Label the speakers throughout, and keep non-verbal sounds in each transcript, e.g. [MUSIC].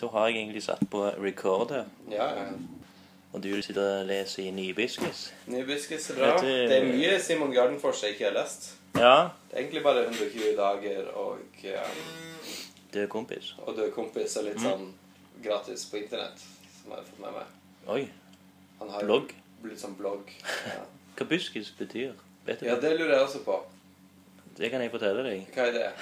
Speaker 1: Da har jeg egentlig satt på recorder,
Speaker 2: Ja, ja.
Speaker 1: og du sitter og leser i Nybiskus.
Speaker 2: Nybiskus er bra.
Speaker 1: Vet du-
Speaker 2: Det er mye Simon Gardenfors jeg ikke har lest.
Speaker 1: Ja,
Speaker 2: Det er egentlig bare 120 dager og, eh,
Speaker 1: du er kompis.
Speaker 2: og Død kompis og litt
Speaker 1: Mm.
Speaker 2: sånn gratis på internett. Som jeg har fått med meg.
Speaker 1: Oi,
Speaker 2: Han har jo
Speaker 1: blogg.
Speaker 2: blitt sånn blogg. Ja.
Speaker 1: Hva buskus betyr? Vet du
Speaker 2: ja,
Speaker 1: det?
Speaker 2: det lurer jeg også på.
Speaker 1: Det kan jeg fortelle deg.
Speaker 2: Hva er det?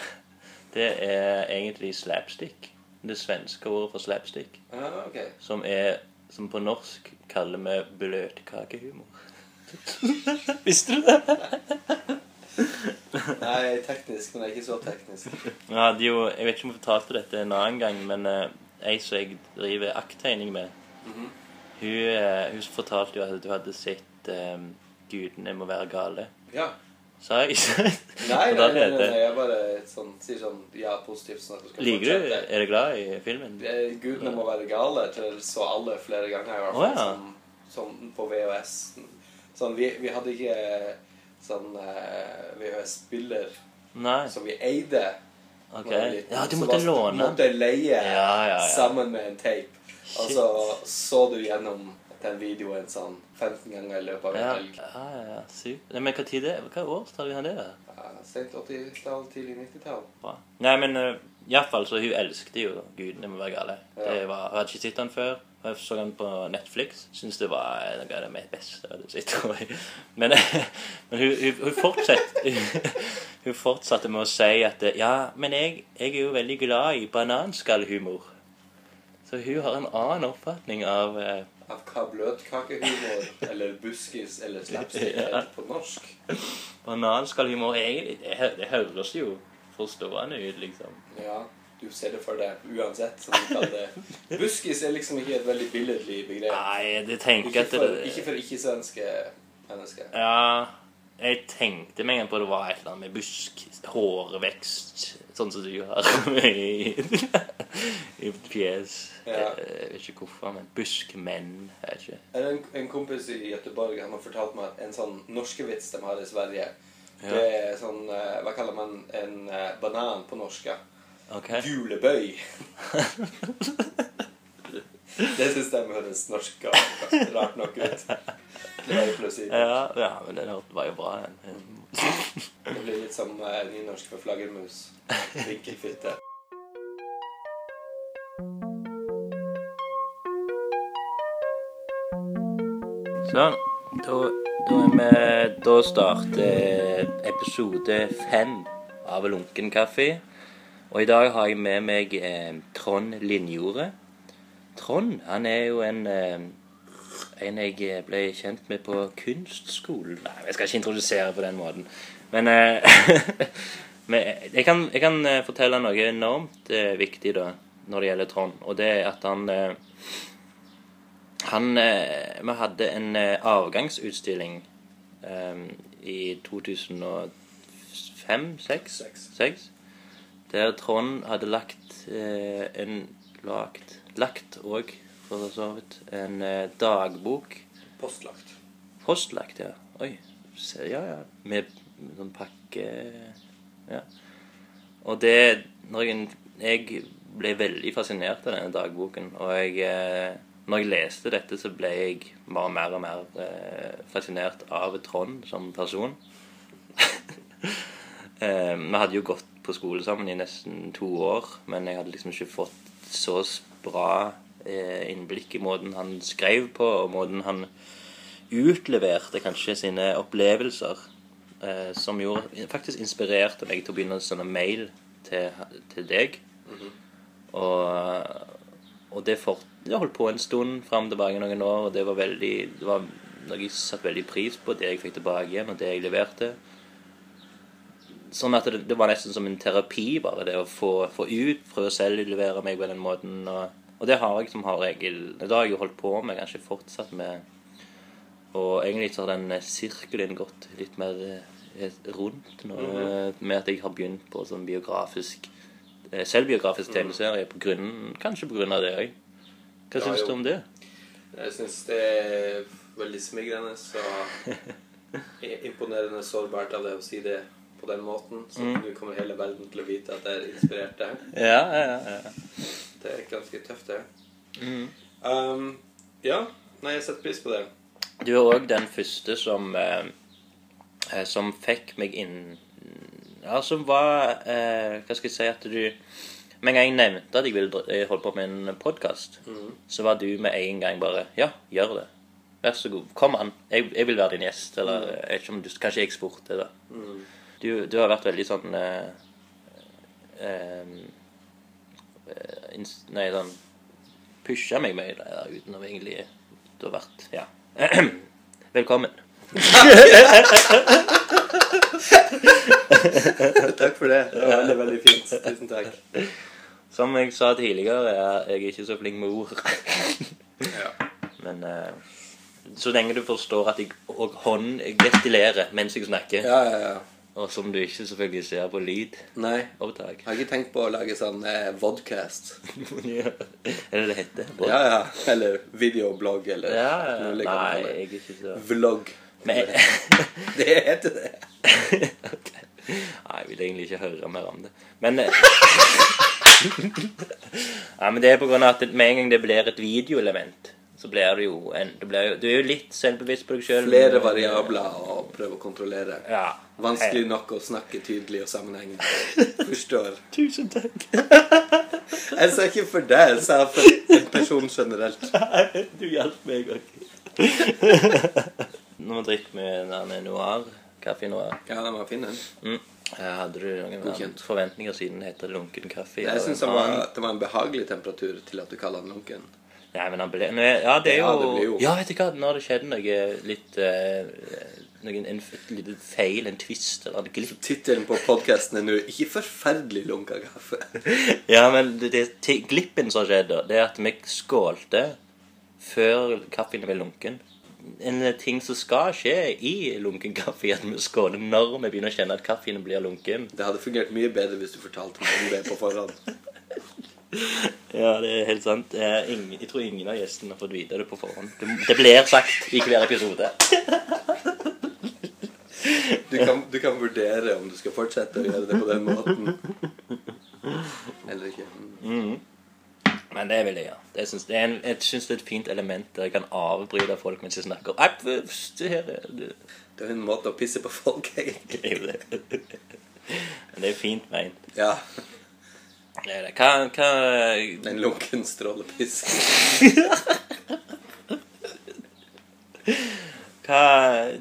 Speaker 1: Det er egentlig slapstick. Det svenske ordet for slapstick.
Speaker 2: Ah, ok.
Speaker 1: Som er, som på norsk kaller vi bløtkakehumor. [LAUGHS] Visste du det?
Speaker 2: Nei, teknisk, men det er ikke så teknisk.
Speaker 1: Jeg hadde jo, jeg vet ikke om jeg fortalte dette en annen gang, men eh, ei som jeg driver akttegning med,
Speaker 2: Mhm.
Speaker 1: hun, eh, hun fortalte jo at du hadde sett eh, 'Gudene må være gale'.
Speaker 2: Ja.
Speaker 1: Sa jeg
Speaker 2: Nei, nei,
Speaker 1: Hvordan
Speaker 2: nei,
Speaker 1: heter
Speaker 2: nei,
Speaker 1: det?
Speaker 2: nei jeg bare sånn, sier sånn ja positivt sånn at du skal
Speaker 1: Liker du?
Speaker 2: fortsette.
Speaker 1: Er du glad i filmen?
Speaker 2: Eh, Gudene må være gale til så alle flere ganger, i
Speaker 1: Å,
Speaker 2: hvert fall.
Speaker 1: ja.
Speaker 2: Sånn, sånn på VHS. Sånn, vi, vi hadde ikke eh, sånn eh, VHS-spiller
Speaker 1: Nei?
Speaker 2: som vi eide. når
Speaker 1: Ok.
Speaker 2: jeg var liten.
Speaker 1: Ja, du
Speaker 2: Så
Speaker 1: måtte
Speaker 2: bare-
Speaker 1: låne.
Speaker 2: Måtte leie
Speaker 1: Ja, ja, ja.
Speaker 2: sammen med en tape. Og
Speaker 1: Shit.
Speaker 2: så så du gjennom den videoen sånn 15 ganger i løpet av en
Speaker 1: Ja,
Speaker 2: helg.
Speaker 1: ja, ja. Sykt. Nei, Men hva tid er det? Hva årstall vil han det? da?
Speaker 2: Ja, Sent 80-tall, tidlig 90-tall.
Speaker 1: Bra. Nei, men eh, i hvert fall så hun elsket jo 'Gudene må være gale'.
Speaker 2: Ja.
Speaker 1: Det var, jeg hadde ikke sett den før. og Jeg så den på Netflix. Syns det var eh, noe av det mest beste jeg hadde sett. tror jeg. Men, [LAUGHS] men hun, hun, hun, fortsatte, [LAUGHS] hun fortsatte med å si at eh, Ja, men jeg, jeg er jo veldig glad i bananskallhumor. Så hun har en annen oppfatning av eh,
Speaker 2: Av hva
Speaker 1: [LAUGHS]
Speaker 2: bløtkakehumor eller buskis eller slapstick
Speaker 1: Ja.
Speaker 2: heter på norsk.
Speaker 1: bananskallhumor. Egentlig, det, hø- det høres jo forstående ut, liksom.
Speaker 2: Ja, du ser det for deg uansett. Som du kaller
Speaker 1: [LAUGHS]
Speaker 2: det. Buskis er liksom ikke et veldig billedlig begrep.
Speaker 1: Nei, det tenker Ah,
Speaker 2: Ikke
Speaker 1: jeg at
Speaker 2: for,
Speaker 1: det-
Speaker 2: ikke for ikke-svenske mennesker.
Speaker 1: Ja, jeg tenkte meg en på det var et eller annet med busk, hårvekst, sånn som du har [LAUGHS] i, i fjes. Eh,
Speaker 2: Ja.
Speaker 1: Jeg vet ikke hvorfor, men buskmenn, jeg vet ikke.
Speaker 2: Eller en, en kompis i Göteborg han har fortalt meg at en sånn norskevits de har i Sverige,
Speaker 1: Ja.
Speaker 2: det er sånn eh, Hva kaller man en eh, banan på norsk? ja?
Speaker 1: Ok, [LAUGHS]
Speaker 2: Julebøy. det syns de høres norsk og rart nok ut. Det var jo plutselig
Speaker 1: ja, ja, men den hørte- var jo bra. Den.
Speaker 2: Det blir litt som eh, nynorsk for flaggermus. Vinkelfitte.
Speaker 1: Sånn, da, da, er vi, da starter episode fem av Lunken kaffe. Og i dag har jeg med meg eh, Trond Linjordet. Trond han er jo en, eh, en jeg ble kjent med på kunstskolen. Nei, jeg skal ikke introdusere på den måten. Men, eh, [LAUGHS] men jeg, kan, jeg kan eh, fortelle noe enormt eh, viktig da, når det gjelder Trond. Og det er at han eh, han, eh, vi hadde en eh, avgangsutstilling eh, i 2005-2006,
Speaker 2: Seks.
Speaker 1: der Trond hadde lagt eh, en lagt, lagt og, for så vidt, en eh, dagbok.
Speaker 2: Postlagt.
Speaker 1: Postlagt, ja. Oi. Se, ja, ja. Med, med sånn pakke Ja. Og det når jeg, jeg ble veldig fascinert av denne dagboken. Og jeg, eh, når jeg leste dette, så ble jeg bare mer og mer eh, fascinert av Trond som person. [LAUGHS] eh, vi hadde jo gått på skole sammen i nesten to år, men jeg hadde liksom ikke fått så s- bra eh, innblikk i måten han skrev på, og måten han utleverte kanskje sine opplevelser, eh, som gjorde, faktisk inspirerte meg til å begynne å sende mail til, til deg. Og, og det, fort, det holdt på en stund, fram og tilbake noen år, og det var veldig det var noe jeg satte veldig pris på, det jeg fikk tilbake igjen, og det jeg leverte. Sånn at det, det var nesten som en terapi, bare det å få, få ut, prøve å selvlevere meg på den måten. Og, og det har jeg som har regel. Det har jeg jo holdt på med, kanskje fortsatt med. Og egentlig så har den eh, sirkelen gått litt mer eh, rundt nå, eh,
Speaker 2: Mhm.
Speaker 1: med at jeg har begynt på sånn biografisk eh,
Speaker 2: Mhm.
Speaker 1: selvbiografisk tegneserie på grunn, kanskje på grunn av det òg. Hva
Speaker 2: Ja,
Speaker 1: syns
Speaker 2: jo.
Speaker 1: du om det?
Speaker 2: Jeg syns det er veldig smigrende [LAUGHS] og i- imponerende sårbart av deg å si det på Mm. den måten. Så nå kommer hele verden til å vite at jeg er inspirert deg.
Speaker 1: Ja, ja, ja.
Speaker 2: Det er ganske tøft, det. Um, ja. Nei, jeg setter pris på det.
Speaker 1: Du er òg den første som eh, eh, Som fikk meg inn Ja, som var eh, Hva skal jeg si at du Med en gang jeg nevnte at jeg ville dr- eh, holde på med en podkast, så var du med en gang bare Ja, gjør det. Vær så god. Kom an. Jeg, jeg vil være din gjest. Eller eh, jeg vet ikke om du, kanskje jeg spurte, da.
Speaker 2: Mm.
Speaker 1: Du, du har vært veldig sånn eh, eh, eh, ins- Nei, sånn pusha meg mye der, uten å egentlig Du har vært Ja. [CLEARS THROAT] Velkommen.
Speaker 2: [LAUGHS] Takk for det. Det var veldig, veldig fint. Tusen takk.
Speaker 1: Som jeg sa tidligere, er jeg ikke så flink med ord. [LAUGHS]
Speaker 2: Ja.
Speaker 1: Men eh, så lenge du forstår at jeg og hånd gestilerer mens jeg snakker,
Speaker 2: Ja, ja, ja.
Speaker 1: og som du ikke selvfølgelig ser på lydopptak
Speaker 2: Nei.
Speaker 1: [LAUGHS]
Speaker 2: Jeg har ikke tenkt på å lage sånn eh, vodcast.
Speaker 1: Er det det heter?
Speaker 2: Ja, ja. Eller videoblogg, eller
Speaker 1: Ja,
Speaker 2: noe
Speaker 1: Nei,
Speaker 2: lignende.
Speaker 1: jeg er ikke så
Speaker 2: Vlogg.
Speaker 1: Men
Speaker 2: [LAUGHS]
Speaker 1: [LAUGHS]
Speaker 2: Det heter det.
Speaker 1: Nei, jeg vil egentlig ikke høre mer om det. Men eh, [LAUGHS] Nei, men det er på grunn av at med en gang det blir et videoelement, så blir det jo en det blir jo, Du er jo litt selvbevisst på deg sjøl.
Speaker 2: Flere variabler å prøve å kontrollere.
Speaker 1: Ja.
Speaker 2: Vanskelig nok å snakke tydelig og sammenhengende. Forstår.
Speaker 1: Tusen takk.
Speaker 2: Jeg sa ikke for deg, jeg sa for en person generelt.
Speaker 1: Du hjalp meg òg. [LAUGHS] Når vi drikker med denne noir, kaffe noir
Speaker 2: Ja, den var fin, den.
Speaker 1: mm. eh, Hadde du noen
Speaker 2: Godkjent.
Speaker 1: forventninger siden det heter lunken kaffe?
Speaker 2: Jeg
Speaker 1: eller
Speaker 2: syns
Speaker 1: en
Speaker 2: det
Speaker 1: annen?
Speaker 2: var det var en behagelig temperatur til at du kaller den lunken.
Speaker 1: Nei, men han ble Nå er- Ja, det er
Speaker 2: Ja,
Speaker 1: jo
Speaker 2: det blir jo.
Speaker 1: Ja, vet du hva, nå har det skjedd noe litt eh, noen, en, Et lite feil, en twist eller en glipp.
Speaker 2: Tittelen på podkasten er nå 'Ikke forferdelig lunka kaffe'.
Speaker 1: Ja, men det, det ti- glippen som skjedde, det er at vi skålte før kaffen ble lunken. En ting som skal skje i lunken kaffe, er at vi skåler når vi begynner å kjenne at kaffen blir lunken.
Speaker 2: Det hadde fungert mye bedre hvis du fortalte meg om det på forhånd.
Speaker 1: Ja, det er helt sant. Eh, ingen, jeg tror ingen av gjestene har fått vite det på forhånd. Det, det blir sagt i hver episode.
Speaker 2: Du kan, du kan vurdere om du skal fortsette å gjøre det på den måten. Eller ikke. Mm.
Speaker 1: Men det vil jeg gjøre. Det syns, det er en, jeg syns det er et fint element der jeg kan avbryte folk mens jeg snakker. Nei, pff, det her er det.
Speaker 2: Det er jo en måte å pisse på folk, egentlig.
Speaker 1: det er jo det. Men det er fint meint.
Speaker 2: Ja.
Speaker 1: Det er det. Hva, hva
Speaker 2: En lunken strålepiss.
Speaker 1: Hva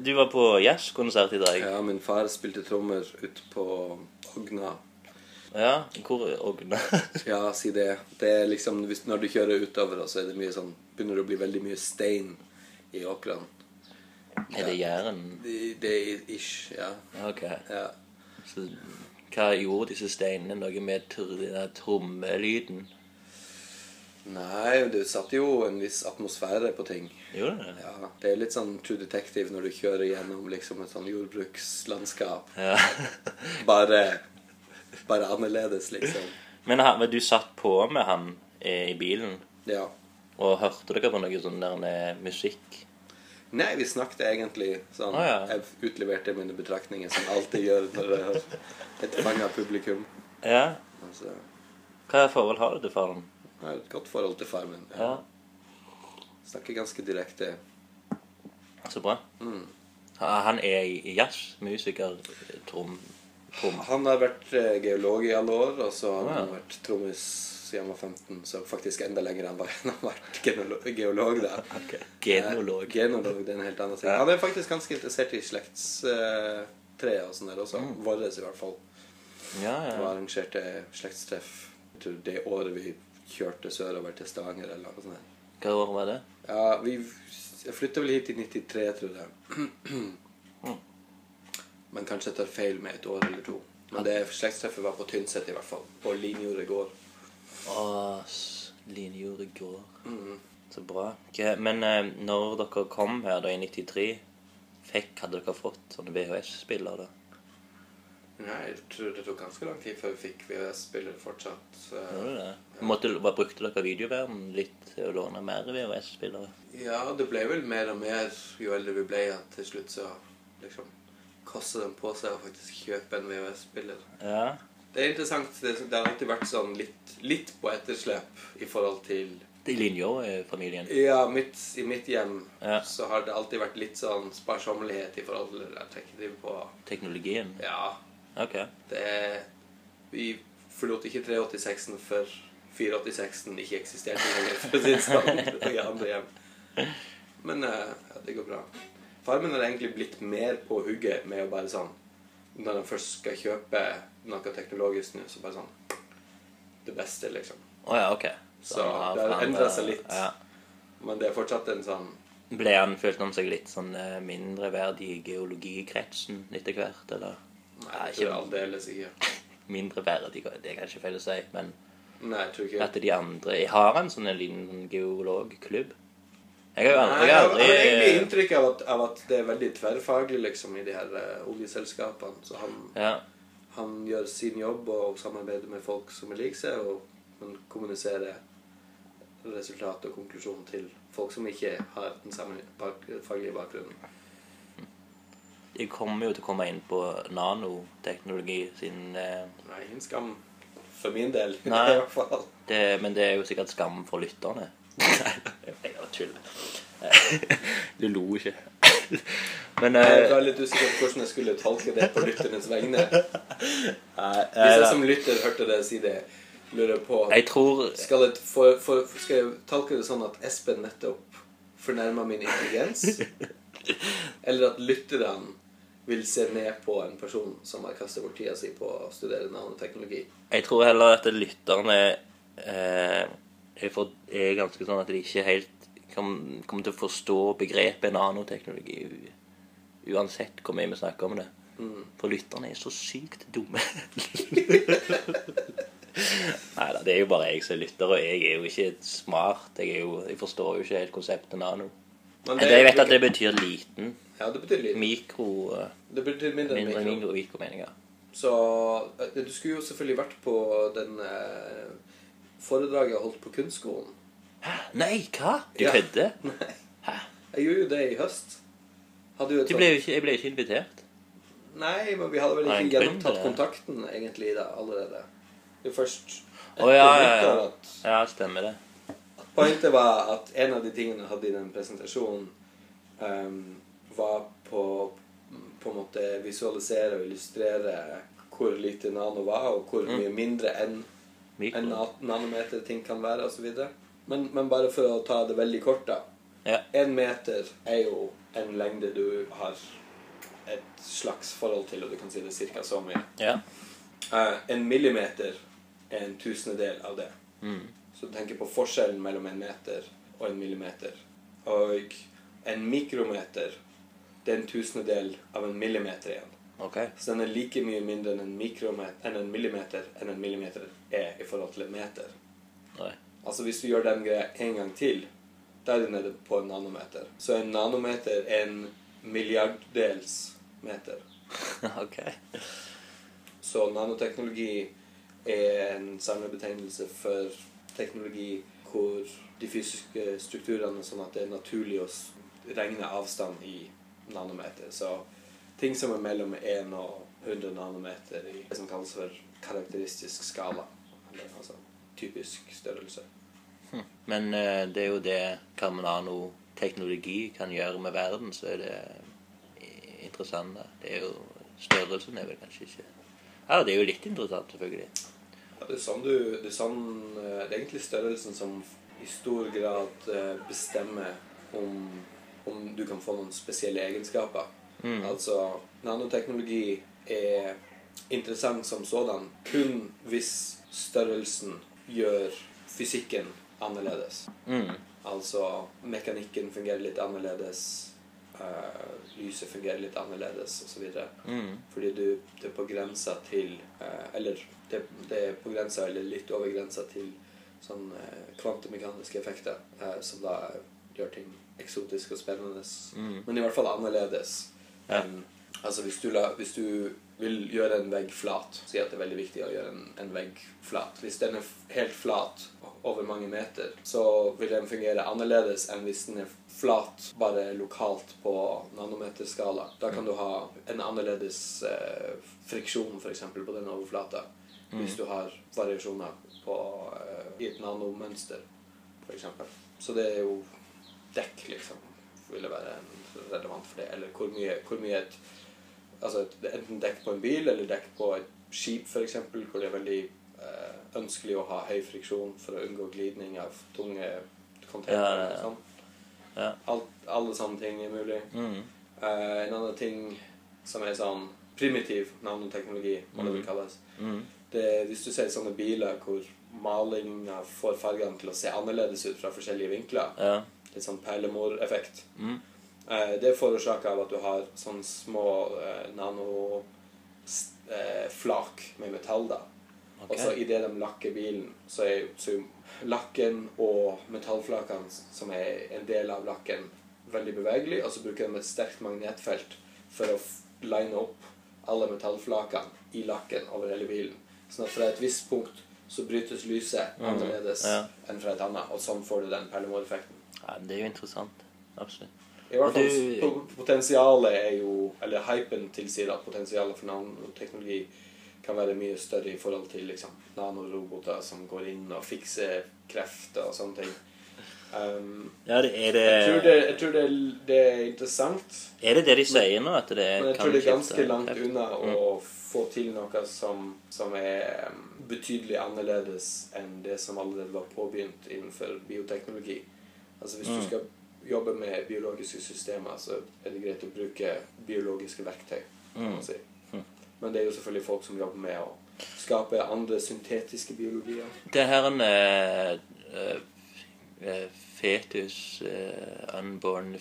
Speaker 1: Du var på jazzkonsert i dag. Ja.
Speaker 2: Ja, min far spilte trommer ute på Ogna.
Speaker 1: hvor er Ogna?
Speaker 2: Ja, si det. Det er liksom, hvis, Når du kjører utover, så er det mye sånn, begynner det å bli veldig mye stein i åkrene.
Speaker 1: [LAUGHS] Er det Jæren?
Speaker 2: Det det er ish, ja.
Speaker 1: Ok.
Speaker 2: ja.
Speaker 1: Så hva gjorde disse steinene? Noe med tr den der trommelyden?
Speaker 2: Nei, det satte jo en viss atmosfære på ting.
Speaker 1: Gjorde det det?
Speaker 2: Ja, Det er litt sånn True Detective når du kjører gjennom liksom et sånn jordbrukslandskap.
Speaker 1: Ja. [LAUGHS]
Speaker 2: Bare, bare annerledes, liksom.
Speaker 1: Men, han, men du satt på med han eh, i bilen?
Speaker 2: Ja.
Speaker 1: Og hørte dere på noe sånn der eh, musikk?
Speaker 2: Nei, vi snakket egentlig sånn.
Speaker 1: Å, ja.
Speaker 2: Jeg utleverte mine betraktninger som jeg alltid gjør når jeg har et fanga publikum.
Speaker 1: Ja.
Speaker 2: Altså,
Speaker 1: Hva forhold har du til faren?
Speaker 2: jeg har et godt forhold til far min.
Speaker 1: Ja.
Speaker 2: Snakker ganske direkte.
Speaker 1: Så bra. Ha- Han er i- i jazzmusiker, trom... trom.
Speaker 2: Han har vært eh, geolog i alle år, og så har
Speaker 1: Å, ja.
Speaker 2: han vært trommis siden han var 15, så faktisk enda lenger enn bare [LAUGHS] han har vært genolo- geolog, da.
Speaker 1: Genolog.
Speaker 2: Eh, Genolog, det er en helt annen ting.
Speaker 1: Ja.
Speaker 2: Han er faktisk ganske interessert i slektstreet og sånn der også. Våres, i hvert fall.
Speaker 1: Ja,
Speaker 2: Og
Speaker 1: ja.
Speaker 2: arrangerte slektstreff jeg tror det året vi kjørte sørover til Stavanger eller noe sånt. der.
Speaker 1: Hva år var det?
Speaker 2: Ja, vi Jeg flytta vel hit i 93, tror jeg.
Speaker 1: Mm.
Speaker 2: Men kanskje jeg tar feil med et år eller to. Men det slektstreffet var på Tynset, i hvert fall. På Linjordet gård.
Speaker 1: Å, s- Linjordet gård. Så bra. Hva- Men eh, når dere kom her da i 93, fikk, hadde dere fått sånne VHS-spiller da?
Speaker 2: Nei, jeg tror det tok ganske lang tid før vi fikk VHS-spiller fortsatt.
Speaker 1: Gjorde
Speaker 2: Eh,
Speaker 1: dere det? Måtte, hva, brukte dere videoverden litt til å låne mer VHS-spillere?
Speaker 2: Ja, det ble vel mer og mer jo eldre vi ble, at til slutt så liksom kosta den på seg å faktisk kjøpe en VHS-spiller.
Speaker 1: Ja.
Speaker 2: Det er interessant. Det, det har alltid vært sånn litt, litt på etterslep i forhold til
Speaker 1: I Linjå-familien.
Speaker 2: Ja, mitt, i mitt hjem
Speaker 1: Ja.
Speaker 2: så har det alltid vært litt sånn sparsommelighet i forhold til at jeg ikke driver på
Speaker 1: Teknologien.
Speaker 2: Ja,
Speaker 1: OK.
Speaker 2: det eh, Vi forlot ikke 386-en før 486-en ikke eksisterte lenger, for å si det [LAUGHS] sånn, i andre hjem. Men eh, ja, det går bra. Far min har egentlig blitt mer på hugget med å bare sånn Når han først skal kjøpe noe teknologisk nå, så bare sånn Det beste, liksom.
Speaker 1: Å ja, OK.
Speaker 2: Så
Speaker 1: han
Speaker 2: det har
Speaker 1: forandret-
Speaker 2: endret seg litt.
Speaker 1: Ja.
Speaker 2: Men det er fortsatt en sånn
Speaker 1: Ble han følt om seg litt sånn eh, mindreverdig i geologikretsen etter hvert, eller?
Speaker 2: Nei, jeg
Speaker 1: Nei,
Speaker 2: tror
Speaker 1: ikke-
Speaker 2: aldeles ikke.
Speaker 1: Mindreverdig, det er kanskje feil å si, men
Speaker 2: Nei, jeg tror ikke
Speaker 1: at de andre Jeg har en sånn en liten geologklubb. Jeg har jo
Speaker 2: Nei,
Speaker 1: aldri,
Speaker 2: jeg
Speaker 1: jeg har
Speaker 2: har jeg har egentlig
Speaker 1: aldri
Speaker 2: inntrykk av at, av at det er veldig tverrfaglig liksom, i de her eh, oljeselskapene. Så han,
Speaker 1: ja,
Speaker 2: han gjør sin jobb og samarbeider med folk som er lik seg, og men kommuniserer resultat og konklusjon til folk som ikke har den samme bak faglige bakgrunnen.
Speaker 1: Jeg kommer jo til å komme inn på nanoteknologi siden eh,
Speaker 2: Nei, ingen skam for min del.
Speaker 1: Nei.
Speaker 2: i hvert fall.
Speaker 1: det, Men det er jo sikkert skam for lytterne. Nei, jeg bare
Speaker 2: [LAUGHS]
Speaker 1: tuller. Du lo ikke. [LAUGHS] Men
Speaker 2: Jeg
Speaker 1: eh,
Speaker 2: var litt usikker på hvordan jeg skulle tolke det på lytternes vegne.
Speaker 1: nei,
Speaker 2: Hvis jeg
Speaker 1: eh,
Speaker 2: som lytter hørte deg si det, lurer jeg på
Speaker 1: Jeg tror
Speaker 2: Skal jeg, for, for, skal jeg tolke det sånn at Espen nettopp fornærma
Speaker 1: [LAUGHS]
Speaker 2: min intelligens? Eller at lytterne vil se ned på en person som har kastet bort tida si på å studere nanoteknologi?
Speaker 1: Jeg tror heller at lytterne eh, er, for, er ganske sånn at de ikke helt kan- kommer til å forstå begrepet nanoteknologi u- uansett hvor mye vi snakker om det. For lytterne er så sykt dumme. [LAUGHS] Nei da, det er jo bare jeg som er lytter, og jeg er jo ikke smart. Jeg, er jo, jeg forstår jo ikke helt konseptet nano.
Speaker 2: Men
Speaker 1: Jeg vet at det betyr liten.
Speaker 2: Ja, det betyr liten.
Speaker 1: Mikro eh,
Speaker 2: Det betyr mindre enn
Speaker 1: Mindre
Speaker 2: mikro.
Speaker 1: mikro, mikro meninger.
Speaker 2: Så eh, du skulle jo selvfølgelig vært på den eh, foredraget jeg holdt på kunstskolen.
Speaker 1: Nei, hva? Du
Speaker 2: Ja.
Speaker 1: kødder?
Speaker 2: Nei.
Speaker 1: Hæ?
Speaker 2: Jeg gjorde jo det i høst. Hadde jo et
Speaker 1: Du ble jo ikke, jeg ble jo ikke invitert.
Speaker 2: Nei, men vi hadde vel
Speaker 1: Nei, en
Speaker 2: ikke
Speaker 1: grunn til
Speaker 2: gjenopptatt
Speaker 1: det.
Speaker 2: kontakten egentlig da, allerede. Det er først
Speaker 1: Å ja, ja,
Speaker 2: nyttår
Speaker 1: ja.
Speaker 2: at
Speaker 1: Ja, stemmer det.
Speaker 2: Poenget var at en av de tingene jeg hadde i den presentasjonen, ehm, var på på en måte visualisere og illustrere hvor lite nano var, og hvor mye mindre enn en
Speaker 1: Mm. Mikro.
Speaker 2: na- nanometer ting kan være, osv. Men, men bare for å ta det veldig kort, da.
Speaker 1: Ja.
Speaker 2: En meter er jo en lengde du har et slags forhold til, og du kan si det er ca. så mye.
Speaker 1: ja.
Speaker 2: Eh, en millimeter er en tusendedel av det. Så du tenker på forskjellen mellom en meter og en millimeter. Og en mikrometer det er en tusendedel av en millimeter igjen.
Speaker 1: Ok.
Speaker 2: Så den er like mye mindre enn en, mikromet- enn en millimeter enn en millimeter er i forhold til en meter.
Speaker 1: Nei. [LAUGHS]
Speaker 2: Altså Hvis du gjør den greia en gang til, da er du nede på en nanometer. Så en nanometer er en milliarddels meter.
Speaker 1: ok.
Speaker 2: Så nanoteknologi er en samlebetegnelse for teknologi hvor de fysiske strukturene er sånn at det er naturlig å s- regne avstand i nanometer. Så ting som er mellom 1 og 100 nanometer i det som kalles for karakteristisk skala. Eller altså typisk størrelse.
Speaker 1: Men eh, det er jo det Carmenano-teknologi kan gjøre med verden, så er det i- interessant. da. Det er jo Størrelsen er vel kanskje ikke Ja, det er jo litt interessant, selvfølgelig.
Speaker 2: Ja, det, er sånn du, det, er sånn, eh, det er egentlig størrelsen som i stor grad eh, bestemmer om, om du kan få noen spesielle egenskaper. Altså, nanoteknologi er interessant som sådan kun hvis størrelsen gjør fysikken annerledes.
Speaker 1: Mm.
Speaker 2: Altså, mekanikken fungerer litt annerledes, eh, lyset fungerer litt annerledes, osv.
Speaker 1: Mm.
Speaker 2: Fordi du, det er på grensa til eh, Eller det, det er på grensa, eller litt over grensa til sånn eh, kvantemekaniske effekter, eh, som da gjør ting eksotisk og spennende.
Speaker 1: Mm.
Speaker 2: Men i hvert fall annerledes.
Speaker 1: Ja.
Speaker 2: enn- altså hvis du, la, hvis du vil gjøre en vegg flat Si at det er veldig viktig å gjøre en, en vegg flat. Hvis den er f- helt flat over mange meter, så vil den fungere annerledes enn hvis den er flat bare lokalt på nanometerskala. Da kan du ha en annerledes eh, friksjon, f.eks., på den overflata.
Speaker 1: Mm.
Speaker 2: hvis du har variasjoner på, eh, i et nanomønster, f.eks. Så det er jo dekk, liksom, ville være en relevant for det. Eller hvor mye, hvor mye et Altså et, enten dekk på en bil eller dekk på et skip, f.eks., hvor det er veldig eh, ønskelig å ha høy friksjon for å unngå glidning av tunge
Speaker 1: Ja, ja,
Speaker 2: containere.
Speaker 1: ja.
Speaker 2: og sånn.
Speaker 1: Ja.
Speaker 2: Alt, alle sånne ting er mulig.
Speaker 1: Mm.
Speaker 2: Eh, en annen ting som er sånn primitiv nanoteknologi, hva det vil kalles
Speaker 1: Mm.
Speaker 2: det, Hvis du ser sånne biler hvor malinga får fargene til å se annerledes ut fra forskjellige vinkler,
Speaker 1: Ja.
Speaker 2: litt sånn perlemoreffekt
Speaker 1: Mm.
Speaker 2: eh, Det er forårsaka av at du har sånne små eh, nanoflak eh, flak med metall, da.
Speaker 1: Ok.
Speaker 2: Og så idet de lakker bilen, så er jo- så er jo lakken og metallflakene, som er en del av lakken, veldig bevegelige, og så bruker de et sterkt magnetfelt for å f- line opp alle metallflakene i lakken over hele bilen. Sånn at fra et visst punkt så brytes lyset
Speaker 1: Mm.
Speaker 2: annerledes
Speaker 1: ja.
Speaker 2: enn fra et annet, og sånn får du den perlemoreffekten.
Speaker 1: ja, men det er jo interessant. Absolutt.
Speaker 2: I hvert
Speaker 1: Og
Speaker 2: fall
Speaker 1: du-
Speaker 2: po- potensialet er jo Eller hypen tilsier at potensialet for nanoteknologi kan være mye større i forhold til liksom, nanoroboter som går inn og fikser krefter og sånne ting. Um,
Speaker 1: Ja, det er det
Speaker 2: jeg tror, det, jeg tror det, det er interessant,
Speaker 1: Er det det de sier nå? At det
Speaker 2: men jeg
Speaker 1: Eh, kan
Speaker 2: tror det er
Speaker 1: skifte
Speaker 2: ganske langt
Speaker 1: kreft?
Speaker 2: unna å få til noe som, som er um, betydelig annerledes enn det som allerede var påbegynt innenfor bioteknologi. Altså Hvis du skal jobbe med biologiske systemer, så er det greit å bruke biologiske verktøy.
Speaker 1: Mm.
Speaker 2: kan man si. Men det er jo selvfølgelig folk som jobber med å skape andre syntetiske biologier.
Speaker 1: Det her en eh, eh, eh, fetus eh, Unborn eh,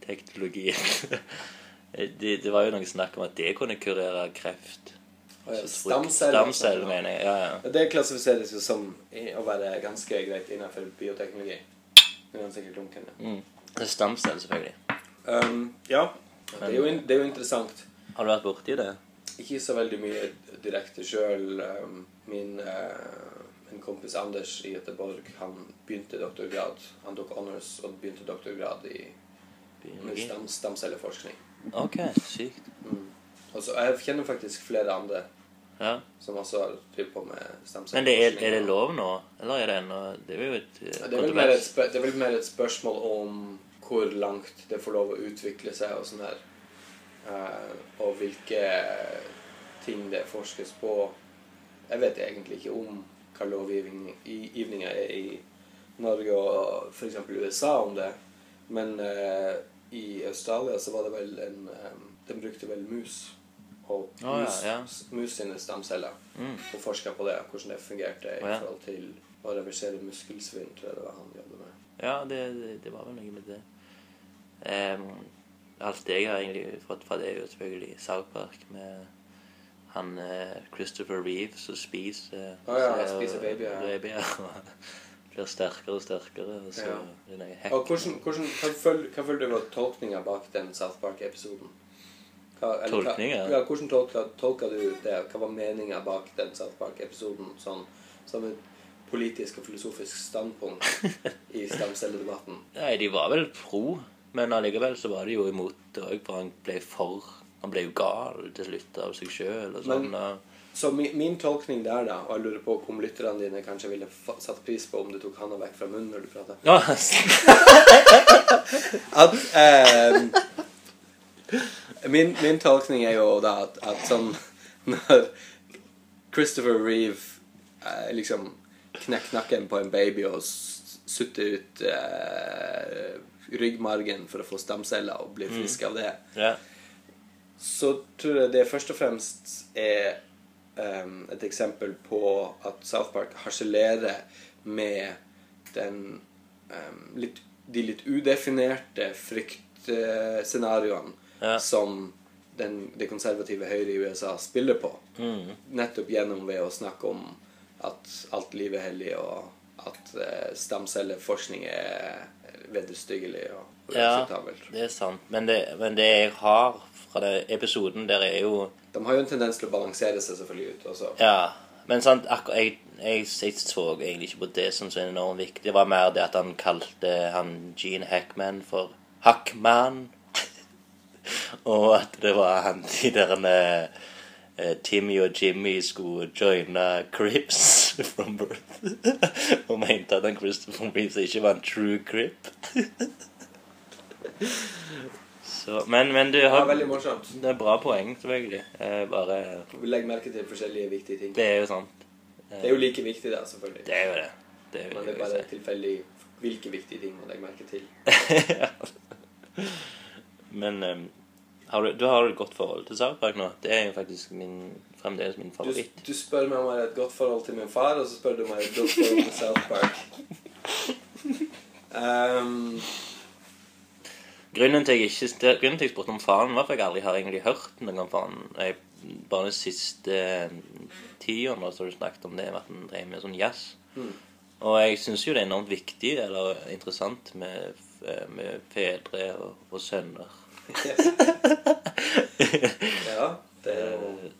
Speaker 1: [LAUGHS] fetus-teknologi Eh, det, det var jo noe snakk om at det kunne kurere kreft.
Speaker 2: Og, ja,
Speaker 1: Så frukt- Stamceller, mener jeg. Ja, ja.
Speaker 2: Ja, Det klassifiseres jo som i- å være ganske greit innenfor bioteknologi. Men det er sikkert dunkende.
Speaker 1: Mm. Det er Stamceller, selvfølgelig.
Speaker 2: Um, ja, det er, jo in det er jo interessant.
Speaker 1: Har du vært borti det?
Speaker 2: Ikke så veldig mye direkte sjøl. Um, min eh, min kompis Anders i Göteborg han begynte doktorgrad. Han tok honors og begynte doktorgrad i med
Speaker 1: Biologi?
Speaker 2: stam stamcelleforskning. Mm.
Speaker 1: Ok, sykt.
Speaker 2: Og så Jeg kjenner faktisk flere andre
Speaker 1: Ja.
Speaker 2: som også har drevet på med
Speaker 1: Men
Speaker 2: stamcelleforskning.
Speaker 1: det er, er det lov nå? Eller er det ennå Det er jo et eh,
Speaker 2: Ja, Det er, vel mer et
Speaker 1: kontrovers.
Speaker 2: spør- det er vel mer et spørsmål om hvor langt det får lov å utvikle seg og sånn her. Eh, og hvilke ting det forskes på. Jeg vet egentlig ikke om hva lovgivninga er i Norge og f.eks. USA om det. Men eh, i Australia så var det vel en eh, De brukte vel mus og mus,
Speaker 1: Å, ja, ja.
Speaker 2: mus sine stamceller
Speaker 1: Mm.
Speaker 2: og forska på det, hvordan det fungerte i
Speaker 1: Å, ja.
Speaker 2: forhold til å reversere muskelsvinn, tror jeg det var han jobbet med.
Speaker 1: Ja, det, det- det var vel noe med det. Ehm, alt jeg har egentlig fått fra det, er jo selvfølgelig South Park med han eh, Christopher Reeve som spiser eh,
Speaker 2: Å ja,
Speaker 1: så-
Speaker 2: spiser babyer.
Speaker 1: babyer, og [LAUGHS] blir sterkere og sterkere. Og så
Speaker 2: Ja.
Speaker 1: blir det noe
Speaker 2: Og
Speaker 1: hack.
Speaker 2: hvordan, hvordan, hva, føl, hva følte du var tolkninga bak den South Park-episoden? Hva- eller hva-
Speaker 1: Tolkninga?
Speaker 2: Ja, hvordan tolka, tolka du det? Hva var meninga bak den South Park-episoden sånn, som et politisk og filosofisk standpunkt
Speaker 1: [LAUGHS]
Speaker 2: i stamcelledebatten?
Speaker 1: Nei, de var vel pro, men allikevel så var de jo imot det òg, for han ble for Han ble jo gal til slutt av seg sjøl og sånn.
Speaker 2: Men-
Speaker 1: og-
Speaker 2: Så min, min tolkning der, da, og jeg lurer på om lytterne dine kanskje ville fa- satt pris på om du tok handa vekk fra munnen når du prater
Speaker 1: Ja, [LAUGHS]
Speaker 2: at ehm, min, min tolkning er jo da at, at sånn Når Christopher Reeve eh, liksom knekker nakken på en baby og s- sutter ut eh, ryggmargen for å få stamceller og blir frisk av det,
Speaker 1: ja.
Speaker 2: så tror jeg det først og fremst er ehm, et eksempel på at South Park harselerer med den ehm, litt, de litt udefinerte fryktscenarioene
Speaker 1: Ja.
Speaker 2: som den, det konservative høyre i USA spiller på.
Speaker 1: Mm.
Speaker 2: Nettopp gjennom ved å snakke om at alt liv er hellig, og at eh, stamcelleforskning er vederstyggelig
Speaker 1: Ja,
Speaker 2: og uakseptabelt.
Speaker 1: det er sant. Men det, men det jeg har fra den episoden der, er jo
Speaker 2: De har jo en tendens til å balansere seg selvfølgelig ut også.
Speaker 1: Ja. Men sant, akkurat jeg, jeg, jeg så egentlig ikke på det som så enormt viktig. Det var mer det at han kalte han Gene Hackman for [LAUGHS] Hackman. Og at det var han de der eh, Timmy og Jimmy skulle joine Crips [LAUGHS] from birth. [LAUGHS] og mente at han Christopher Reeves ikke var en true Crip. [LAUGHS] Så, men, men du
Speaker 2: Det var
Speaker 1: har
Speaker 2: veldig morsomt.
Speaker 1: Det er bra poeng, selvfølgelig. Eh, bare
Speaker 2: Vi legger merke til forskjellige viktige ting.
Speaker 1: Det er jo sant. Eh,
Speaker 2: Det er jo like viktig, da, selvfølgelig.
Speaker 1: det er jo det. Det er jo
Speaker 2: Men det er
Speaker 1: jeg vil
Speaker 2: bare
Speaker 1: si.
Speaker 2: tilfeldig hvilke viktige ting man legger merke til.
Speaker 1: [LAUGHS] Men eh, har du, du har et godt forhold til Sarpsborg nå. Det er jo faktisk min, fremdeles min
Speaker 2: Du,
Speaker 1: favoritt.
Speaker 2: du spør meg om jeg har et godt forhold til min far, og så spør du meg om jeg har et godt forhold til South
Speaker 1: [LAUGHS]
Speaker 2: Park. Ehm,
Speaker 1: Grunnen til jeg ikke det- grunnen til jeg spurte om faren, var at jeg aldri har egentlig hørt noe om faren. Jeg, bare de siste tiårene har du snakket om det, at han drev med sånn jazz.
Speaker 2: Mm.
Speaker 1: Og jeg syns jo det er enormt viktig eller interessant med, f- eh, med fedre og, og sønner.
Speaker 2: ja, det er jo
Speaker 1: Eh,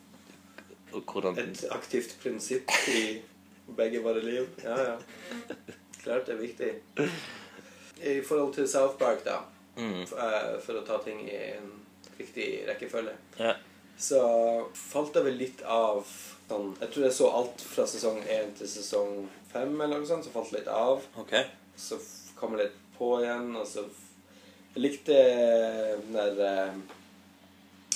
Speaker 1: og hvordan
Speaker 2: et aktivt prinsipp i begge våre liv. Ja, ja. Klart det er viktig. I forhold til South Park, da,
Speaker 1: mm,
Speaker 2: f- eh, for å ta ting i en riktig rekkefølge
Speaker 1: ja.
Speaker 2: så falt jeg vel litt av sånn, Jeg tror jeg så alt fra sesong 1 til sesong 5, eller noe sånt, så falt jeg litt av.
Speaker 1: OK.
Speaker 2: Så f- kom jeg litt på igjen, og så f- Jeg likte den der eh,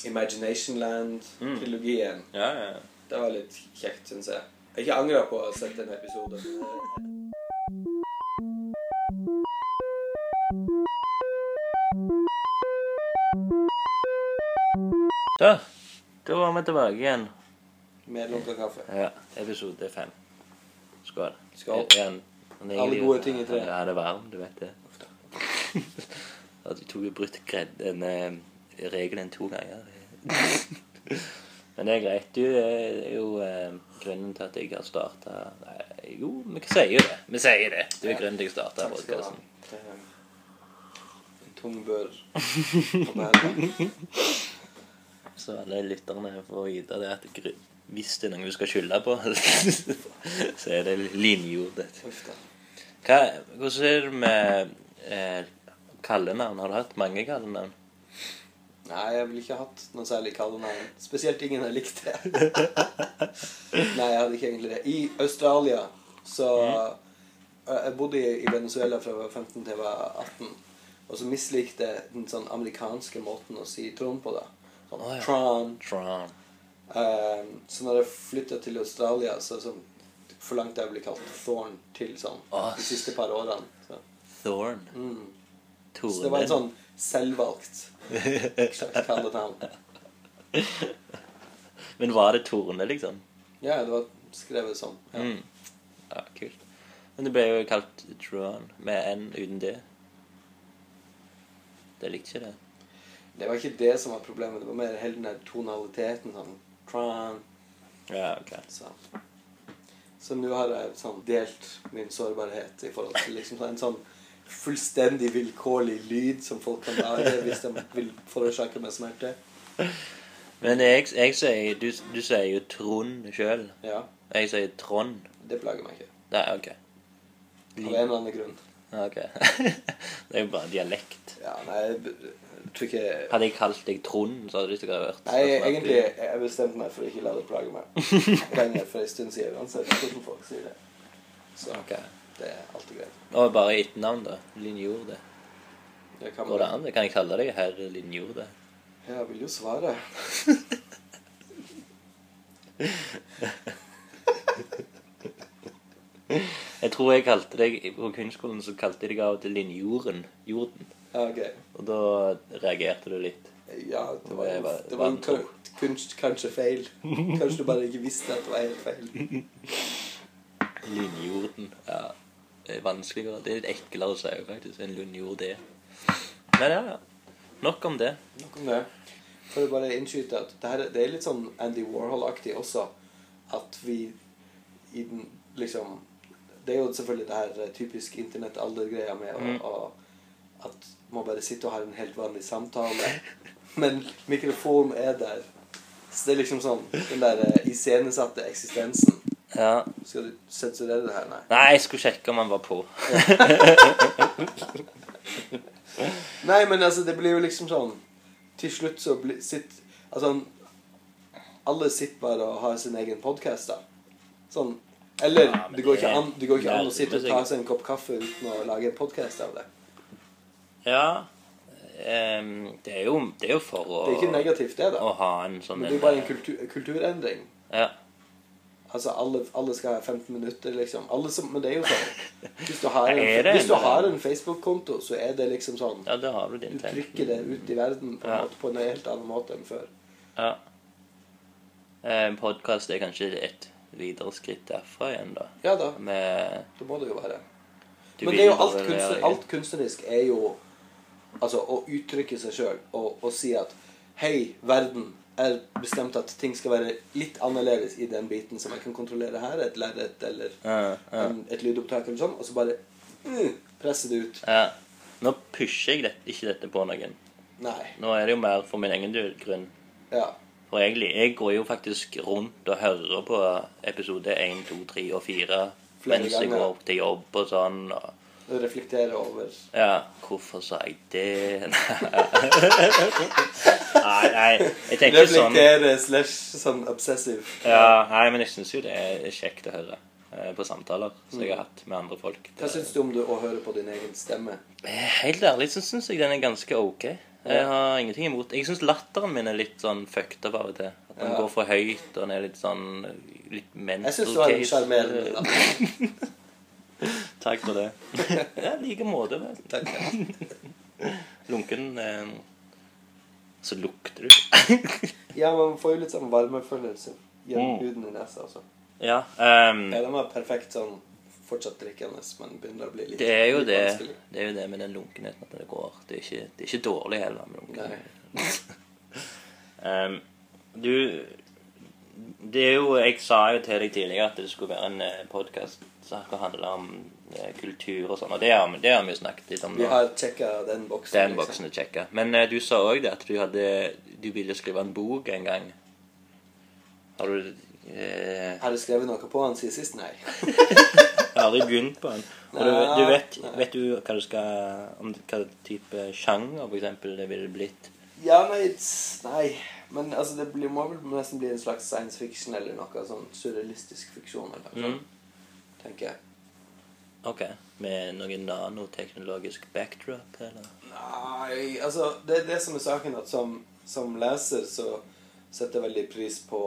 Speaker 2: Imagination Land-trilogien.
Speaker 1: Ja, ja. ja.
Speaker 2: Det var litt kjekt, syns jeg. Jeg har ikke angra på å ha sett en episode. eh,
Speaker 1: Da, da var vi tilbake igjen.
Speaker 2: Med lunken kaffe.
Speaker 1: Ja, episode fem. Skål. Eh,
Speaker 2: Skål.
Speaker 1: Igjen. Men
Speaker 2: Alle
Speaker 1: egentlig-
Speaker 2: gode ting i tre.
Speaker 1: Ja, det er varm, du vet det. [LAUGHS] At vi tok jo brutt gredd- en, eh, regelen to
Speaker 2: [LAUGHS]
Speaker 1: ganger. Men det er greit. Du eh, er jo eh, grunnen til at jeg har starta Nei, jo, vi sier jo det. Vi sier det. Du er
Speaker 2: Ja.
Speaker 1: grunnen til at jeg starta
Speaker 2: Takk skal du ha.
Speaker 1: podkasten.
Speaker 2: Det er En tung bør på meg.
Speaker 1: Så alle lytterne får vite det at gru- hvis det er noen du skal skylde på, [LAUGHS] så er det linjordet.
Speaker 2: Uff da.
Speaker 1: Hva, hvordan er det med eh, kallenavn? Har du hatt mange kallenavn?
Speaker 2: Nei, jeg ville ikke hatt noe særlig kallenavn. Spesielt ingen jeg
Speaker 1: [LAUGHS]
Speaker 2: likte. Nei, jeg hadde ikke egentlig det. I Australia så
Speaker 1: Mm.
Speaker 2: eh, Jeg jeg bodde i i Venezuela fra jeg var 15 til jeg var 18. Og så mislikte jeg den sånn amerikanske måten å si Trond på, da. Sånn
Speaker 1: Å, ja.
Speaker 2: Tron.
Speaker 1: Tron.
Speaker 2: Eh, så når jeg flytta til Australia, så sånn, forlangte jeg å bli kalt Thorn til sånn
Speaker 1: Å,
Speaker 2: de siste par årene. Så,
Speaker 1: Thorn.
Speaker 2: mm.
Speaker 1: Torne.
Speaker 2: så det var en sånn selvvalgt slags kallenavn.
Speaker 1: [LAUGHS] Men var det Torne, liksom?
Speaker 2: Ja, det var skrevet sånn. Ja.
Speaker 1: Mm. Ja, kult. Men det ble jo kalt Tron med N uten D. Det likte ikke det.
Speaker 2: Det var ikke det som var problemet, det var mer hele den der tonaliteten. sånn tran,
Speaker 1: Ja, ok.
Speaker 2: sånn. Så nå har jeg sånn delt min sårbarhet i forhold til liksom en sånn fullstendig vilkårlig lyd som folk kan lage hvis de vil forårsake meg smerte.
Speaker 1: Men jeg, jeg sier du, du sier jo Trond sjøl.
Speaker 2: Ja,
Speaker 1: Jeg sier Trond.
Speaker 2: det plager meg ikke.
Speaker 1: Nei, OK.
Speaker 2: Av en eller annen grunn.
Speaker 1: Ja, ok. [LAUGHS] det er jo bare dialekt.
Speaker 2: Ja, nei, jeg b- jeg tror ikke
Speaker 1: Hadde jeg kalt deg Trond, så hadde du ikke hørt.
Speaker 2: Nei, egentlig jeg bestemte meg for å ikke la det plage
Speaker 1: [LAUGHS]
Speaker 2: meg. Lenger for en stund siden, uansett hvordan folk sier det. Så
Speaker 1: Ok.
Speaker 2: det er alltid greit.
Speaker 1: Og bare etternavn, da. Linjorde.
Speaker 2: Jeg kan
Speaker 1: Går det an? Kan jeg kalle deg herr Linjorde?
Speaker 2: Jeg vil jo svare.
Speaker 1: Jeg tror jeg kalte deg På kunstskolen så kalte jeg deg av og til Linjorden. Jorden.
Speaker 2: Ja, ok.
Speaker 1: Og da reagerte du litt.
Speaker 2: Ja, det var,
Speaker 1: Det var-
Speaker 2: det var
Speaker 1: vantro.
Speaker 2: kun- kunst, kanskje feil. Kanskje du bare ikke visste at det var helt feil.
Speaker 1: Linjorden. Ja. Det er vanskeligere. Det er litt eklere å si faktisk enn Linjord er. Men ja, ja. Nok om det.
Speaker 2: Nok om det. For å bare innskyte at det, her, er- det er litt sånn Andy Warhol-aktig også. At vi i den liksom Det er jo selvfølgelig det her eh, typisk internettalder-greia med å,
Speaker 1: Mm.
Speaker 2: å At man bare sitter og har en helt vanlig samtale. Men mikrofonen er der. Så det er liksom sånn den der eh, iscenesatte eksistensen.
Speaker 1: Ja.
Speaker 2: Skal du sensurere det her? Nei.
Speaker 1: Nei, jeg skulle sjekke om han var på.
Speaker 2: Nei, men altså, det blir jo liksom sånn Til slutt så blir sitt Altså, han, alle sitter bare og har sin egen podkast, da. Sånn. Eller
Speaker 1: Ja, men
Speaker 2: det går
Speaker 1: det
Speaker 2: ikke
Speaker 1: er-
Speaker 2: an, det går ikke
Speaker 1: det
Speaker 2: an å
Speaker 1: er
Speaker 2: sitte og ta
Speaker 1: sikkert-
Speaker 2: seg en kopp kaffe uten å lage en podkast av det.
Speaker 1: Ja. ehm, det, er jo, det er jo for å,
Speaker 2: Det er ikke negativt, det,
Speaker 1: å
Speaker 2: da.
Speaker 1: ha en sånn
Speaker 2: Men det er jo bare en kultu- kulturendring.
Speaker 1: Ja.
Speaker 2: Altså, alle, alle skal ha 15 minutter, liksom. Alle som, men det er jo sånn. Hvis du
Speaker 1: [LAUGHS]
Speaker 2: har
Speaker 1: Er
Speaker 2: en,
Speaker 1: det
Speaker 2: hvis du
Speaker 1: en-
Speaker 2: har en Facebook-konto, så er det liksom sånn
Speaker 1: ja, da har du
Speaker 2: Du
Speaker 1: din
Speaker 2: trykker det ut i verden på en,
Speaker 1: Ja.
Speaker 2: måte, på en helt annen måte enn før.
Speaker 1: Ja. Podkast er kanskje et videre skritt derfra igjen, da.
Speaker 2: Ja da,
Speaker 1: Med
Speaker 2: det må det jo være.
Speaker 1: du
Speaker 2: Men
Speaker 1: vil
Speaker 2: det er jo alt,
Speaker 1: bare
Speaker 2: kunstner,
Speaker 1: være-
Speaker 2: alt kunstnerisk er jo Altså å uttrykke seg sjøl og, og si at Hei, verden. Jeg har bestemt at ting skal være litt annerledes i den biten som jeg kan kontrollere her. Et lerret eller
Speaker 1: Ja, ja.
Speaker 2: en, et lydopptak eller sånn. Og så bare mm, presse det ut.
Speaker 1: Ja. Nå pusher jeg det, ikke dette på noen.
Speaker 2: Nei.
Speaker 1: Nå er det jo mer for min egen grunn.
Speaker 2: Ja.
Speaker 1: For egentlig, jeg går jo faktisk rundt og hører på episode 1, 2, 3 og 4
Speaker 2: Flere
Speaker 1: mens jeg
Speaker 2: ganger.
Speaker 1: går opp til jobb og sånn. Og,
Speaker 2: Reflektere over
Speaker 1: ja, hvorfor sa jeg det? [LAUGHS] nei, nei, jeg tenker sånn
Speaker 2: Reflektere slash sånn obsessive.
Speaker 1: ja, Nei, men jeg syns jo det er kjekt å høre eh, på samtaler som jeg har hatt med andre folk.
Speaker 2: Hva syns du om du, å høre på din egen stemme?
Speaker 1: Eh, Helt ærlig så syns jeg den er ganske ok. Jeg har ingenting imot Jeg syns latteren min er litt sånn fucked up av og til. At den
Speaker 2: Ja.
Speaker 1: går for høyt, og den er litt sånn Litt mental
Speaker 2: Jeg syns du har en
Speaker 1: case. Eh,
Speaker 2: sjarmerende
Speaker 1: [LAUGHS]
Speaker 2: latter.
Speaker 1: Takk for
Speaker 2: [LAUGHS]
Speaker 1: det. ja, i like måte. vel.
Speaker 2: Takk.
Speaker 1: Lunken eh, Så lukter du. [LAUGHS]
Speaker 2: Ja, man får jo litt sånn varmefølelse gjennom
Speaker 1: Mm.
Speaker 2: huden i nesa også.
Speaker 1: ja. ehm,
Speaker 2: Ja, de var perfekt sånn fortsatt drikkende, men begynner å bli litt
Speaker 1: det er jo
Speaker 2: litt
Speaker 1: det
Speaker 2: vanskelig.
Speaker 1: Det er jo det med den lunkenheten at det går. Det er ikke, det er ikke dårlig heller med lunkenheten. [LAUGHS] Ehm, du Det er jo Jeg sa jo til deg tidligere at det skulle være en podkast som skal handle om eh, kultur og sånn, og det har, vi- det har vi jo snakket litt om.
Speaker 2: Vi
Speaker 1: nå.
Speaker 2: har sjekka den boksen. liksom.
Speaker 1: Den boksen er kjekka. Men eh, du sa òg det at du hadde Du ville skrive en bok en gang. Har du eh,
Speaker 2: Har du skrevet noe på han siden sist? Nei.
Speaker 1: aldri begynt på den? Og du,
Speaker 2: Nei.
Speaker 1: du vet, vet du hva du skal Om hva type sjanger for eksempel det ville blitt?
Speaker 2: Ja, nei, tss, nei. Men altså, det blir, må vel nesten bli en slags science fiction eller noe sånn surrealistisk fiksjon. Eller, noe
Speaker 1: Mm.
Speaker 2: sånt, Tenker jeg.
Speaker 1: OK. Med noen nanoteknologisk backdrop, eller?
Speaker 2: Nei, altså Det er det som er saken, at som, som leser så setter jeg veldig pris på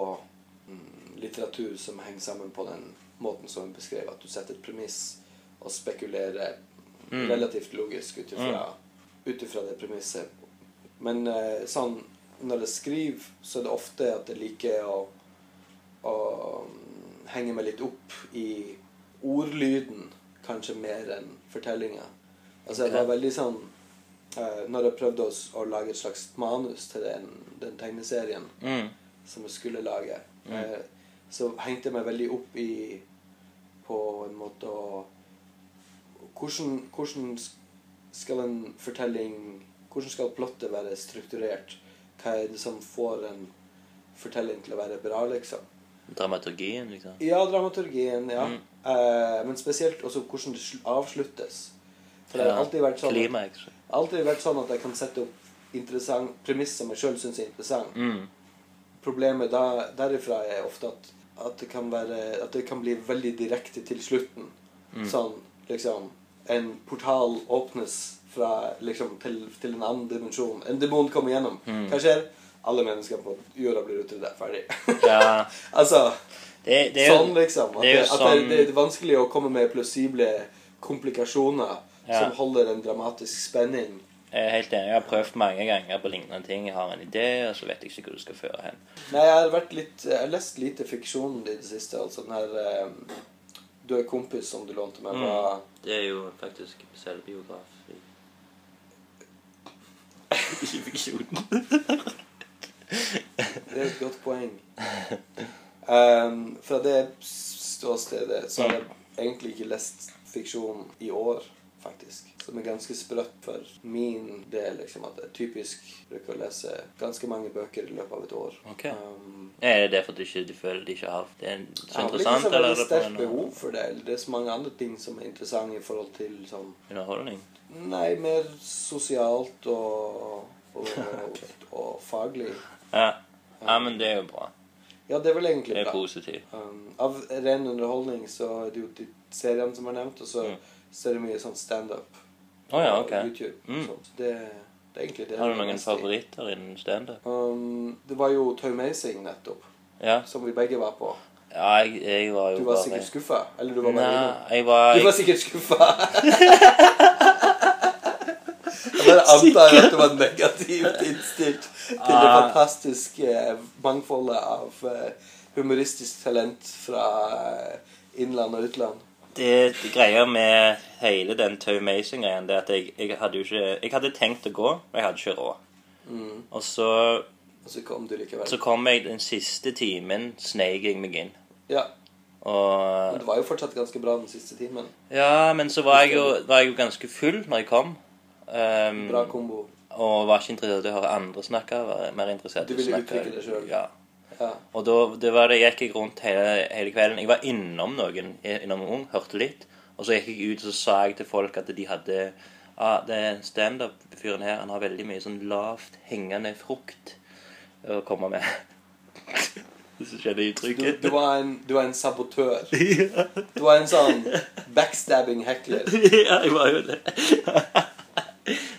Speaker 2: mm, litteratur som henger sammen på den måten som hun beskrev, at du setter et premiss og spekulerer
Speaker 1: Mm.
Speaker 2: relativt logisk ut ifra utifra det premisset. Men eh, sånn når jeg skriver, så er det ofte at jeg liker å, å mm, henge meg litt opp i ordlyden, kanskje mer enn fortellinga. Altså, jeg var veldig sånn eh, Når jeg prøvde å, s- å lage et slags manus til den, den tegneserien
Speaker 1: Mm.
Speaker 2: som jeg skulle lage, eh, så hengte jeg meg veldig opp i På en måte å hvordan, hvordan s- skal en fortelling Hvordan skal plottet være strukturert? Hva er det som får en fortelling til å være bra, liksom?
Speaker 1: Dramaturgien, liksom?
Speaker 2: Ja, dramaturgien, ja. Eh, men spesielt også hvordan det sl- avsluttes. For det har alltid vært sånn
Speaker 1: Klimaks.
Speaker 2: alltid vært sånn at jeg kan sette opp interessant premiss som jeg sjøl syns er interessant.
Speaker 1: Mm.
Speaker 2: Problemet da, derifra er ofte at, at, det kan være, at det kan bli veldig direkte til slutten.
Speaker 1: Mm.
Speaker 2: Sånn liksom En portal åpnes fra, liksom, til, til en annen dimensjon. En demon kommer gjennom.
Speaker 1: Mm.
Speaker 2: Hva skjer? Alle mennesker på jorda blir utrydda. Ferdig. [LAUGHS]
Speaker 1: Ja.
Speaker 2: altså
Speaker 1: Det, det er jo
Speaker 2: sånn, liksom. At,
Speaker 1: det
Speaker 2: det,
Speaker 1: er jo
Speaker 2: at
Speaker 1: sånn-
Speaker 2: det, det er vanskelig å komme med plausible komplikasjoner
Speaker 1: Ja.
Speaker 2: som holder en dramatisk spenning.
Speaker 1: Jeg er helt enig. Jeg har prøvd mange ganger på lignende ting. Jeg har en idé, og så vet jeg ikke hvor det skal føre hen.
Speaker 2: Nei, jeg har vært litt Jeg har lest lite fiksjon i det siste. Altså den her eh, Du er kompis som du lånte
Speaker 1: Mm.
Speaker 2: meg fra
Speaker 1: Det er jo faktisk selvbiograf. [LAUGHS] Ikke fiksjon.
Speaker 2: Det er et godt poeng. Ehm, fra det ståstedet så har jeg egentlig ikke lest fiksjon i år, faktisk. Som er ganske sprøtt for min del, liksom. At jeg typisk bruker å lese ganske mange bøker i løpet av et år.
Speaker 1: Ok.
Speaker 2: Ehm,
Speaker 1: Er det derfor du, ikke, du føler du ikke har det er
Speaker 2: jeg
Speaker 1: så
Speaker 2: har vel
Speaker 1: interessant?
Speaker 2: ikke så
Speaker 1: Eller er
Speaker 2: veldig
Speaker 1: det
Speaker 2: sterkt
Speaker 1: på
Speaker 2: behov
Speaker 1: en
Speaker 2: for det. eller Det er så mange andre ting som er interessante i forhold til sånn
Speaker 1: underholdning?
Speaker 2: Nei, mer sosialt
Speaker 1: [LAUGHS]
Speaker 2: og, og, og faglig.
Speaker 1: Ja. ja, men det er jo bra.
Speaker 2: Ja, det er vel egentlig
Speaker 1: Det er
Speaker 2: bra.
Speaker 1: positivt.
Speaker 2: Um, av ren underholdning så er det jo de seriene som er nevnt, og så
Speaker 1: Mm.
Speaker 2: så er det mye sånn standup
Speaker 1: Å ja,
Speaker 2: på
Speaker 1: ok.
Speaker 2: YouTube.
Speaker 1: Mm.
Speaker 2: Så det, det er egentlig det.
Speaker 1: Har du
Speaker 2: jeg er
Speaker 1: noen
Speaker 2: mest i.
Speaker 1: favoritter innen standup?
Speaker 2: Um, det var jo Taumazing nettopp,
Speaker 1: Ja.
Speaker 2: som vi begge var på.
Speaker 1: ja, jeg, jeg var jo
Speaker 2: Du var sikkert skuffa. Eller du var bare innom.
Speaker 1: Nei, jeg var
Speaker 2: Du var sikkert skuffa. Jeg bare antar at du var negativt innstilt til det
Speaker 1: Ah.
Speaker 2: fantastiske eh, mangfoldet av eh, humoristisk talent fra eh, innland og utland.
Speaker 1: det, det greia med hele den Tau Mason-greien, det er at jeg, jeg hadde jo ikke Jeg hadde tenkt å gå, men jeg hadde ikke råd.
Speaker 2: Mm.
Speaker 1: Og så,
Speaker 2: Og så kom du likevel.
Speaker 1: så kom jeg den siste timen, sneik jeg meg inn.
Speaker 2: Ja, men
Speaker 1: Og
Speaker 2: det var jo fortsatt ganske bra den siste timen.
Speaker 1: Ja, men så var jeg jo, var jeg jo ganske full når jeg kom. ehm,
Speaker 2: Bra kombo.
Speaker 1: og var ikke interessert i å høre andre snakke. Var mer interessert
Speaker 2: Du
Speaker 1: i å
Speaker 2: ville
Speaker 1: snakke
Speaker 2: uttrykke deg selv.
Speaker 1: Ja.
Speaker 2: Ja.
Speaker 1: Og da det var det, gikk jeg rundt hele, hele kvelden. Jeg var innom noen, innom Ung, hørte litt. Og så gikk jeg ut og så sa jeg til folk at de hadde ah, det er Standup-fyren her han har veldig mye sånn lavt hengende frukt å komme med. [LAUGHS] Hvis du kjenner
Speaker 2: Du,
Speaker 1: uttrykket.
Speaker 2: du, var en, du var en sabotør.
Speaker 1: [LAUGHS] ja,
Speaker 2: Du var en sånn backstabbing heckler. [LAUGHS]
Speaker 1: jeg var jo det. [LAUGHS]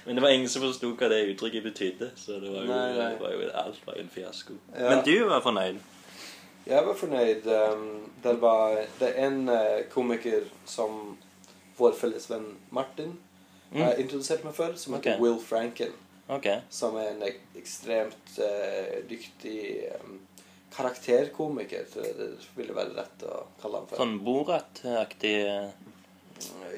Speaker 1: Men det var ingen som forsto hva det uttrykket betydde. Så det var jo,
Speaker 2: Nei, nei.
Speaker 1: det var jo alt var jo en fiasko.
Speaker 2: Ja.
Speaker 1: Men du var fornøyd?
Speaker 2: Jeg var fornøyd. Um, det var det er en eh, komiker som vår felles venn Martin
Speaker 1: Mm.
Speaker 2: eh, introduserte meg for, som heter
Speaker 1: Ok.
Speaker 2: Will Franken.
Speaker 1: OK.
Speaker 2: Som er en ek ekstremt eh, dyktig um, karakterkomiker, tror jeg det ville være rett å kalle han for.
Speaker 1: Sånn Borat-aktig eh,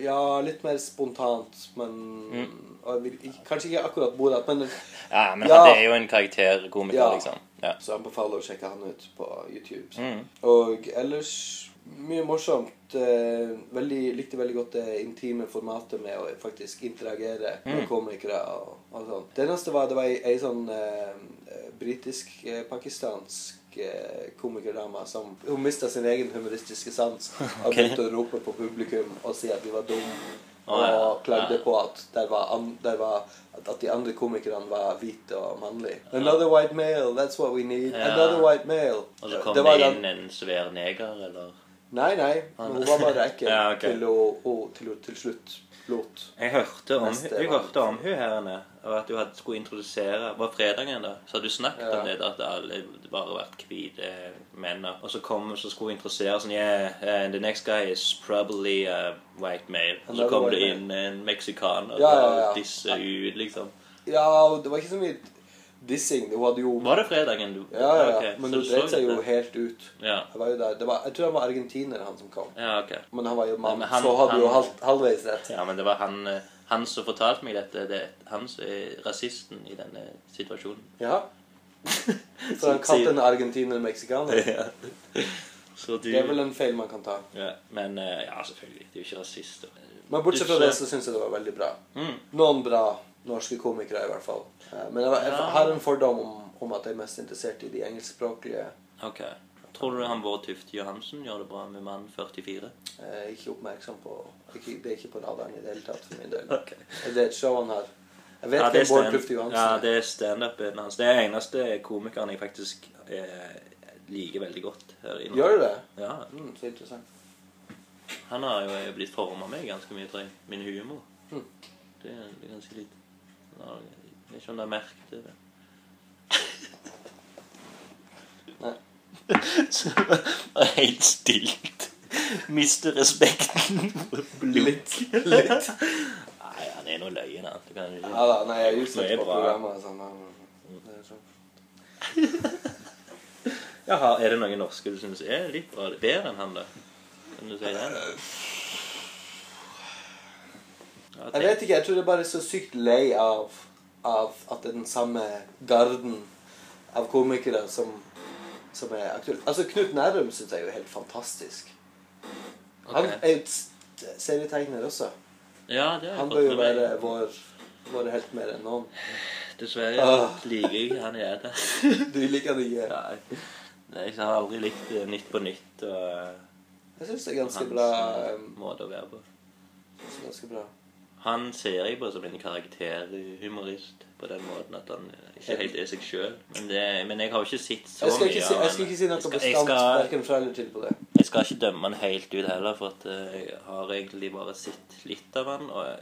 Speaker 2: Ja, litt mer spontant, men
Speaker 1: Mm.
Speaker 2: og jeg vil, ikke- Kanskje ikke akkurat Borat, men
Speaker 1: Ja, men
Speaker 2: Ja.
Speaker 1: han er jo en karakterkomiker,
Speaker 2: Ja.
Speaker 1: liksom. Ja.
Speaker 2: så jeg anbefaler å sjekke han ut på YouTube.
Speaker 1: Mm.
Speaker 2: Og ellers mye morsomt. Eh, veldig, likte veldig godt det intime formatet med å faktisk interagere med
Speaker 1: Mm.
Speaker 2: komikere. og, og sånn. Det eneste var det var ei, ei sånn eh, britisk-pakistansk eh, komikerdame som Hun mista sin egen
Speaker 1: [LAUGHS]
Speaker 2: humoristiske sans og
Speaker 1: Ok.
Speaker 2: begynte å rope på publikum og si at de var dumme. Og
Speaker 1: Å, ja.
Speaker 2: klagde
Speaker 1: Ja.
Speaker 2: på at, der var an, der var, at at de andre komikerne var hvite og mannlige. 'Another white male, that's what we need.'
Speaker 1: Ja.
Speaker 2: 'Another white male.'
Speaker 1: Og så kom
Speaker 2: Det
Speaker 1: det,
Speaker 2: var den-
Speaker 1: inn en svær neger, eller
Speaker 2: Nei, nei.
Speaker 1: Ah,
Speaker 2: Hun var bare
Speaker 1: [LAUGHS]
Speaker 2: ekkel
Speaker 1: Ja, ok.
Speaker 2: til, å, å- til, å- til slutt lot.
Speaker 1: Jeg hørte om,
Speaker 2: Neste
Speaker 1: jeg
Speaker 2: var-
Speaker 1: hørte om hun her inne, og at du hadde, skulle introdusere Var fredagen, da? Så hadde du snakket
Speaker 2: Ja.
Speaker 1: om det, da, at alle bare vært hvite menn. da. Og så kom og så skulle hun introdusere sånn Yeah, eh, the next guy is probably a white male. Og så
Speaker 2: Another
Speaker 1: kom
Speaker 2: white
Speaker 1: det
Speaker 2: male.
Speaker 1: inn en meksikaner
Speaker 2: Ja, ja, ja.
Speaker 1: og disse ut, liksom.
Speaker 2: Ja, og det var ikke så mye dissing. Hun hadde jo
Speaker 1: Var det fredagen du
Speaker 2: Ja, ja, ja.
Speaker 1: ok,
Speaker 2: Men
Speaker 1: så
Speaker 2: hun
Speaker 1: du så
Speaker 2: dreit seg jo
Speaker 1: dette?
Speaker 2: helt ut.
Speaker 1: Ja.
Speaker 2: Jeg, var jo der. Det var, jeg tror han var argentiner, han som kom.
Speaker 1: ja, ok.
Speaker 2: Men han var jo mann,
Speaker 1: men han-
Speaker 2: så hadde jo
Speaker 1: han-
Speaker 2: halv, halvveis rett.
Speaker 1: Ja, men det var han, eh, han som fortalte meg dette. Det er han som er rasisten i denne situasjonen.
Speaker 2: Ja.
Speaker 1: [LAUGHS]
Speaker 2: Så han kalte en argentiner meksikaner.
Speaker 1: Så du
Speaker 2: Det er vel en feil man kan ta.
Speaker 1: ja, Men eh, ja, selvfølgelig. Du er jo ikke rasist. da.
Speaker 2: Men bortsett fra
Speaker 1: Du
Speaker 2: det
Speaker 1: ser-
Speaker 2: så syns jeg det var veldig bra.
Speaker 1: Mm.
Speaker 2: Noen bra norske komikere, i hvert fall. Eh, Men jeg, var- jeg
Speaker 1: Ja.
Speaker 2: har en fordom om, om at jeg er mest interessert i de engelskspråklige.
Speaker 1: Ok. Tror du han Bård Tufte Johansen gjør det bra med mann 44?
Speaker 2: Jeg er Eh, ikke oppmerksom på ikke, Det er ikke på radaren i det hele tatt for min del.
Speaker 1: Ok.
Speaker 2: Er det et show han har? Jeg vet
Speaker 1: Ja, det er
Speaker 2: hvem Bård
Speaker 1: stand-
Speaker 2: Tufte Johansen
Speaker 1: Ja,
Speaker 2: er.
Speaker 1: det er standupen hans. Det er den eneste komikeren jeg faktisk eh, liker veldig godt. her inne.
Speaker 2: Gjør du det?
Speaker 1: Ja.
Speaker 2: Mm, så interessant.
Speaker 1: Han har jo eh, blitt forma meg ganske mye, tror jeg. Min humor.
Speaker 2: Mm.
Speaker 1: Det er det er ganske litt Ja, Jeg vet ikke om du har merket det.
Speaker 2: Nei.
Speaker 1: Så det var [LAUGHS] helt stilt. Mister respekten for blikk.
Speaker 2: litt.
Speaker 1: Nei, han er nå løyen, han. Du kan jo
Speaker 2: Ja
Speaker 1: ikke
Speaker 2: da, nei, jeg er usikker
Speaker 1: Mye
Speaker 2: på
Speaker 1: bra. Mm.
Speaker 2: programmet. og Sånn, men, det er sånn.
Speaker 1: Jaha, er det noen norske du syns er litt bra? Bedre enn han, da? Kan du si det? Ja,
Speaker 2: Jeg vet ikke, jeg tror jeg bare er så sykt lei av, av at det er den samme garden av komikere som, som er aktuelle. Altså, Knut Nærum syns jeg er jo helt fantastisk. Han
Speaker 1: Ok.
Speaker 2: er jo et s- serietegner også.
Speaker 1: Ja, det har jeg
Speaker 2: Han
Speaker 1: fått
Speaker 2: bør jo
Speaker 1: med meg.
Speaker 2: være vår, vår helt mer enn noen.
Speaker 1: Dessverre
Speaker 2: Ah.
Speaker 1: liker jeg ikke han jeg
Speaker 2: [LAUGHS]
Speaker 1: er der.
Speaker 2: Du liker det ikke?
Speaker 1: Nei. Nei, jeg har aldri likt eh, Nytt på nytt og eh,
Speaker 2: Jeg syns det er ganske
Speaker 1: hans
Speaker 2: bra.
Speaker 1: eh,
Speaker 2: um,
Speaker 1: måte å være på.
Speaker 2: jeg synes det er ganske bra.
Speaker 1: Han ser jeg på som en karakterhumorist på den måten at han ikke helt er seg sjøl. Men, det- men jeg har jo ikke sett så
Speaker 2: Jeg skal
Speaker 1: mye
Speaker 2: ikke si,
Speaker 1: av
Speaker 2: jeg skal
Speaker 1: han.
Speaker 2: ikke si noe
Speaker 1: Jeg skal- jeg
Speaker 2: bestemt
Speaker 1: skal-
Speaker 2: hverken fra eller til på det.
Speaker 1: Jeg skal ikke dømme han helt ut heller, for at eh, jeg har egentlig bare sett litt av han, og jeg,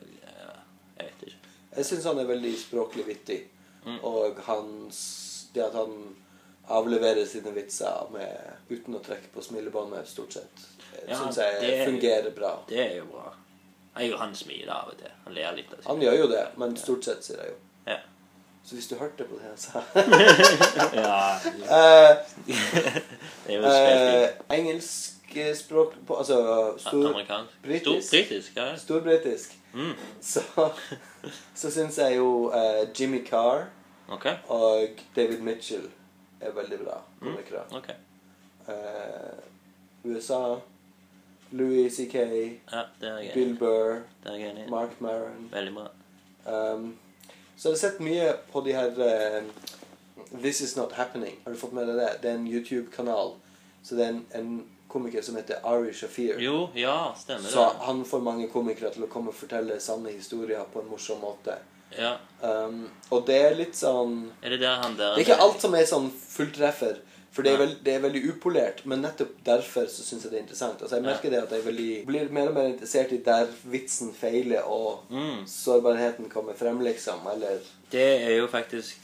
Speaker 1: jeg vet ikke.
Speaker 2: Jeg syns han er veldig språklig vittig.
Speaker 1: Mm.
Speaker 2: Og hans, det at han avleverer sine vitser med, uten å trekke på smilebåndet, stort sett,
Speaker 1: Ja,
Speaker 2: syns jeg
Speaker 1: det-
Speaker 2: fungerer bra.
Speaker 1: Det er jo bra. Jeg, og han smiler av og til. Han ler litt av seg.
Speaker 2: Han gjør jo det, men stort sett, sier jeg jo.
Speaker 1: Ja.
Speaker 2: Så hvis du hørte på det
Speaker 1: [LAUGHS]
Speaker 2: jeg sa
Speaker 1: ja.
Speaker 2: Eh,
Speaker 1: Det er jo
Speaker 2: eh,
Speaker 1: spilt
Speaker 2: Engelsk språk på, Altså
Speaker 1: inn
Speaker 2: stor,
Speaker 1: amerikansk.
Speaker 2: britisk.
Speaker 1: Stor britisk, ja.
Speaker 2: storbritisk,
Speaker 1: Mm.
Speaker 2: så, [LAUGHS] så syns jeg jo eh, Jimmy Carr
Speaker 1: Ok.
Speaker 2: og David Mitchell er veldig bra
Speaker 1: Mm.
Speaker 2: komikere.
Speaker 1: ok.
Speaker 2: Eh, USA, Louis C.K.,
Speaker 1: Ja, det er jeg
Speaker 2: Bill
Speaker 1: enig i.
Speaker 2: Burr,
Speaker 1: Det er jeg enig i.
Speaker 2: Mark Maron.
Speaker 1: Veldig bra.
Speaker 2: Um, så jeg har sett mye på de her eh, This Is Not Happening. Har du fått med deg det? Det er en YouTube-kanal. Så det er en, en komiker som heter Ari Shafir.
Speaker 1: Jo, ja, stemmer
Speaker 2: Så
Speaker 1: det.
Speaker 2: han får mange komikere til å komme og fortelle sanne historier på en morsom måte.
Speaker 1: Ja.
Speaker 2: Um, og det er litt sånn
Speaker 1: Er det der han der
Speaker 2: Det er ikke alt som er sånn fulltreffer, for det er, vel- det er veldig upolert. Men nettopp derfor så syns jeg det er interessant. Altså Jeg merker det at jeg veldig, blir mer og mer interessert i der vitsen feiler, og
Speaker 1: Mm.
Speaker 2: sårbarheten kommer frem, liksom. Eller
Speaker 1: Det er jo faktisk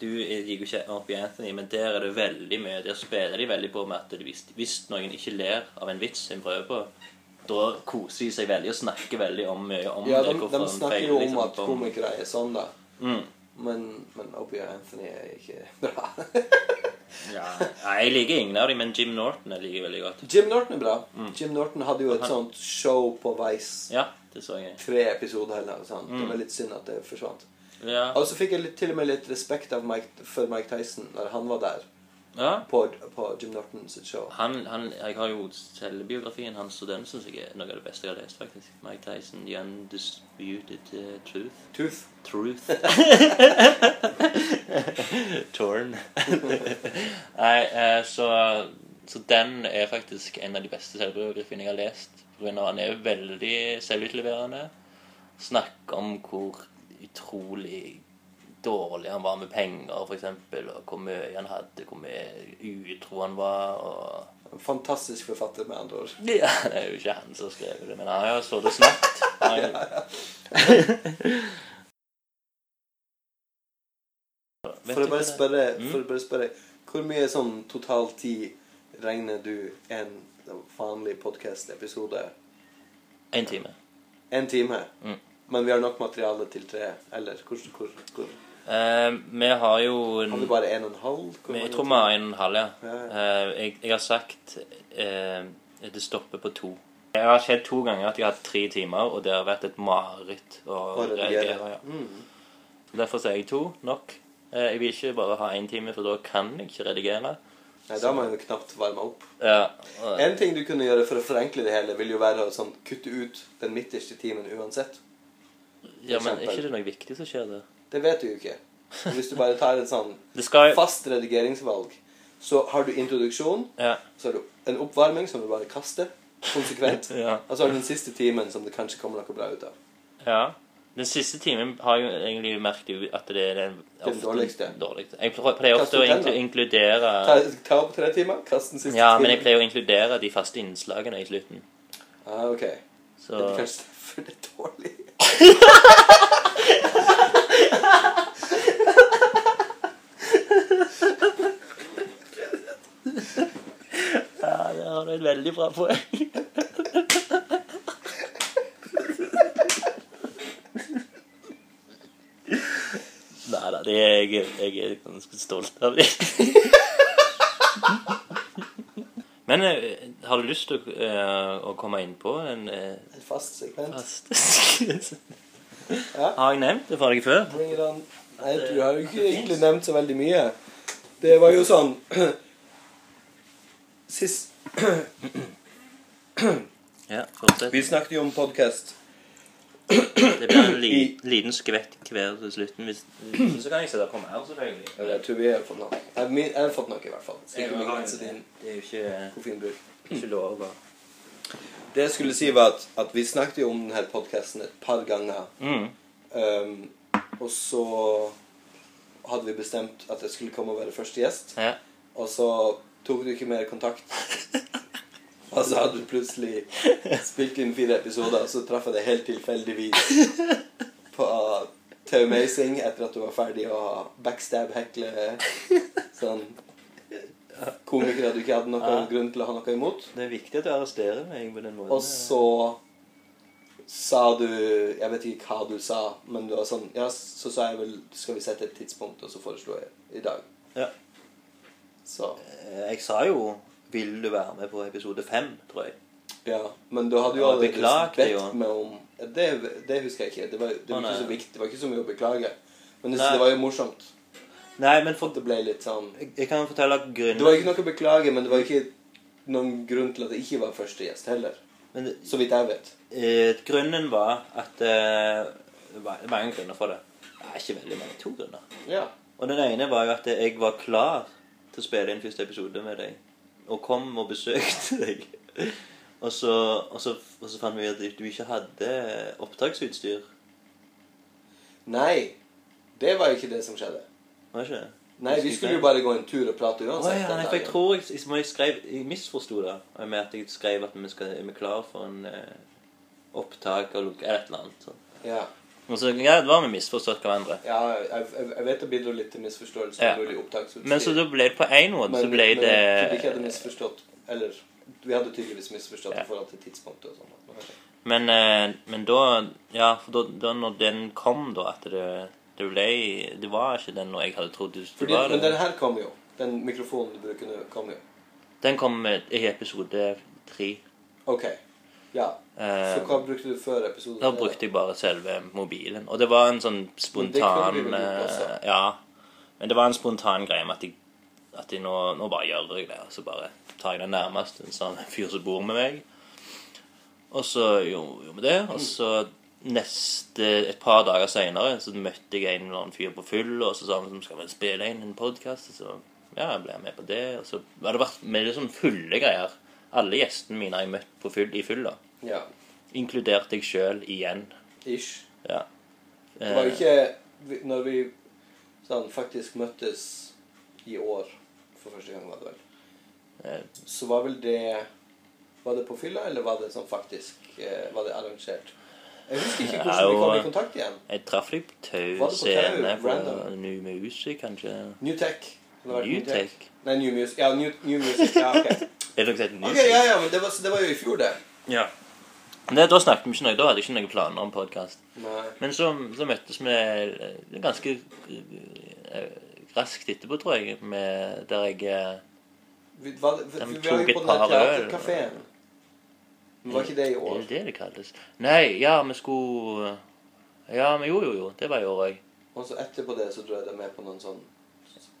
Speaker 1: Du liker jo ikke opp i Anthony, men der er det veldig mye Der spiller de veldig på med at hvis, hvis noen ikke ler av en vits en prøver på, da koser de seg veldig og snakker veldig om mye om
Speaker 2: Ja,
Speaker 1: det.
Speaker 2: de,
Speaker 1: hvorfor
Speaker 2: de
Speaker 1: han
Speaker 2: snakker
Speaker 1: feiler,
Speaker 2: jo om
Speaker 1: liksom,
Speaker 2: at
Speaker 1: på-
Speaker 2: komikere er sånn, da.
Speaker 1: Mm.
Speaker 2: Men, men Opie og Anthony er ikke [LAUGHS] bra.
Speaker 1: Ja. Nei, jeg liker ingen av dem, men Jim Norton jeg liker veldig godt.
Speaker 2: Jim Norton er bra. Jim Norton hadde jo et sånt show på Vice.
Speaker 1: Mm. Ja, Mm. det så jeg.
Speaker 2: Tre episoder eller noe sånt. Det var litt synd at det forsvant.
Speaker 1: Ja.
Speaker 2: Og så fikk jeg litt, til og med litt respekt av Mike, for Mike Tyson når han var der.
Speaker 1: ja.
Speaker 2: på, på Jim Norton sitt show.
Speaker 1: Han, han, jeg har jo selvbiografien hans, og den syns jeg er noe av det beste jeg har lest, faktisk. Mike Tyson, The Undisputed eh, Truth.
Speaker 2: Tooth.
Speaker 1: Truth. [LAUGHS] Torn. [LAUGHS] Nei, eh, så, så den er faktisk en av de beste selvbiografiene jeg har lest. På grunn av han er veldig selvutleverende. Snakker om hvor utrolig dårlig han var med penger, f.eks. Og hvor mye han hadde, hvor mye utro han var. og...
Speaker 2: En fantastisk forfatter, med andre ord.
Speaker 1: Ja, det er jo ikke han som har skrevet det, men han har jo stått og snakket. Han
Speaker 2: [LAUGHS]
Speaker 1: har jo- Vet
Speaker 2: For å
Speaker 1: du
Speaker 2: bare
Speaker 1: hva det- Mm?
Speaker 2: spørre, for å bare spørre Hvor mye sånn total tid regner du en vanlig podkast-episode?
Speaker 1: En time.
Speaker 2: En time?
Speaker 1: Mm.
Speaker 2: Men vi har nok materiale til tre? Eller hvor, hvor, hvor?
Speaker 1: Eh, vi har jo en,
Speaker 2: Har vi bare en og en halv? Hvor
Speaker 1: vi-
Speaker 2: mange
Speaker 1: Jeg tror vi har en og en halv, ja.
Speaker 2: Ja,
Speaker 1: Eh, jeg, jeg har sagt eh, at det stopper på to. Det har skjedd to ganger at jeg har hatt tre timer, og det har vært et mareritt å
Speaker 2: Å redigere.
Speaker 1: reagere. Ja.
Speaker 2: Mm.
Speaker 1: Derfor sier jeg to nok. Eh, jeg vil ikke bare ha én time, for da kan jeg ikke redigere.
Speaker 2: Nei, da må jeg jo knapt varme opp.
Speaker 1: Ja, og-
Speaker 2: En ting du kunne gjøre for å forenkle det hele, vil jo være å sånn, kutte ut den midterste timen uansett.
Speaker 1: Ja, men
Speaker 2: eksempel.
Speaker 1: er ikke det noe viktig som skjer der?
Speaker 2: Det vet du jo ikke. Og Hvis du bare tar en sånn
Speaker 1: Det skal jo
Speaker 2: fast redigeringsvalg, så har du introduksjon,
Speaker 1: ja.
Speaker 2: så har du en oppvarming som du bare kaster konsekvent,
Speaker 1: [LAUGHS] Ja.
Speaker 2: og så har du den siste timen som det kanskje kommer noe bra ut av.
Speaker 1: ja. Den siste timen har jeg jo egentlig merket jo at det er den, ofte-
Speaker 2: dårligste.
Speaker 1: dårligste. Jeg prø- pleier
Speaker 2: Kast
Speaker 1: ofte å
Speaker 2: ut den,
Speaker 1: inklu-
Speaker 2: da.
Speaker 1: inkludere
Speaker 2: Ta, ta opp tre timer, kast den siste
Speaker 1: Ja,
Speaker 2: timen.
Speaker 1: men jeg pleier å inkludere de faste innslagene i slutten.
Speaker 2: Ah, ok.
Speaker 1: Så
Speaker 2: Det er kanskje derfor det er dårlig.
Speaker 1: Ja, der har du et veldig bra poeng. Nei da, det er jeg, jeg er ganske stolt av det. Men eh, har du lyst til å, eh, å komme inn på en eh,
Speaker 2: En fast sekvens.
Speaker 1: fast
Speaker 2: Ja.
Speaker 1: Har jeg nevnt det for deg før?
Speaker 2: Bring it on. Nei, du har jo ikke egentlig nevnt så veldig mye. Det var jo sånn [CLEARS THROAT] Sist
Speaker 1: Ja, fortsett.
Speaker 2: Vi snakket jo om podkast.
Speaker 1: Det blir en li, liten skvett hver til slutten. Hvis, så kan jeg sitte og komme her, selvfølgelig.
Speaker 2: Jeg tror vi har fått noe. Jeg min- jeg har fått noe, i hvert fall. Så
Speaker 1: Det
Speaker 2: ikke begrense din
Speaker 1: er jo ikke
Speaker 2: koffeinbruk.
Speaker 1: Ikke lov å
Speaker 2: Det jeg skulle si, var at, at vi snakket jo om denne podkasten et par ganger.
Speaker 1: Mm.
Speaker 2: Ehm, og så hadde vi bestemt at jeg skulle komme og være første gjest.
Speaker 1: Ja.
Speaker 2: Og så tok du ikke mer kontakt. Og så hadde du plutselig spilt inn fire episoder, og så traff jeg deg helt tilfeldigvis på TV Amazing etter at du var ferdig å backstab-hekle sånn komikere du ikke hadde noen
Speaker 1: Ja.
Speaker 2: grunn til å ha noe imot.
Speaker 1: Det er viktig at du arresterer meg på den måten.
Speaker 2: Og så sa du Jeg vet ikke hva du sa, men du var sånn Ja, så sa jeg vel Skal vi sette et tidspunkt, og så foreslo jeg i dag.
Speaker 1: ja.
Speaker 2: Så
Speaker 1: Eh, Jeg sa jo 'Vil du være med på episode fem', tror jeg.
Speaker 2: Ja. Men du hadde jo
Speaker 1: Ja,
Speaker 2: allerede
Speaker 1: beklagte jo.
Speaker 2: bedt meg om ja, det, det husker jeg ikke. Det var,
Speaker 1: Å,
Speaker 2: det var ikke
Speaker 1: nei.
Speaker 2: så viktig. Det var ikke så mye å beklage. Men
Speaker 1: Nei.
Speaker 2: jeg synes det var jo morsomt.
Speaker 1: Nei, men for,
Speaker 2: At det ble litt sånn
Speaker 1: jeg, jeg kan fortelle grunnen.
Speaker 2: Det var ikke noe å beklage, men det var ikke noen grunn til at jeg ikke var første gjest heller.
Speaker 1: Men
Speaker 2: Så vidt jeg vet.
Speaker 1: eh, grunnen var at eh, Det var det var mange grunner for det. Nei, ikke veldig mange. To grunner.
Speaker 2: Ja.
Speaker 1: Og den ene var jo at jeg var klar til å spille inn første episode med deg. Og kom og besøkte [LAUGHS] deg. Og så, og så, og så fant vi ut at du ikke hadde opptaksutstyr.
Speaker 2: Nei. Det var ikke det som skjedde.
Speaker 1: Var det ikke det?
Speaker 2: Nei, vi skulle jo bare gå en tur og prate
Speaker 1: Å
Speaker 2: uansett.
Speaker 1: ja,
Speaker 2: den
Speaker 1: nei, for jeg
Speaker 2: dagen.
Speaker 1: tror jeg, jeg, jeg, skrev, jeg misforsto det med at jeg skrev at vi skal, er vi klar for en eh, opptak og lukke eller et eller annet. sånn.
Speaker 2: Ja.
Speaker 1: Og så ja, det var vi misforstått hverandre.
Speaker 2: Ja, jeg, jeg, jeg vet det bidro litt til misforståelse.
Speaker 1: Ja.
Speaker 2: om mulig opptaksutstyr.
Speaker 1: Men så da ble det på én måte så ble det
Speaker 2: Men fordi vi hadde misforstått Eller vi hadde tydeligvis misforstått i forhold til tidspunktet og sånn.
Speaker 1: Men, eh, men da Ja, for da, da når den kom, da, at det, det ble Det var ikke den når jeg hadde trodd det
Speaker 2: Fordi,
Speaker 1: var
Speaker 2: men
Speaker 1: det.
Speaker 2: den her kom jo. Den mikrofonen du bruker nå, kom jo.
Speaker 1: Den kom eh, i episode tre.
Speaker 2: OK. Ja.
Speaker 1: Eh,
Speaker 2: Så hva brukte du før episoden?
Speaker 1: da brukte jeg bare selve mobilen. Og det var en sånn spontan
Speaker 2: Men det kunne du vel gjort også?
Speaker 1: eh, Ja. Men det var en spontan greie med at jeg, at jeg nå, nå bare gjør jeg det. Og så bare tar jeg den nærmest en sånn fyr som bor med meg. Og så gjorde gjorde vi det. Og så neste, et par dager seinere så møtte jeg en eller annen fyr på full, og så sa han skal vi spille inn en podkast. Og så ja, jeg ble med på det. Og så har det vært med litt sånn fulle greier. Alle gjestene mine har jeg møtt på full, i fylla.
Speaker 2: Ja.
Speaker 1: Inkludert deg sjøl igjen.
Speaker 2: Ish.
Speaker 1: Ja.
Speaker 2: Det
Speaker 1: Eh,
Speaker 2: var jo ikke vi- Når vi sånn faktisk møttes i år for første gang, var det vel,
Speaker 1: eh,
Speaker 2: så var vel det Var det på fylla, eller var det sånn faktisk eh, Var det arrangert? Jeg husker ikke
Speaker 1: Det er
Speaker 2: hvordan vi
Speaker 1: jo-
Speaker 2: kom i kontakt igjen.
Speaker 1: Jeg traff deg på Tau
Speaker 2: Var det på
Speaker 1: scene
Speaker 2: Tau?
Speaker 1: på
Speaker 2: Random?
Speaker 1: New Music, kanskje.
Speaker 2: New Tech. Det har vært
Speaker 1: New Tech?
Speaker 2: Nei, New Music. Ja, New, new Music. Ja,
Speaker 1: [LAUGHS]
Speaker 2: ok.
Speaker 1: Er det noe som heter New
Speaker 2: Ok,
Speaker 1: Music?
Speaker 2: ja, ja, men det var, det var jo i fjor, det.
Speaker 1: Ja. Nei, da snakket vi ikke noe. Da hadde jeg ikke noen planer om podkast.
Speaker 2: Nei.
Speaker 1: Men så, så møttes vi eh, ganske eh, raskt etterpå, tror jeg, med der jeg eh,
Speaker 2: Vi, var, det- vi,
Speaker 1: De
Speaker 2: vi
Speaker 1: tok
Speaker 2: var jo
Speaker 1: et
Speaker 2: på den
Speaker 1: par
Speaker 2: der
Speaker 1: øl.
Speaker 2: teaterkafeen. Men var ikke det i
Speaker 1: Er
Speaker 2: år?
Speaker 1: det det det kalles? Nei, ja, vi skulle Ja, men jo, jo, jo. Det var i år òg.
Speaker 2: Og så etterpå det så dro jeg deg med på noen sånn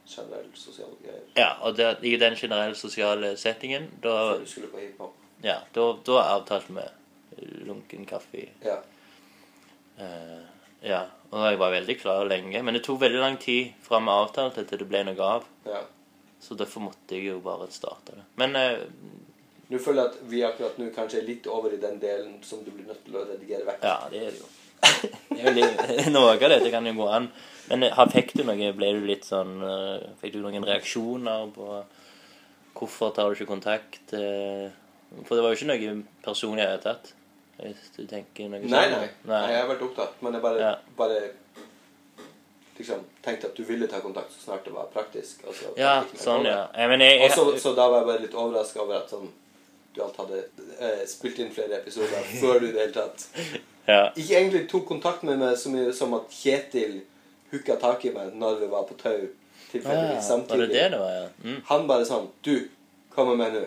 Speaker 2: generell sosiale greier.
Speaker 1: Ja, og det, i den generelle sosiale settingen, da,
Speaker 2: Før du skulle på hiphop.
Speaker 1: ja, da, da avtalte vi lunken kaffe.
Speaker 2: Ja.
Speaker 1: Eh, ja, og jeg var veldig klar lenge. Men det tok veldig lang tid fra vi avtalte til det ble noe av.
Speaker 2: ja.
Speaker 1: Så derfor måtte jeg jo bare starte det. Men eh,
Speaker 2: Nå føler jeg at vi akkurat nå kanskje er litt over i den delen som du blir nødt til å redigere vekk.
Speaker 1: ja, det er
Speaker 2: [LAUGHS]
Speaker 1: det jo. Det er jo litt- [LAUGHS] Noe av dette kan jo gå an. Men eh, har- fikk du noe Ble du litt sånn eh, Fikk du noen reaksjoner på Hvorfor tar du ikke kontakt? eh, For det var jo ikke noe personlig i det hele tatt. Hvis du tenker noe
Speaker 2: Nei,
Speaker 1: sånn.
Speaker 2: nei. nei, Jeg har vært opptatt, men jeg bare,
Speaker 1: Ja.
Speaker 2: bare liksom, tenkte at du ville ta kontakt så snart det var praktisk. Og så,
Speaker 1: Ja,
Speaker 2: tenkte jeg ikke mer
Speaker 1: sånn,
Speaker 2: på det.
Speaker 1: ja. Jeg, men jeg,
Speaker 2: Og
Speaker 1: jeg,
Speaker 2: så, så da var jeg bare litt overraska over at sånn, du alt hadde eh, spilt inn flere
Speaker 1: [LAUGHS]
Speaker 2: episoder før du i det hele tatt
Speaker 1: ja.
Speaker 2: Ikke egentlig tok kontakt med meg så mye som at Kjetil hooka tak i meg når vi var på Tau.
Speaker 1: Ah,
Speaker 2: Tilfeldigvis
Speaker 1: var det
Speaker 2: samtidig.
Speaker 1: det det var, ja? Mm.
Speaker 2: Han bare sånn Du, kommer med nå.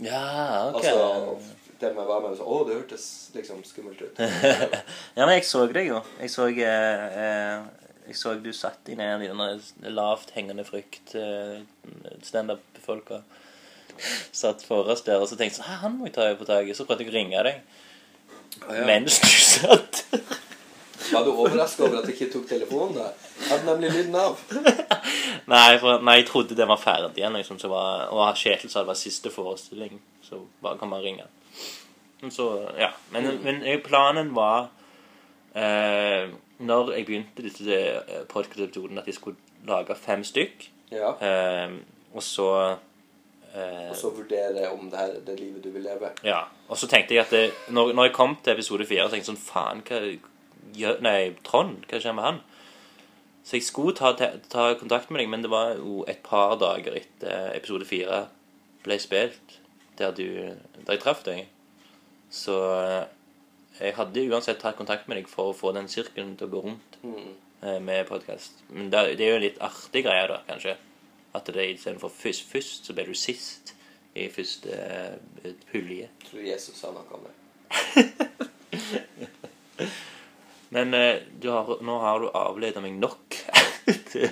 Speaker 1: Ja, ok.
Speaker 2: Altså, og dem jeg var med, så Å, det hørtes liksom
Speaker 1: [LAUGHS]
Speaker 2: skummelt ut.
Speaker 1: ja, men jeg så deg jo. Jeg så, eh, eh, jeg så du satt i ned i den lavt hengende frykt eh, standup-folka. Satt for oss der, og så tenkte jeg sånn «Hæ, Han må jeg ta på taket. Så prøvde jeg å ringe deg
Speaker 2: Men
Speaker 1: mens du satt.
Speaker 2: Var du overraska over at jeg ikke tok telefonen da? Jeg hadde nemlig lyden av.
Speaker 1: nei, for, nei, jeg trodde den var ferdig igjen, liksom. Så var, og Kjetil sa det var siste forestilling, så bare kan man ringe. Men så, ja. Men, men jeg, planen var eh, Når jeg begynte disse eh, podcast-episodene, at jeg skulle lage fem stykk.
Speaker 2: Ja.
Speaker 1: Eh, og så eh,
Speaker 2: Og så vurdere om det her er det livet du vil leve.
Speaker 1: Ja. Og så tenkte jeg at det, når, når jeg kom til episode fire, så tenkte jeg sånn Faen, hva gjør Nei, Trond, hva skjer med han? Så jeg skulle ta, te- ta kontakt med deg, men det var jo et par dager etter episode fire ble spilt, der du Der jeg traff deg. Så eh, jeg hadde uansett tatt kontakt med deg for å få den sirkelen til å gå rundt
Speaker 2: Mm.
Speaker 1: eh, med podkast. Men det, det er jo en litt artig greie, da, kanskje. At det er istedenfor først, først, så blir du sist i første eh, pulje.
Speaker 2: Tror Jesus sa noe om det.
Speaker 1: Men eh, du har, nå har du avleda meg nok [LAUGHS] til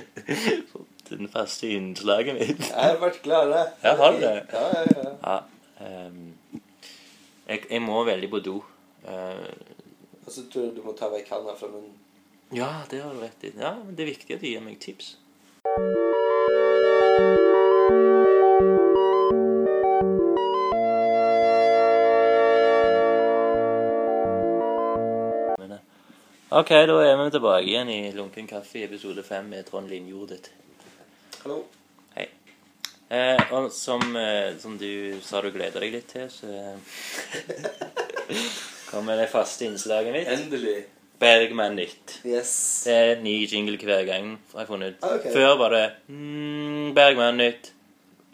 Speaker 1: til den faste innslaget mitt.
Speaker 2: Jeg har vært klar, jeg.
Speaker 1: Ja, har du det?
Speaker 2: Ja, ja, ja.
Speaker 1: Ja, ehm, jeg, jeg må veldig på do. Eh,
Speaker 2: Og så Altså, tror jeg du må ta vekk handa fra munnen.
Speaker 1: ja, det har du rett i. Ja, men Det er viktig at du gir meg tips. Men, eh, OK, da er vi tilbake igjen i Lunken kaffe i episode fem med Trond Linjordet.
Speaker 2: Hallo.
Speaker 1: Eh, og som, eh, som du sa du gleder deg litt til, så eh, [LAUGHS] kommer det faste innslaget mitt.
Speaker 2: Endelig.
Speaker 1: Bergman nytt.
Speaker 2: Yes.
Speaker 1: Det er en ny jingle hver gang, har jeg funnet ut.
Speaker 2: Ah, ok.
Speaker 1: Før var det mm, Bergman nytt.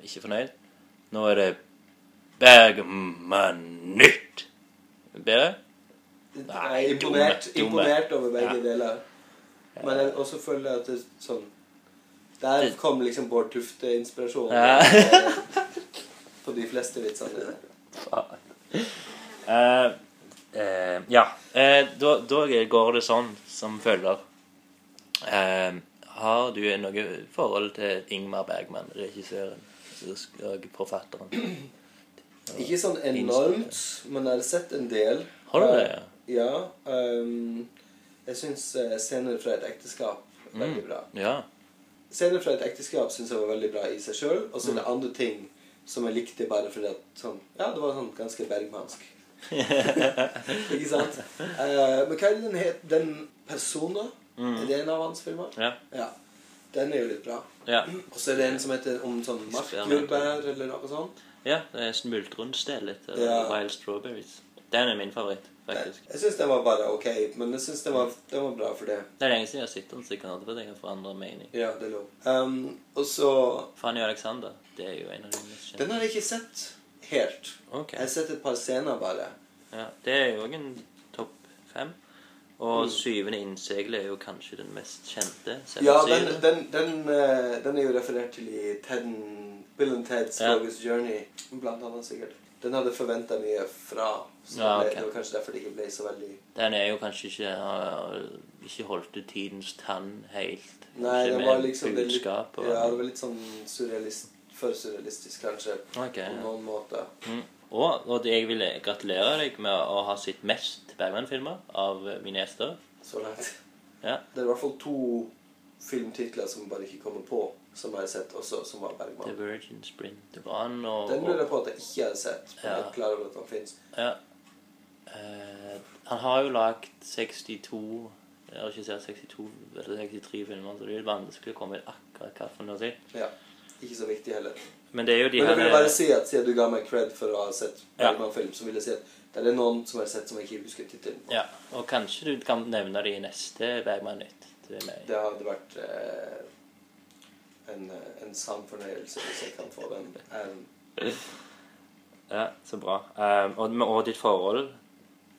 Speaker 1: Ikke fornøyd. Nå er det Bergman nytt. Bedre?
Speaker 2: Nei,
Speaker 1: Nei,
Speaker 2: imponert,
Speaker 1: dumme, dumme.
Speaker 2: imponert over begge
Speaker 1: Ja.
Speaker 2: deler. Men jeg også føler jeg at det er sånn Der
Speaker 1: Det-
Speaker 2: kom liksom Bård Tufte-inspirasjonen
Speaker 1: Ja.
Speaker 2: [LAUGHS] på de fleste vitsene dine.
Speaker 1: Eh, eh, ja. Eh, da, da går det sånn som følger. Eh, har du noe forhold til Ingmar Bergman, regissøren og forfatteren?
Speaker 2: Ikke sånn enormt, men jeg har sett en del. Eh,
Speaker 1: Har du det?
Speaker 2: Ja. ehm, jeg syns eh, 'Scener fra et ekteskap' er
Speaker 1: Mm.
Speaker 2: veldig bra.
Speaker 1: Ja.
Speaker 2: [LAUGHS] 'Scener fra et ekteskap' syns jeg var veldig bra i seg sjøl. Og
Speaker 1: Mm.
Speaker 2: så er det andre ting som jeg likte bare fordi at sånn Ja, det var sånn ganske bergmansk. Ikke sant? Eh, men hva er det den het? Den Persona?
Speaker 1: Mm.
Speaker 2: Er det en av hans filmer?
Speaker 1: ja.
Speaker 2: Ja. Den er jo litt bra.
Speaker 1: Ja.
Speaker 2: Og så er det en som heter om sånn markjordbær eller noe sånt.
Speaker 1: Ja, det er Smultrunstellet eller
Speaker 2: Ja.
Speaker 1: Wild Strawberries. Den er min favoritt, faktisk.
Speaker 2: Jeg syns den var bare ok, men jeg synes den, var, den var bra for det.
Speaker 1: Det er lenge siden jeg har sett den, så jeg kan aldri for at jeg har forandret mening.
Speaker 2: Ja, det lå. Um, og så
Speaker 1: Fanny og Alexander, det er jo en av de mest
Speaker 2: Den
Speaker 1: kjente.
Speaker 2: har jeg ikke sett helt.
Speaker 1: Ok.
Speaker 2: Jeg har sett et par scener bare.
Speaker 1: Ja, det er jo også en topp fem.
Speaker 2: Mm.
Speaker 1: Og syvende innseglet er jo kanskje den mest kjente. selv
Speaker 2: Ja,
Speaker 1: om
Speaker 2: den,
Speaker 1: syvende-
Speaker 2: den, den, eh, den er jo referert til i Ted, Bill and Ted's
Speaker 1: Ja.
Speaker 2: Longest Journey, blant annet sikkert. Den hadde forventa mye fra, så
Speaker 1: Ja,
Speaker 2: det-
Speaker 1: ok.
Speaker 2: det var kanskje derfor det ikke ble så veldig
Speaker 1: Den er jo kanskje ikke har- Ikke holdt ut tidens tann helt.
Speaker 2: Nei,
Speaker 1: ikke
Speaker 2: det
Speaker 1: med
Speaker 2: var liksom det, litt, ja,
Speaker 1: budskap og
Speaker 2: det var litt sånn surrealist, for surrealistisk, kanskje.
Speaker 1: Ok, ja.
Speaker 2: På noen måter.
Speaker 1: mm. Og, og det jeg vil gratulere deg med å ha sett mest Bergman-filmer av eh, mine gjester.
Speaker 2: Så langt.
Speaker 1: Ja.
Speaker 2: Det er i hvert fall to filmtitler som bare ikke kommer på, som jeg har sett også, som var
Speaker 1: The
Speaker 2: Bergman.
Speaker 1: Virgin Sprint Run og,
Speaker 2: Den lurer
Speaker 1: og
Speaker 2: jeg på at jeg ikke har sett, men jeg
Speaker 1: Ja.
Speaker 2: er klar over at den fins.
Speaker 1: ja. Eh, Han har jo lagd 62 Jeg har ikke sett 62 eller 63 filmer, så det er vanskelig å komme i akkurat hva for noe å si.
Speaker 2: Ja. Ikke så viktig heller.
Speaker 1: Men det er jo de
Speaker 2: Men jeg
Speaker 1: her
Speaker 2: vil bare si at siden du ga meg cred for å ha sett
Speaker 1: Ja.
Speaker 2: Bergman-film, så vil jeg si at det er noen som jeg har sett som jeg ikke husker tittelen på.
Speaker 1: Ja, og kanskje du kan nevne det i neste Bergman Nytt. Det er meg.
Speaker 2: Det hadde vært eh, en, en sann fornøyelse hvis jeg kan få den. Um,
Speaker 1: Ja, så bra. Ehm, og, men- og ditt forhold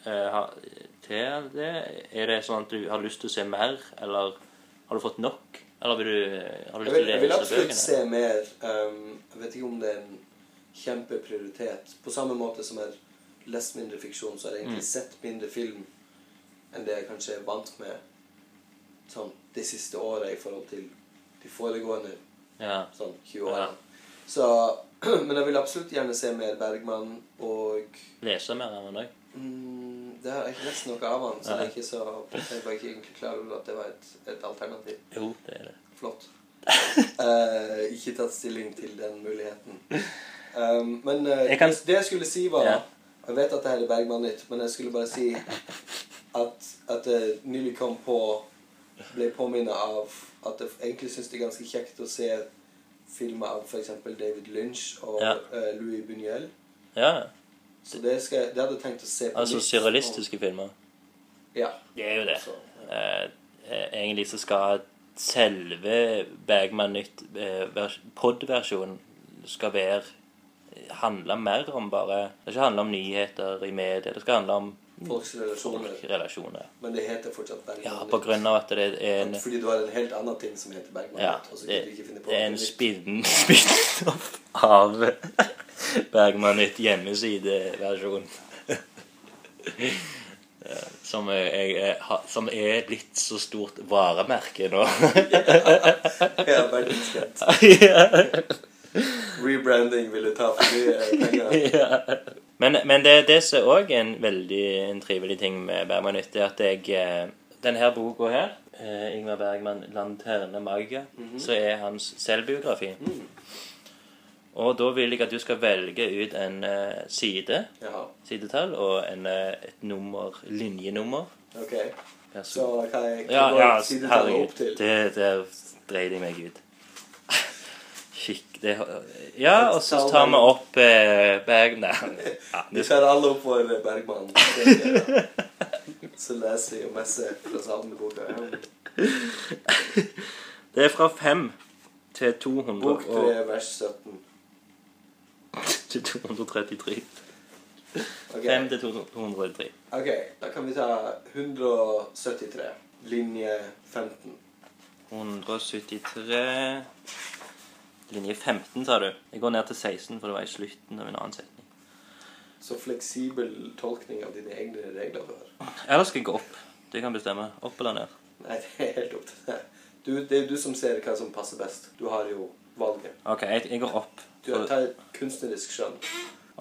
Speaker 1: eh, har- til det Er det sånn at du har lyst til å se mer, eller har du fått nok? Eller vil du, har du lyst
Speaker 2: Um, Jeg
Speaker 1: til
Speaker 2: vil,
Speaker 1: å
Speaker 2: jeg vil
Speaker 1: lese
Speaker 2: absolutt se
Speaker 1: bøkene?
Speaker 2: mer. ehm, jeg vet ikke om det er en kjempeprioritet. På samme måte som jeg har lest mindre fiksjon, så har jeg egentlig
Speaker 1: Mm.
Speaker 2: sett mindre film enn det jeg kanskje er vant med sånn, de siste åra i forhold til de foregående
Speaker 1: Ja.
Speaker 2: sånn 20
Speaker 1: Ja.
Speaker 2: årene. Så, [CLEARS THROAT] men jeg vil absolutt gjerne se mer Bergman, og
Speaker 1: Lese mer av den òg.
Speaker 2: mm, det har jeg ikke lest noe av han, så jeg
Speaker 1: Nei.
Speaker 2: er ikke så jeg var ikke egentlig klar over at det var et, et alternativ.
Speaker 1: Jo, det er det.
Speaker 2: Flott. [LAUGHS] Eh, ikke tatt stilling til den muligheten. Um, men eh,
Speaker 1: Jeg kan-
Speaker 2: det jeg skulle si, var
Speaker 1: Ja.
Speaker 2: Jeg vet at det her er Bergman-nytt, men jeg skulle bare si at, at jeg nylig kom på Ble påminnet av at jeg egentlig syns det er ganske kjekt å se filmer av f.eks. David Lynch og
Speaker 1: Ja.
Speaker 2: eh, Louis Buñuel.
Speaker 1: Ja.
Speaker 2: Så det, skal, jeg- det hadde jeg tenkt å se på
Speaker 1: Altså
Speaker 2: nytt.
Speaker 1: surrealistiske filmer.
Speaker 2: Og- Ja. altså,
Speaker 1: Det er jo det.
Speaker 2: Så,
Speaker 1: Eh, eh, egentlig så skal selve Bergman Nytt eh, vers- pod-versjonen skal være eh, handle mer om bare Det skal ikke handle om nyheter i media. Det skal handle om
Speaker 2: Folks relasjoner.
Speaker 1: relasjoner.
Speaker 2: Men det heter fortsatt Bergman.
Speaker 1: Ja, på grunn av at det er en
Speaker 2: Fordi du har en helt annen ting som heter Bergman.
Speaker 1: Ja,
Speaker 2: og så
Speaker 1: det,
Speaker 2: kan du ikke finne på
Speaker 1: det er en
Speaker 2: noe nytt.
Speaker 1: spidden [LAUGHS] spidden av [LAUGHS] Bergman Nytt hjemmesideversjon. [LAUGHS] Ja, Som er, jeg, er- ha- som er blitt så stort varemerke nå. [LAUGHS]
Speaker 2: ja, verdens kjent. Rebranding ville ta for mye
Speaker 1: [LAUGHS]
Speaker 2: penger.
Speaker 1: ja. Men, men det, det som òg er en veldig en trivelig ting med Bergman Nytt, er at jeg eh, Denne boka her, eh, Ingvar Bergman 'Lanterne Maga',
Speaker 2: Mhm.
Speaker 1: så er hans selvbiografi.
Speaker 2: Mm.
Speaker 1: Og da vil jeg at du skal velge ut en eh, side,
Speaker 2: Jaha.
Speaker 1: sidetall, og en, eh, et nummer, linjenummer.
Speaker 2: Ok.
Speaker 1: Person.
Speaker 2: Så kan jeg
Speaker 1: Ja, ja,
Speaker 2: sidetallet opp til
Speaker 1: Det, der dreide jeg meg ut. Skikk det, Ja, og så tar vi opp eh, bag... Nei.
Speaker 2: [LAUGHS]
Speaker 1: Ja,
Speaker 2: Vi
Speaker 1: det,
Speaker 2: tar alle opp for Bergman. Det-
Speaker 1: [LAUGHS]
Speaker 2: Så leser vi og messer fra samme boka.
Speaker 1: det er fra 5 til 200
Speaker 2: Bok
Speaker 1: og, [LAUGHS]
Speaker 2: 3, vers 17.
Speaker 1: til 233.
Speaker 2: Ok.
Speaker 1: 5 til 203.
Speaker 2: ok, da kan vi ta 173. Linje 15.
Speaker 1: 173 Linje 15, sa du. Jeg går ned til 16, for det var i slutten av en annen setning.
Speaker 2: Så fleksibel tolkning av dine egne regler du har.
Speaker 1: Eller skal jeg gå opp? Du kan bestemme. Opp eller ned.
Speaker 2: Nei, det er helt opp til deg. Du, det er jo du som ser hva som passer best. Du har jo valget.
Speaker 1: OK, jeg, jeg går opp.
Speaker 2: Du har tatt kunstnerisk skjønn.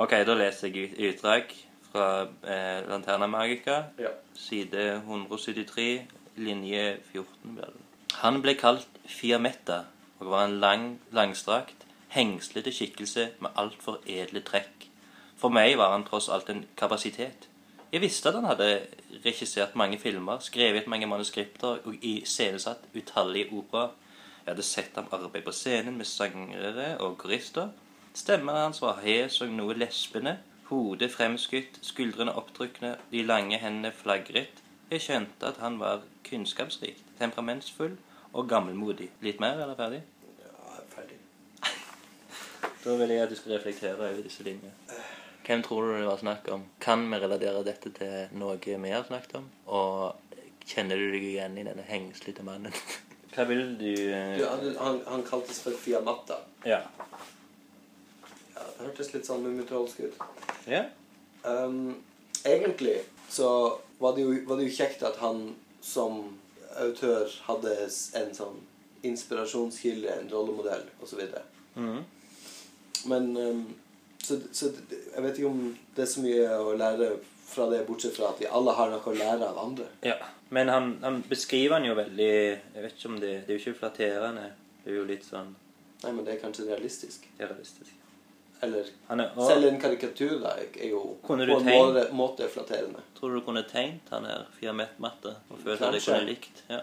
Speaker 1: Ok, da leser jeg ut- utdrag fra eh, Lanterna Magica,
Speaker 2: Ja.
Speaker 1: side 173, linje 14. blir det. Han ble kalt Fiametta og var en lang, langstrakt, hengslete skikkelse med altfor edle trekk. For meg var han tross alt en kapasitet. Jeg visste at han hadde regissert mange filmer, skrevet mange manuskripter og iscenesatt utallige operaer. Jeg hadde sett ham arbeide på scenen med sangere og korister. Stemmen hans var hes og noe lespende. Hodet fremskutt, skuldrene opptrykne, de lange hendene flagret. Jeg skjønte at han var kunnskapsrik, temperamentsfull og gammelmodig. Litt mer, eller ferdig?
Speaker 2: ja ferdig.
Speaker 1: Da vil jeg at du skal reflektere over disse linjene. Hvem tror du det var snakk om? Kan vi relatere dette til noe vi har snakket om? Og kjenner du deg igjen i denne hengslete mannen? Hva vil du eh,
Speaker 2: Du, han, han, han kaltes for Fiamatta.
Speaker 1: Ja.
Speaker 2: Ja, det hørtes litt sånn mummitrolsk ut.
Speaker 1: Ja?
Speaker 2: Ehm, egentlig så var det, jo, var det jo kjekt at han som autør hadde s- en sånn inspirasjonskilde, en rollemodell osv.
Speaker 1: Mhm.
Speaker 2: Men ehm, så, så jeg vet ikke om det er så mye å lære fra det, bortsett fra at vi alle har noe å lære av andre.
Speaker 1: Ja, men han, han beskriver han jo veldig Jeg vet ikke om det Det er jo ikke flatterende. Det er jo litt sånn
Speaker 2: Nei, men det er kanskje realistisk.
Speaker 1: realistisk.
Speaker 2: Eller
Speaker 1: Han er, og,
Speaker 2: selv en karikatur da, er jo på
Speaker 1: Kunne
Speaker 2: en
Speaker 1: du
Speaker 2: måte,
Speaker 1: tenkt-
Speaker 2: måte flatterende.
Speaker 1: tror du du kunne tegnet han her firmettmatte og følt at jeg
Speaker 2: Kanskje.
Speaker 1: kunne likt? Ja.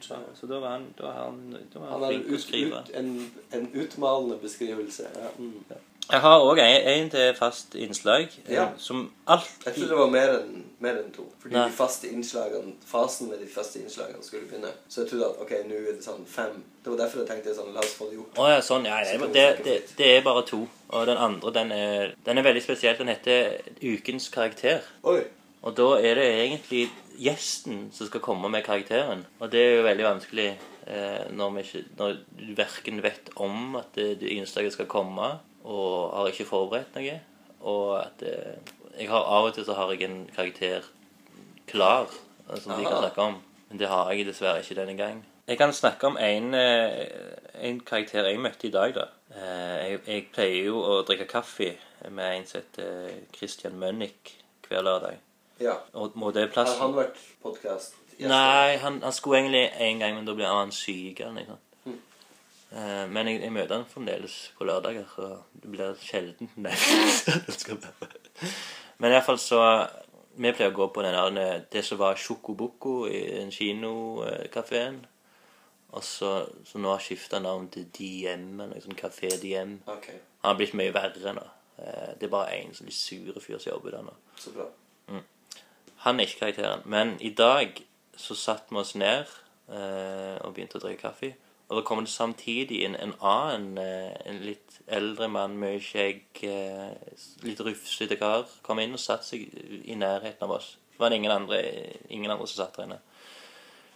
Speaker 1: Så, så da var han, da var han, da var han
Speaker 2: Han har
Speaker 1: flink til å
Speaker 2: ut,
Speaker 1: skrive.
Speaker 2: ut, en, en utmalende beskrivelse. Ja. Mm.
Speaker 1: Jeg har òg en, en til fast innslag eh,
Speaker 2: Ja.
Speaker 1: som
Speaker 2: Jeg tror
Speaker 1: alltid
Speaker 2: det var mer enn mer enn to. Fordi
Speaker 1: Nei.
Speaker 2: de faste innslagene, fasen med de faste innslagene skulle begynne. Så jeg trodde at ok, nå er det sånn fem. Det var derfor jeg tenkte sånn, la oss få det gjort.
Speaker 1: Å ja, sånn. Ja, nei,
Speaker 2: Så to
Speaker 1: det,
Speaker 2: snakker
Speaker 1: det,
Speaker 2: fritt.
Speaker 1: det er bare to. Og den andre, den er, den er veldig spesiell. Den heter Ukens karakter.
Speaker 2: Oi!
Speaker 1: Og da er det egentlig gjesten som skal komme med karakteren. Og det er jo veldig vanskelig eh, når, vi ikke, når du verken vet om at det, det innslaget skal komme, og har ikke forberedt noe. Og at eh, jeg har Av og til så har jeg en karakter klar eh, som de kan
Speaker 2: Aha.
Speaker 1: snakke om. Men det har jeg dessverre ikke denne gang. Jeg kan snakke om en, eh, en karakter jeg møtte i dag, da. Eh, Jeg, jeg pleier jo å drikke kaffe med en som heter eh, Christian Mønnik hver lørdag.
Speaker 2: Ja.
Speaker 1: Og må det
Speaker 2: Har
Speaker 1: plassen
Speaker 2: han vært podkast?
Speaker 1: Nei, han, han skulle egentlig en gang, men da ble han syk eller noe sånt.
Speaker 2: Mm.
Speaker 1: Eh, Men jeg, jeg møter han
Speaker 2: [LAUGHS]
Speaker 1: fremdeles på lørdager, så det blir sjelden Nei, det skal være Men i hvert fall så Vi pleier å gå på den der, det som var Sjokoboko i den kinokafeen. Og så, så nå har skifta navn til DM, eller noe sånn Kafé DM.
Speaker 2: OK,
Speaker 1: Han har blitt mye verre nå. Eh, Det er bare én sånn litt sure fyr som jobber der nå.
Speaker 2: så bra.
Speaker 1: Han er ikke karakteren. Men i dag så satte vi oss ned eh, og begynte å drikke kaffe. Og da kom det samtidig inn en annen, eh, en litt eldre mann, mye skjegg, eh, litt rufsete kar, kom inn og satte seg i nærheten av oss. Det var ingen andre, ingen andre som satt der inne.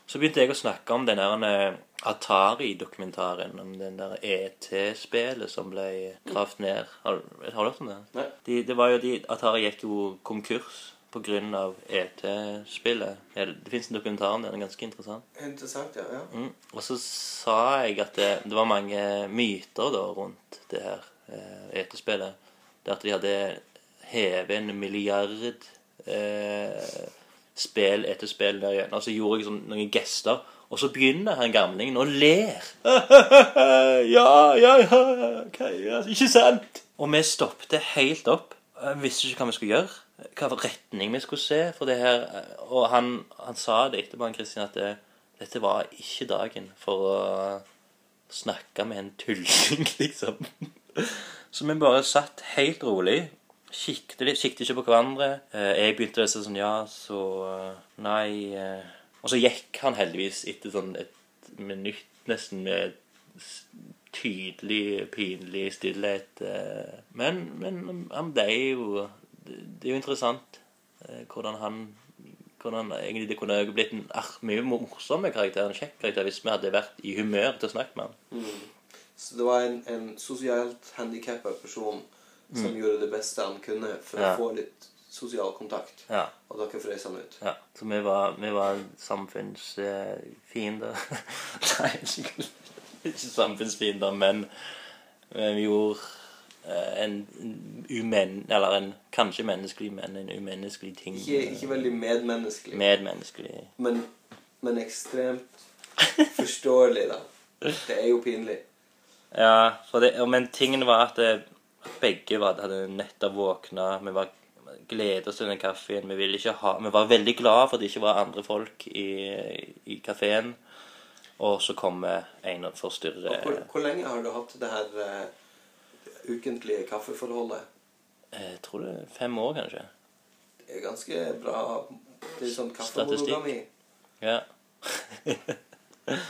Speaker 1: Så begynte jeg å snakke om den der eh, Atari-dokumentaren, om den der ET-spelet som ble gravd ned. Har, har du hørt om det?
Speaker 2: Nei.
Speaker 1: De, det var jo de Atari gikk jo konkurs pga. ET-spillet. E Ja, Det, det fins en dokumentar om det. Den er ganske interessant.
Speaker 2: Interessant, ja. ja.
Speaker 1: Mm. Og så sa jeg at det, det var mange myter da rundt det her eh, ET-spillet. Det at de hadde hevet en milliard eh, spill etter spill der igjen. Og så gjorde jeg sånn, noen gester. Og så begynner han gamlingen å ler. Eh, ja, ja, ja, ok, ja, ikke sant? Og vi stoppte helt opp. Jeg visste ikke hva vi skulle gjøre, hva var retning vi skulle se. for det her. Og han, han sa det etterpå, han Kristian, at det, dette var ikke dagen for å snakke med en tulling, [LAUGHS] liksom. Så vi bare satt helt rolig, kikket, litt- kikket ikke på hverandre. Eh, Jeg begynte å si sånn ja, så eh, nei eh. Og så gikk han heldigvis etter sånn et minutt nesten med s- tydelig, pinlig stillhet. eh. Men, men han ble jo Det det er jo interessant eh, hvordan han hvordan egentlig Det kunne jo blitt en ah, mye morsommere karakter, en kjekk karakter, hvis vi hadde vært i humør til å snakke med han.
Speaker 2: Så det var en, en sosialt handikappa person som gjorde det beste han kunne for
Speaker 1: Mm. Ja.
Speaker 2: å få litt sosial kontakt.
Speaker 1: Ja.
Speaker 2: Og dere frøs han ut.
Speaker 1: Ja, så vi var, vi var samfunnsfiender. [LAUGHS] Nei, ikke, ikke samfunnsfiender, men men vi gjorde eh, en umen... Eller en kanskje menneskelig, men en umenneskelig ting.
Speaker 2: Ikke, ikke veldig medmenneskelig,
Speaker 1: Medmenneskelig.
Speaker 2: men, men ekstremt forståelig, da. Det er jo pinlig.
Speaker 1: Ja, for det, og- men tingen var at eh, begge var, hadde nettopp våkna. Vi var gledet oss til den kaffen. Vi, ville ikke ha, vi var veldig glad for at det ikke var andre folk i, i kafeen. Og så kommer en og forstyrrer.
Speaker 2: Hvor, hvor lenge har du hatt det her eh, ukentlige kaffeforholdet?
Speaker 1: Jeg eh, tror det er fem år, kanskje.
Speaker 2: Det er ganske bra Det er sånn
Speaker 1: Statistikk.
Speaker 2: kaffemonogami.
Speaker 1: Ja. [LAUGHS]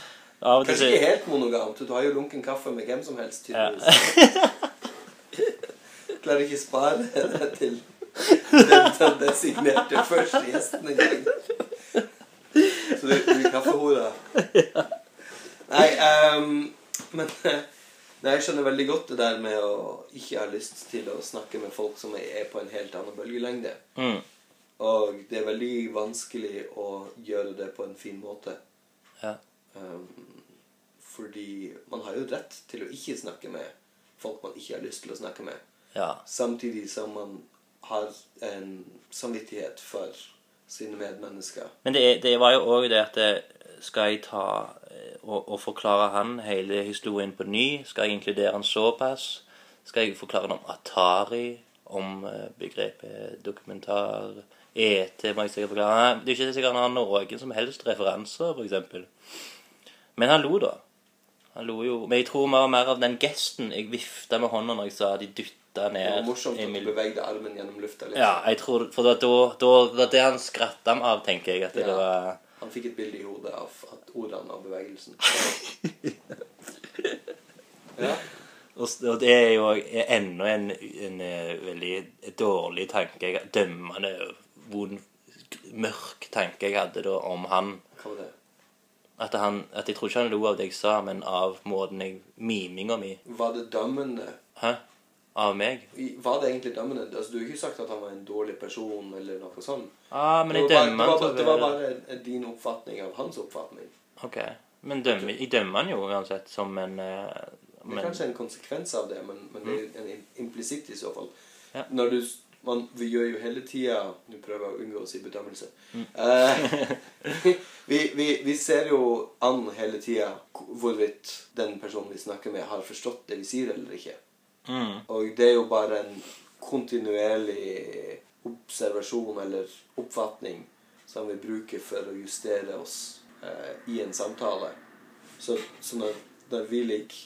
Speaker 1: Av og til
Speaker 2: Kanskje
Speaker 1: så-
Speaker 2: ikke helt monogamt. Du har jo lunken kaffe med hvem som helst,
Speaker 1: Ja.
Speaker 2: tydeligvis. [LAUGHS] Klarer ikke spare det til den, den designerte første gjesten en gang. Så du blir kaffehora. Nei, ehm, men eh, Nei, jeg skjønner veldig godt det der med å ikke ha lyst til å snakke med folk som er på en helt annen bølgelengde.
Speaker 1: mm.
Speaker 2: Og det er veldig vanskelig å gjøre det på en fin måte.
Speaker 1: ja.
Speaker 2: Um, fordi man har jo rett til å ikke snakke med folk man ikke har lyst til å snakke med.
Speaker 1: ja.
Speaker 2: Samtidig som man har en samvittighet for sine medmennesker.
Speaker 1: Men det, det var jo òg det at eh, Skal jeg ta eh, og, og forklare han hele historien på ny? Skal jeg inkludere han såpass? Skal jeg forklare han om Atari? Om eh, begrepet dokumentar? ET? Må jeg sikkert forklare Nei, Det er ikke sikkert han har noen som helst referanser, f.eks. Men han lo, da. Han lo jo. Men jeg tror mer og mer av den gesten jeg vifta med hånda når jeg sa de dytta
Speaker 2: Det var
Speaker 1: ned
Speaker 2: morsomt at
Speaker 1: Emil
Speaker 2: du bevegde armen gjennom lufta litt.
Speaker 1: Ja, jeg tror, for da, da, da- da det han skratta av, tenker jeg. At det
Speaker 2: Ja.
Speaker 1: var
Speaker 2: Han fikk et bilde i hodet av at ordene og bevegelsen Ja.
Speaker 1: Og s- og det er jo enda en, en eh, veldig dårlig tanke, jeg- dømmende, vond, mørk tanke jeg hadde da om han.
Speaker 2: Hva var det?
Speaker 1: At, han, at jeg tror ikke han lo av det jeg sa, men av måten jeg miminga mi
Speaker 2: Var det dømmende?
Speaker 1: Hæ? Av meg?
Speaker 2: I- Var det egentlig dømmende? Altså, du har ikke sagt at han var en dårlig person eller noe sånt.
Speaker 1: Ja, Ah, men jeg
Speaker 2: det, var
Speaker 1: dømmer
Speaker 2: bare, det, var
Speaker 1: han til å
Speaker 2: bare, det var
Speaker 1: være
Speaker 2: bare din oppfatning av hans oppfatning.
Speaker 1: Ok. Men dømmer, jeg dømmer han jo uansett som en eh,
Speaker 2: Det er
Speaker 1: men, Mm.
Speaker 2: kanskje en konsekvens av det, men, men det er en im- implisitt i så fall.
Speaker 1: Ja.
Speaker 2: Når du, s- man, vi gjør jo hele tida Nå prøver jeg å unngå å si bedømmelse.
Speaker 1: Mm. [LAUGHS]
Speaker 2: Eh, [LAUGHS] vi, vi, vi ser jo an hele tida hvorvidt den personen vi snakker med, har forstått det vi sier, eller ikke.
Speaker 1: mm,
Speaker 2: Og det er jo bare en kontinuerlig observasjon eller oppfatning som vi bruker for å justere oss eh, i en samtale. Så, så når, når vi ligger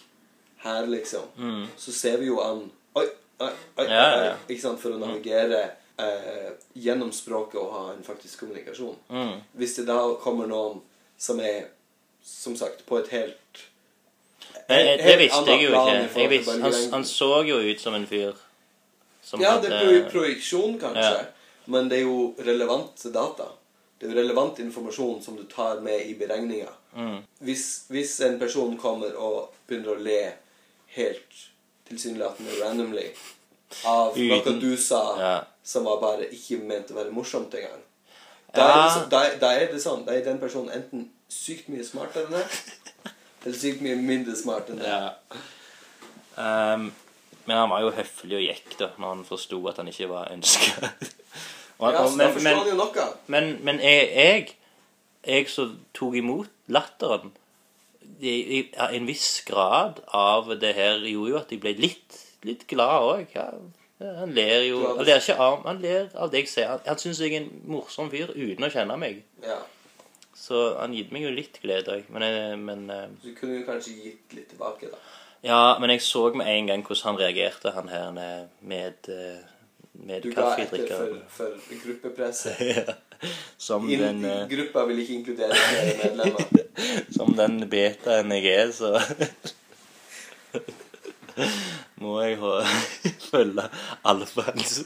Speaker 2: her, liksom,
Speaker 1: Mm.
Speaker 2: så ser vi jo an Oi, oi, oi,
Speaker 1: Ja, ja, Mm. ja.
Speaker 2: oi ikke sant? For å navigere eh, gjennom språket og ha en faktisk kommunikasjon.
Speaker 1: Mm.
Speaker 2: Hvis det da kommer noen som er, som sagt, på et helt
Speaker 1: Men, eh,
Speaker 2: helt
Speaker 1: det visste jeg
Speaker 2: annet
Speaker 1: jo
Speaker 2: plan
Speaker 1: ikke.
Speaker 2: i forhold
Speaker 1: Jeg
Speaker 2: til
Speaker 1: visste,
Speaker 2: bare
Speaker 1: han,
Speaker 2: lengden.
Speaker 1: han så jo ut som en fyr som
Speaker 2: Ja, det
Speaker 1: hadde
Speaker 2: er pro- projeksjon, kanskje.
Speaker 1: eh, Ja.
Speaker 2: Men det er jo relevant data. Det er jo relevant informasjon som du tar med i beregninga.
Speaker 1: Mm.
Speaker 2: Hvis, hvis en person kommer og begynner å le helt tilsynelatende randomly av noe
Speaker 1: Uten-
Speaker 2: du sa
Speaker 1: Ja.
Speaker 2: som var bare ikke ment å være morsomt engang da, er det
Speaker 1: Ja.
Speaker 2: så- da, er- da er det sånn. Da er den personen enten sykt mye smartere enn deg, eller sykt mye mindre smart enn deg.
Speaker 1: Ja. Ehm, men han var jo høflig og gikk da når han forsto at han ikke var [LAUGHS] ønska.
Speaker 2: Ja, så da
Speaker 1: men
Speaker 2: forstår
Speaker 1: men,
Speaker 2: han jo noe.
Speaker 1: men, men jeg, jeg, jeg som tok imot latteren i, i, En viss grad av det her gjorde jo at jeg ble litt, litt glad òg. Ja, han ler jo
Speaker 2: Glad.
Speaker 1: Han ler ikke av, han ler av det jeg ser. Han, han syns jeg er en morsom fyr uten å kjenne meg.
Speaker 2: Ja.
Speaker 1: Så han gitt meg jo litt glede òg. Men, eh, men eh,
Speaker 2: Du kunne jo kanskje gitt litt tilbake, da.
Speaker 1: Ja, men jeg så med en gang hvordan han reagerte, han her med, med, eh, med
Speaker 2: Du ga etter for,
Speaker 1: kaffedrikkeren.
Speaker 2: for
Speaker 1: [LAUGHS]
Speaker 2: gruppepresset.
Speaker 1: Som den,
Speaker 2: In,
Speaker 1: eh,
Speaker 2: gruppa vil ikke inkludere flere medlemmer.
Speaker 1: som den betaen jeg er, så [LAUGHS] må jeg ha, [LAUGHS] følge alfaens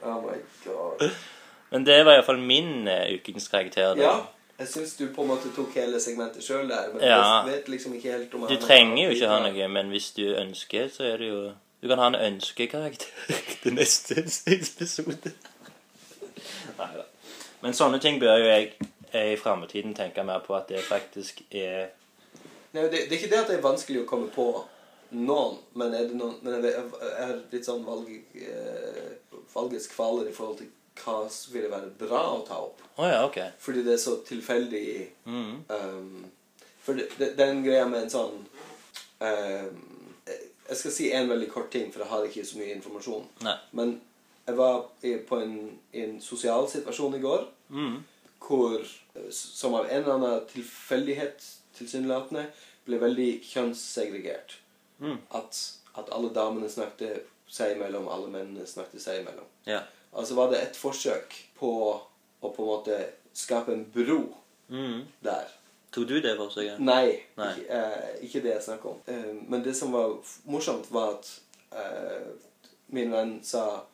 Speaker 2: Oh my god.
Speaker 1: [LAUGHS] Men det var iallfall min eh, ukens karakter. da.
Speaker 2: Ja, jeg syns du på en måte tok hele segmentet sjøl der, men
Speaker 1: Ja.
Speaker 2: jeg vet liksom ikke helt om
Speaker 1: Du trenger jo ikke ha noe, men hvis du ønsker, så er det jo Du kan ha en [LAUGHS] ønskekarakter til neste episode. Nei da. Men sånne ting bør jo jeg eh, i framtiden tenke mer på at det faktisk er
Speaker 2: Nei, det, det er ikke det at det er vanskelig å komme på noen, men, er det noen, men jeg, vet- jeg, jeg har litt sånn valg, eh, valgets kvaler i forhold til hva som ville være bra å ta opp.
Speaker 1: Å ja, OK.
Speaker 2: Fordi det er så tilfeldig
Speaker 1: Mhm.
Speaker 2: Um, for det, det, den greia med en sånn um, eh, Jeg skal si en veldig kort ting, for jeg har ikke så mye informasjon.
Speaker 1: Nei.
Speaker 2: Men jeg var i, på en, i en sosial situasjon i går
Speaker 1: Mhm.
Speaker 2: hvor eh, s- Som av en eller annen tilfeldighet tilsynelatende ble veldig kjønnssegregert.
Speaker 1: Mm.
Speaker 2: At, at alle damene snakket seg imellom, alle mennene snakket seg imellom.
Speaker 1: Ja.
Speaker 2: Altså var det et forsøk på å på en måte skape en bro
Speaker 1: Mhm.
Speaker 2: der.
Speaker 1: Tok du det forsøket?
Speaker 2: Nei,
Speaker 1: Nei.
Speaker 2: Ikke, eh, ikke det jeg snakker om. Eh, men det som var f- morsomt, var at eh, min venn sa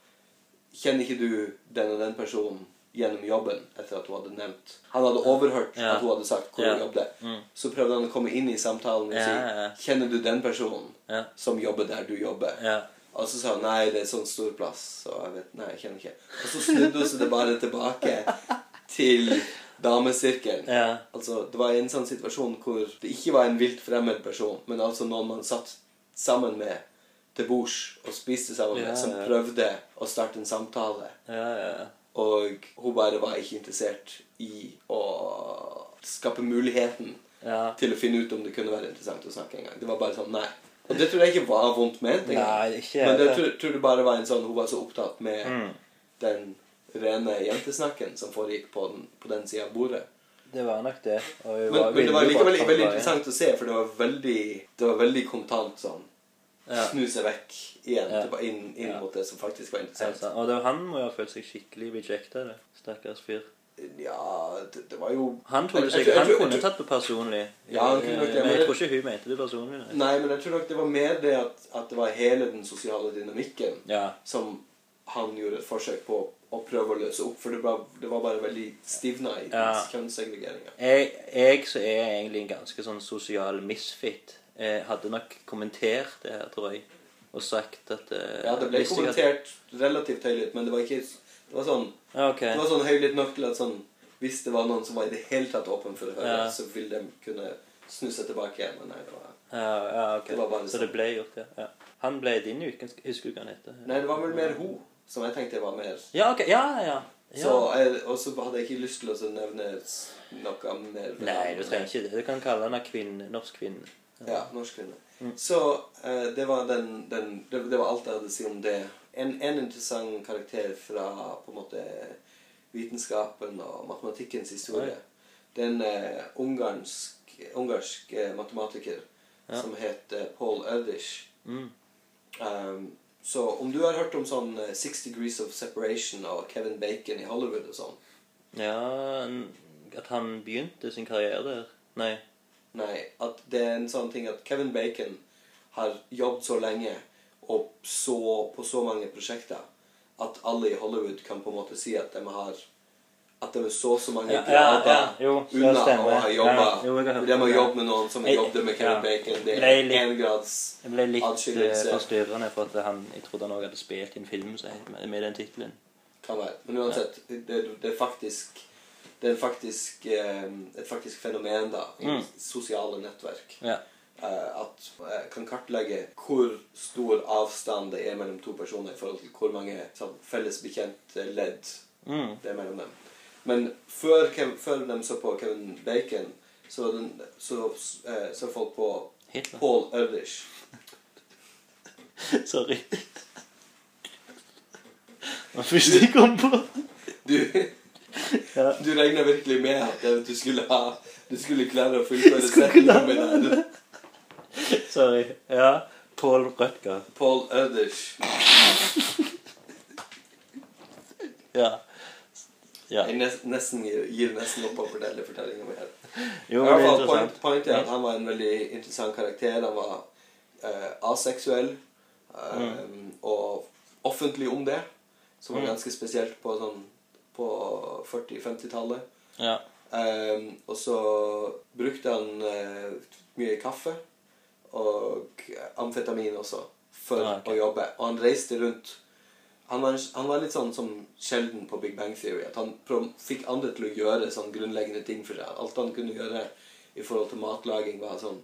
Speaker 2: Kjenner ikke du den og den personen gjennom jobben? Etter at hun hadde nevnt Han hadde overhørt
Speaker 1: Ja.
Speaker 2: at hun hadde sagt hvor
Speaker 1: Ja.
Speaker 2: hun jobbet.
Speaker 1: Mm.
Speaker 2: Så prøvde han å komme inn i samtalen og
Speaker 1: Ja,
Speaker 2: si
Speaker 1: ja, ja.
Speaker 2: Kjenner du den personen
Speaker 1: Ja.
Speaker 2: som jobber der du jobber?
Speaker 1: Ja.
Speaker 2: Og så sa han nei, det er sånn stor plass. Så jeg vet, nei, jeg kjenner ikke. Og så snudde hun seg det bare tilbake til damesirkelen.
Speaker 1: Ja.
Speaker 2: Altså, det var en sånn situasjon hvor det ikke var en vilt fremmed person, men altså noen man satt sammen med til bords og spiste sammen med,
Speaker 1: Ja,
Speaker 2: som
Speaker 1: ja.
Speaker 2: prøvde å starte en samtale.
Speaker 1: Ja, ja.
Speaker 2: Og hun bare var ikke interessert i å skape muligheten
Speaker 1: ja.
Speaker 2: til å finne ut om det kunne være interessant å snakke en gang. Det var bare sånn, nei. Og det tror jeg ikke var vondt ment. engang.
Speaker 1: Nei, ikke
Speaker 2: Men det
Speaker 1: heller.
Speaker 2: tror, tror det bare var en sånn Hun var så opptatt med
Speaker 1: Mm.
Speaker 2: den rene jentesnakken som foregikk på den, på den sida av bordet.
Speaker 1: Det var nok det. Og vi
Speaker 2: Men, men det var likevel veldig interessant å se, for det var veldig, det var veldig kontant sånn.
Speaker 1: Ja.
Speaker 2: Snu seg vekk igjen,
Speaker 1: Ja.
Speaker 2: tilba- inn, inn
Speaker 1: Ja.
Speaker 2: mot det som faktisk var
Speaker 1: Helt
Speaker 2: interessant.
Speaker 1: sant. Altså, Og det, han må jo ha følt seg skikkelig bejekta, det. Stakkars fyr.
Speaker 2: Ja, det, det var jo
Speaker 1: Han, trodde seg,
Speaker 2: Jeg- jeg tror- jeg
Speaker 1: han
Speaker 2: tror-
Speaker 1: kunne
Speaker 2: jeg tror-
Speaker 1: tatt det personlig. Eh,
Speaker 2: Ja, han kunne nok
Speaker 1: Men
Speaker 2: det, men
Speaker 1: jeg
Speaker 2: det-
Speaker 1: tror ikke hun mente det personlig. nei.
Speaker 2: Nei, men jeg tror nok det var mer det at, at det var hele den sosiale dynamikken
Speaker 1: Ja.
Speaker 2: som han gjorde et forsøk på å prøve å løse opp, for det var, det var bare veldig stivna i
Speaker 1: Ja.
Speaker 2: kjønnssegregeringa.
Speaker 1: Jeg, jeg som er egentlig en ganske sånn sosial misfit, eh, hadde nok kommentert det her, tror jeg. Og sagt at eh,
Speaker 2: Ja, det ble
Speaker 1: hvis jeg hadde-
Speaker 2: kommentert relativt høylytt, men det var ikke Det var sånn
Speaker 1: Ja, ok.
Speaker 2: Det var sånn høylytt nok til at sånn Hvis det var noen som var i det hele tatt åpen for å høre,
Speaker 1: Ja.
Speaker 2: så ville de kunne snu seg tilbake igjen. Men nei, det var
Speaker 1: Ja, ja, ok.
Speaker 2: Det var bare sånn.
Speaker 1: Så det ble gjort, ja. ja. Han ble din ukens Husker du hva han heter?
Speaker 2: Nei, det var vel mer hun som jeg tenkte var mer
Speaker 1: Ja, ok. Ja, ja. ja.
Speaker 2: Så, jeg, Og så hadde jeg ikke lyst til å så nevne s- noe mer.
Speaker 1: Nei, du trenger ikke det. Du kan kalle henne kvinne, norsk kvinne.
Speaker 2: Ja, norsk kvinne. Så eh, det var den, den det, det var alt jeg hadde å si om det. En, en interessant karakter fra på en måte vitenskapen og matematikkens historie. Det er en eh, ungarsk, ungarsk eh, matematiker
Speaker 1: Ja.
Speaker 2: som het eh, Paul Erdős.
Speaker 1: Mm.
Speaker 2: Um, så om du har hørt om sånn eh, Six Degrees of Separation og Kevin Bacon i Hollywood og sånn
Speaker 1: Ja n- At han begynte sin karriere der? Nei.
Speaker 2: Nei, at det er en sånn ting at Kevin Bacon har jobbet så lenge og så, på så mange prosjekter at alle i Hollywood kan på en måte si at de har at de er så så mange
Speaker 1: Ja, ja,
Speaker 2: grader
Speaker 1: ja, jo, det
Speaker 2: unna å
Speaker 1: stemmer.
Speaker 2: ha
Speaker 1: Ja, jo, jeg
Speaker 2: jobba.
Speaker 1: har hørt
Speaker 2: De har
Speaker 1: det.
Speaker 2: jobbet med noen som har
Speaker 1: Jeg-
Speaker 2: jobbet med Kevin
Speaker 1: ja.
Speaker 2: Bacon. Det
Speaker 1: Nei,
Speaker 2: er
Speaker 1: litt-
Speaker 2: én grads
Speaker 1: Jeg ble litt eh,
Speaker 2: Atskillelse.
Speaker 1: forstyrrende, for at han, jeg trodde han også hadde spilt i en film som het med, med den tittelen.
Speaker 2: kan være. Men uansett, det, det er faktisk det er en faktisk, eh, et faktisk fenomen da, i
Speaker 1: Mm.
Speaker 2: sosiale nettverk.
Speaker 1: Ja.
Speaker 2: eh, at jeg kan kartlegge hvor stor avstand det er mellom to personer i forhold til hvor mange sånn, felles bekjente ledd
Speaker 1: Mm.
Speaker 2: det er mellom dem. Men før, Kev- før de så på Kevin Bacon, så, var den, så, eh, så folk på [LAUGHS]
Speaker 1: Hitler.
Speaker 2: Paul Erdős.
Speaker 1: [LAUGHS] Sorry. Det var første jeg kom på.
Speaker 2: Du,
Speaker 1: Ja.
Speaker 2: du regna virkelig med at eh, du skulle, ha, du skulle klare å fullføre
Speaker 1: skulle
Speaker 2: setningen med det.
Speaker 1: Sorry. Ja. Paul Rødger.
Speaker 2: Paul Erdős.
Speaker 1: Ja. ja.
Speaker 2: Jeg nes- nesten gir, gir nesten opp å fortelle fortellinga mi her.
Speaker 1: Jo,
Speaker 2: I
Speaker 1: men
Speaker 2: hvert
Speaker 1: det er
Speaker 2: fall, point,
Speaker 1: interessant.
Speaker 2: point er at han var en veldig interessant karakter. Han var eh, aseksuell eh, og offentlig om det, som var
Speaker 1: Mm.
Speaker 2: ganske spesielt på, sånn, på 40-50-tallet.
Speaker 1: Ja.
Speaker 2: Eh, og så brukte han eh, mye kaffe og amfetamin også for
Speaker 1: Ah, ok.
Speaker 2: å jobbe. Og han reiste rundt. Han var, han var litt sånn som sjelden på Big Bang Theory. At han prom- fikk andre til å gjøre sånn grunnleggende ting for seg. Alt han kunne gjøre i forhold til matlaging, var sånn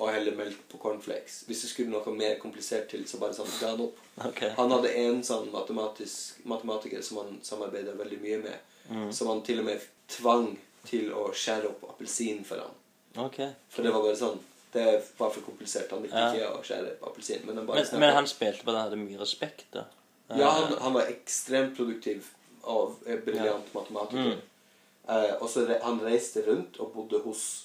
Speaker 2: å helle melk på cornflakes. Hvis det skulle noe mer komplisert til, så bare sånn ga han opp.
Speaker 1: Ok.
Speaker 2: Han hadde en sånn matematisk, matematiker som han samarbeidet veldig mye med,
Speaker 1: Mm.
Speaker 2: som han til og med tvang til å skjære opp appelsin for ham.
Speaker 1: Ok.
Speaker 2: For det var bare sånn Det var for komplisert. Han likte
Speaker 1: Ja.
Speaker 2: ikke å skjære opp appelsin. Men, han bare
Speaker 1: Men,
Speaker 2: snakket-
Speaker 1: men han spilte på at han hadde mye respekt, da.
Speaker 2: Ja, han, han var ekstremt produktiv og eh, briljant
Speaker 1: Mm.
Speaker 2: matematiker. Eh, og så re han reiste rundt og bodde hos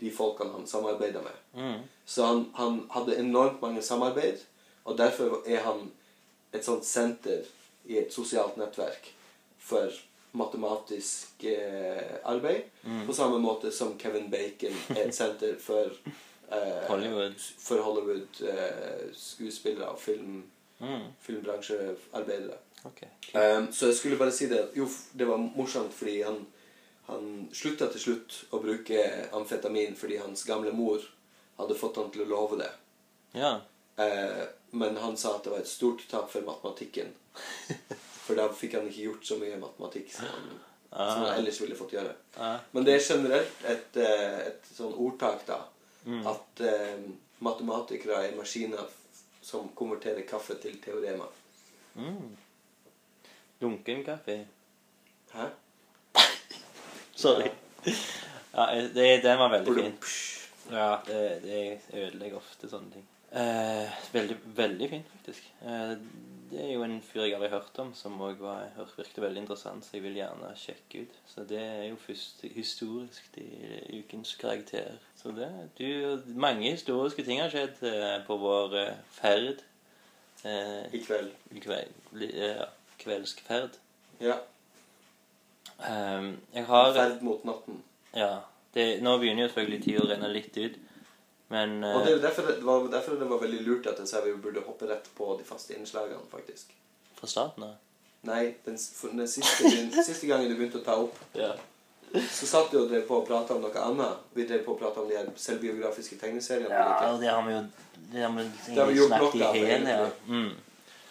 Speaker 2: de folkene han samarbeidet med.
Speaker 1: Mm.
Speaker 2: Så han, han hadde enormt mange samarbeid, og derfor er han et sånt senter i et sosialt nettverk for matematisk eh, arbeid. På samme måte som Kevin Bacon er et senter for eh,
Speaker 1: Hollywood.
Speaker 2: For Hollywood eh, skuespillere og film,
Speaker 1: Mm.
Speaker 2: filmbransjearbeidere.
Speaker 1: Ok.
Speaker 2: Um, så jeg skulle bare si det at jo, det var morsomt fordi han, han slutta til slutt å bruke amfetamin fordi hans gamle mor hadde fått han til å love det.
Speaker 1: Ja.
Speaker 2: Eh, men han sa at det var et stort tap for matematikken. For da fikk han ikke gjort så mye matematikk som han,
Speaker 1: Ah.
Speaker 2: som han ellers ville fått gjøre.
Speaker 1: Ja.
Speaker 2: Men det er generelt et, eh, et sånn ordtak, da.
Speaker 1: Mm.
Speaker 2: At eh, matematikere er maskiner f- som konverterer kaffe til teoremer.
Speaker 1: Mm. Dunken kaffe.
Speaker 2: Hæ?
Speaker 1: Sorry. Ja, eh, det, den var veldig fin.
Speaker 2: Blump.
Speaker 1: Ja, det, det ødelegger ofte sånne ting. Eh, veldig, veldig fint, faktisk. Eh, det er jo en fyr jeg aldri har hørt om, som òg virket veldig interessant, så jeg vil gjerne sjekke ut. Så det er jo først historisk i ukens karakter. Så det du, Mange historiske ting har skjedd eh, på vår eh, ferd. Eh,
Speaker 2: I kveld.
Speaker 1: kve, li- eh, kveldsferd.
Speaker 2: Ja.
Speaker 1: Eh, jeg har
Speaker 2: Ferd mot natten.
Speaker 1: Ja. Det, nå begynner jo selvfølgelig tida å renne litt ut, men eh,
Speaker 2: Og det er jo derfor det, det var, derfor det var veldig lurt at jeg sa vi burde hoppe rett på de faste innslagene, faktisk.
Speaker 1: Fra starten av?
Speaker 2: Nei, den, s- for den siste, den siste gangen du begynte å ta opp
Speaker 1: Ja.
Speaker 2: Så satt du og drev på og prata om noe annet. Vi drev på og prata om de her selvbiografiske tegneseriene.
Speaker 1: ja det har vi jo det har vi,
Speaker 2: Det har vi gjort
Speaker 1: snakket
Speaker 2: nok av,
Speaker 1: i hele, ja.
Speaker 2: egentlig.
Speaker 1: Mm.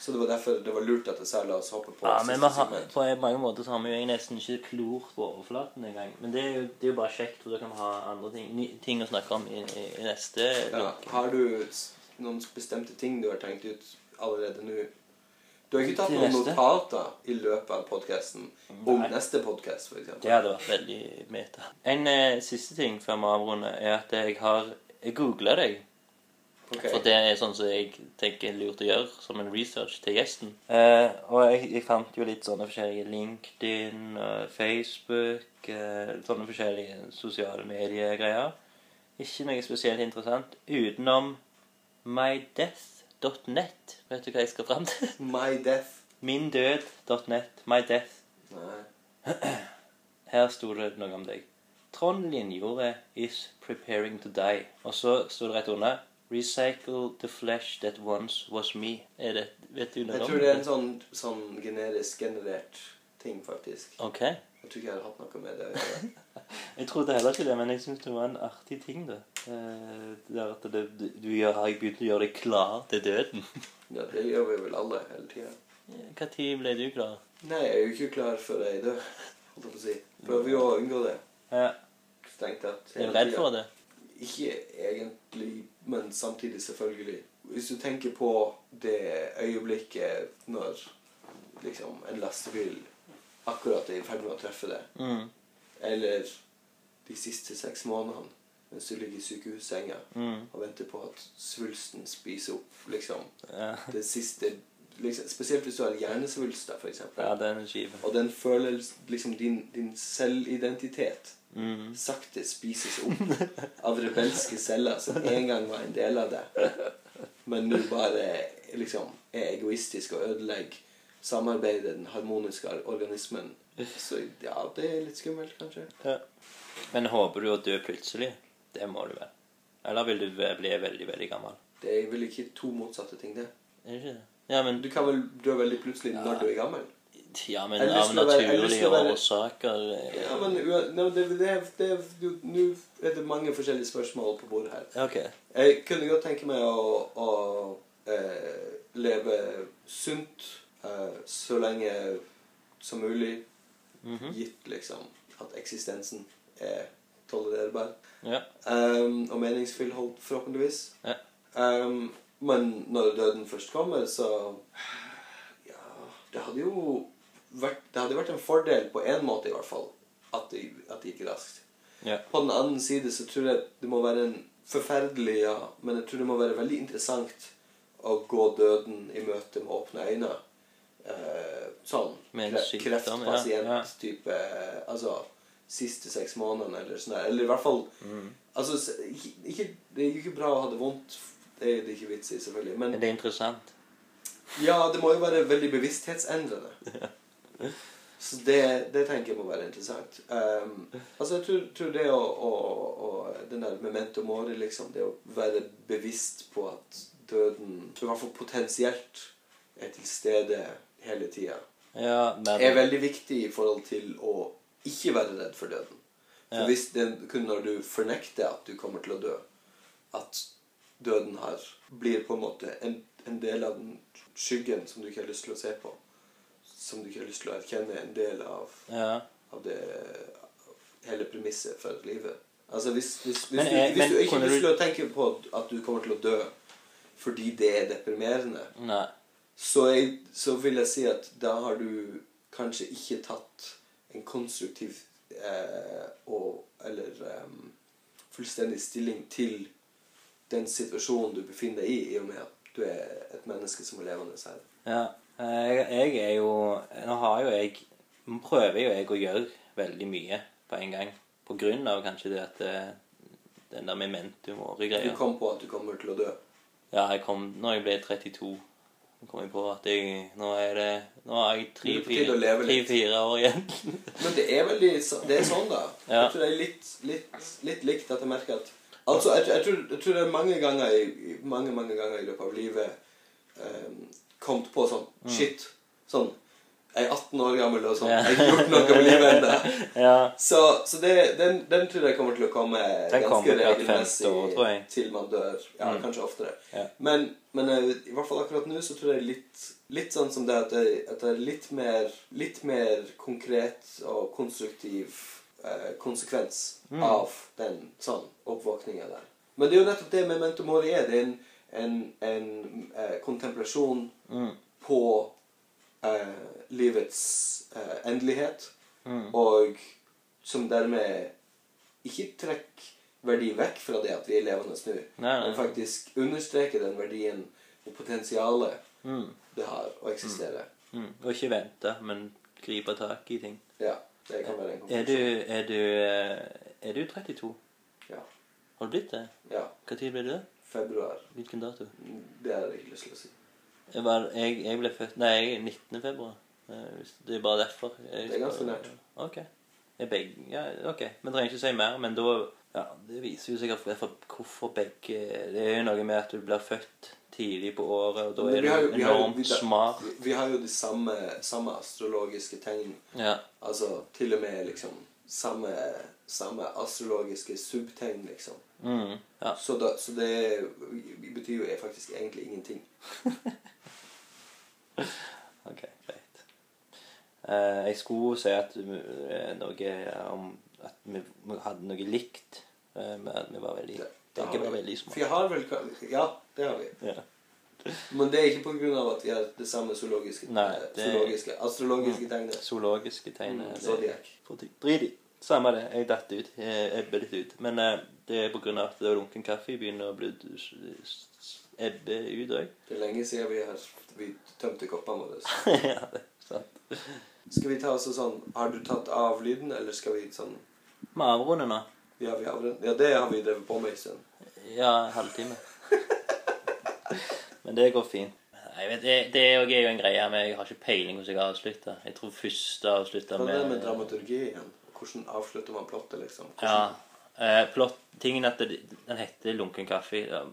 Speaker 2: Så det var derfor det var lurt at jeg sa la oss hoppe på.
Speaker 1: ja.
Speaker 2: siste
Speaker 1: Men vi har,
Speaker 2: segment.
Speaker 1: på mange måter så har vi jo nesten ikke klort på overflaten engang. Men det er jo, det er jo bare kjekt, for da kan vi ha andre ting, ny, ting å snakke om i, i, i neste
Speaker 2: ja.
Speaker 1: lunke.
Speaker 2: Har du s- noen bestemte ting du har tenkt ut allerede nå? Du har ikke tatt
Speaker 1: Til
Speaker 2: noen
Speaker 1: neste?
Speaker 2: notater i løpet av podkasten om
Speaker 1: Nei.
Speaker 2: neste podkast, f.eks.?
Speaker 1: Det hadde vært veldig meta. En eh, siste ting før vi avrunder, er at jeg har Jeg googla deg.
Speaker 2: Ok.
Speaker 1: For det er sånn som jeg tenker er lurt å gjøre som en research til gjesten. Eh, og jeg, jeg fant jo litt sånne forskjellige LinkedIn, eh, Facebook eh, Sånne forskjellige sosiale mediegreier. Ikke noe spesielt interessant utenom mydeath.net. Vet du hva jeg skal fram til? [LAUGHS]
Speaker 2: My death.
Speaker 1: Mindød.net. Mydeath.
Speaker 2: Nei.
Speaker 1: Her sto det noe om deg. Trond Linjordet is preparing to die. Og så sto det rett under Recycle the flesh that once was me. Er det, vet du noe
Speaker 2: Jeg
Speaker 1: om
Speaker 2: tror det er en sånn, sånn generisk generert ting, faktisk.
Speaker 1: Ok.
Speaker 2: Jeg tror ikke jeg hadde hatt noe med det å gjøre.
Speaker 1: Jeg trodde heller ikke det, men jeg syns det var en artig ting, da. Eh, det er at det, du du gjør, har begynt å gjøre deg klar til
Speaker 2: [LAUGHS]
Speaker 1: døden.
Speaker 2: Ja, det gjør vi vel alle hele tida.
Speaker 1: Når ble du klar?
Speaker 2: Nei, jeg er jo ikke klar før jeg dør, holdt jeg på å si. Prøver jo å unngå det.
Speaker 1: Ja,
Speaker 2: Strengt tatt.
Speaker 1: er du redd for det?
Speaker 2: Ikke egentlig, men samtidig selvfølgelig. Hvis du tenker på det øyeblikket når liksom en lastebil akkurat er i ferd med å treffe deg,
Speaker 1: Mm.
Speaker 2: eller de siste seks månedene mens du ligger i sykehussenga
Speaker 1: Mm.
Speaker 2: og venter på at svulsten spiser opp liksom
Speaker 1: Ja.
Speaker 2: det siste liksom, Spesielt hvis du har hjernesvulster, for eksempel.
Speaker 1: ja, den er kjip.
Speaker 2: Og den føler liksom din, din selvidentitet
Speaker 1: Mm.
Speaker 2: sakte spises opp av rebelske celler som en gang var en del av deg, men nå bare liksom er egoistisk og ødelegger samarbeidet, den harmoniske organismen. Så ja, det er litt skummelt, kanskje.
Speaker 1: Ja. Men håper du å dø plutselig? Det må du vel. Eller vil du ve- bli veldig, veldig gammel?
Speaker 2: Det er vel ikke to motsatte ting, det.
Speaker 1: Er det ikke det? Ja, men,
Speaker 2: Du kan vel dø veldig plutselig når du er gammel?
Speaker 1: ja, men
Speaker 2: Jeg har
Speaker 1: av
Speaker 2: lyst til å være- jeg har lyst
Speaker 1: naturlige
Speaker 2: til å være-
Speaker 1: årsaker eh,
Speaker 2: Ja, men ua- nei, det, det, det, du- Nå er det mange forskjellige spørsmål på bordet her.
Speaker 1: ja, OK.
Speaker 2: Jeg kunne godt tenke meg å, å eh, leve sunt eh, så lenge som mulig,
Speaker 1: Mhm.
Speaker 2: gitt liksom at eksistensen er tolererbar
Speaker 1: Ja.
Speaker 2: um, og meningsfull, holdt, forhåpentligvis.
Speaker 1: Ja.
Speaker 2: Um, men når døden først kommer, så Ja, det hadde jo vært, det hadde vært en fordel på én måte, i hvert fall, at det, at det gikk raskt.
Speaker 1: ja.
Speaker 2: På den annen side så tror jeg det må være en forferdelig, ja, men jeg tror det må være veldig interessant å gå døden i møte med åpne øyne. Eh, sånn
Speaker 1: Med en
Speaker 2: kre
Speaker 1: sykdom, ja, ja.
Speaker 2: kreftpasient-type eh, Altså siste seks månedene eller sånn der. Eller i hvert fall
Speaker 1: Mm.
Speaker 2: Altså, s- ikke, ikke- det er jo ikke bra å ha det vondt. Det er det ikke vits i, selvfølgelig. Men
Speaker 1: Men det er interessant.
Speaker 2: ja, det må jo være veldig bevissthetsendrende. Så det, det tenker jeg må være interessant. Um, altså Jeg tror, tror det å, å, å Den der memento mori, liksom. Det å være bevisst på at døden i hvert fall potensielt er til stede hele tida,
Speaker 1: Ja, men
Speaker 2: er veldig viktig i forhold til å ikke være redd for døden. For
Speaker 1: Ja.
Speaker 2: hvis den, kun når du fornekter at du kommer til å dø, at døden her blir på en måte en, en del av den skyggen som du ikke har lyst til å se på, som du ikke har lyst til å erkjenne, en del av,
Speaker 1: ja.
Speaker 2: av det hele premisset for livet. Altså hvis, hvis, hvis,
Speaker 1: Men
Speaker 2: du,
Speaker 1: er-
Speaker 2: hvis du
Speaker 1: men
Speaker 2: ikke
Speaker 1: kunne
Speaker 2: har lyst
Speaker 1: du-
Speaker 2: til å tenke på at du kommer til å dø fordi det er deprimerende,
Speaker 1: Nei.
Speaker 2: så, jeg, så vil jeg si at da har du kanskje ikke tatt en konstruktiv eh, og, eller em, fullstendig stilling til den situasjonen du befinner deg i, i og med at du er et menneske som er levende her.
Speaker 1: Ja. Jeg, jeg er jo Nå har jo jeg Nå prøver jo jeg å gjøre veldig mye på en gang. På grunn av kanskje det at eh, den der memento
Speaker 2: Du
Speaker 1: mori-greia.
Speaker 2: kom på at du kommer til å dø.
Speaker 1: Ja, jeg kom når jeg ble 32. Så kom jeg på at jeg Nå er det Nå har jeg
Speaker 2: Nå er det på tide å leve litt.
Speaker 1: tre-fire år igjen. [LAUGHS]
Speaker 2: Men det er veldig så- det er sånn, da.
Speaker 1: Ja.
Speaker 2: Jeg tror det er litt, litt, litt likt at jeg merker at Altså, jeg, jeg, tror, jeg tror det er mange ganger i, i- mange, mange ganger i løpet av livet eh, kommet på sånn Shit. Sånn Jeg er 18 år gammel, og sånn. Jeg har ikke gjort noe med livet ennå.
Speaker 1: ja.
Speaker 2: Så, så det, den, den tror jeg kommer til å komme
Speaker 1: Den kommer
Speaker 2: ganske
Speaker 1: hvert femte år, tror jeg. Mm.
Speaker 2: regelmessig til man dør. Ja, kanskje oftere.
Speaker 1: Ja.
Speaker 2: Men, men eh, i hvert fall akkurat nå så tror jeg litt, litt sånn som det at jeg, at jeg er litt mer, litt mer konkret og konstruktiv eh, konsekvens
Speaker 1: Mm.
Speaker 2: av den sånn oppvåkninga der. Men det er jo nettopp det memento mori er. Det er en, en, en eh, kontemplasjon
Speaker 1: Mm,
Speaker 2: på eh, livets eh,
Speaker 1: Mm.
Speaker 2: endelighet, og som dermed ikke trekker verdi vekk fra det at vi er levende nå,
Speaker 1: Nei, nei.
Speaker 2: men faktisk understreke den verdien og potensialet
Speaker 1: Mm.
Speaker 2: det har å eksistere.
Speaker 1: Mm. Og ikke vente, men gripe tak i ting.
Speaker 2: Ja, det kan være en
Speaker 1: Er du, er du, eh, er du 32?
Speaker 2: Ja.
Speaker 1: Har du blitt det?
Speaker 2: ja.
Speaker 1: Når ble du det?
Speaker 2: Februar.
Speaker 1: Hvilken dato?
Speaker 2: Det har jeg ikke lyst til å si.
Speaker 1: Jeg, var, jeg, jeg ble født Nei, jeg er 19. februar. Eh, hvis- Det er bare derfor. Jeg,
Speaker 2: Det er ganske nært.
Speaker 1: Ok. Jeg begge, ja, ok. Vi trenger ikke si mer, men da ja, Det viser jo sikkert hvorfor, hvorfor begge Det er jo noe med at du blir født tidlig på året, og da
Speaker 2: Men
Speaker 1: er
Speaker 2: vi har jo-
Speaker 1: du
Speaker 2: vi har jo-
Speaker 1: enormt
Speaker 2: vi-
Speaker 1: smart.
Speaker 2: Vi, vi har jo de samme, samme astrologiske tegn.
Speaker 1: Ja.
Speaker 2: Altså til og med liksom samme, samme astrologiske subtegn, liksom.
Speaker 1: Mm, ja.
Speaker 2: Så, da, så det betyr jo faktisk egentlig ingenting.
Speaker 1: Ok, greit. Eh, jeg skulle si at vi, eh, noe om at vi, vi hadde noe likt eh, med at vi var veldig
Speaker 2: Det- det har
Speaker 1: Begge var
Speaker 2: vi.
Speaker 1: veldig
Speaker 2: For
Speaker 1: små.
Speaker 2: jeg har vel Ja, det har vi.
Speaker 1: Ja.
Speaker 2: Men det er ikke på grunn av at vi har det samme zoologiske,
Speaker 1: Nei, det- Mm.
Speaker 2: zoologiske astrologiske tegnet.
Speaker 1: Zoologiske tegn.
Speaker 2: Mm,
Speaker 1: det-
Speaker 2: Zodiac.
Speaker 1: for ty- Drit i. Samme det. Jeg datt ut. Jeg ebber litt ut. Men eh, det er på grunn av at det er lunken kaffe begynner å bli s- s- s- ebbe ut òg.
Speaker 2: Det er lenge siden vi, har, vi tømte koppene våre.
Speaker 1: [LAUGHS] ja, det er sant.
Speaker 2: Skal vi ta også sånn Har du tatt av lyden, eller skal vi sånn
Speaker 1: Vi avrunder nå.
Speaker 2: Ja, vi har, ja det har vi drevet på med en stund.
Speaker 1: Ja, en halvtime. Men det går fint. Nei, vet, det, det er jo- er jo en greie men jeg har ikke peiling hvordan jeg avslutter. Jeg tror første avslutta
Speaker 2: Hva er det med
Speaker 1: med
Speaker 2: dramaturgi igjen? Hvordan avslutter man plottet, liksom? Hvordan,
Speaker 1: Ja. Eh, plott, tingen at det, den heter 'Lunken kaffe', ja.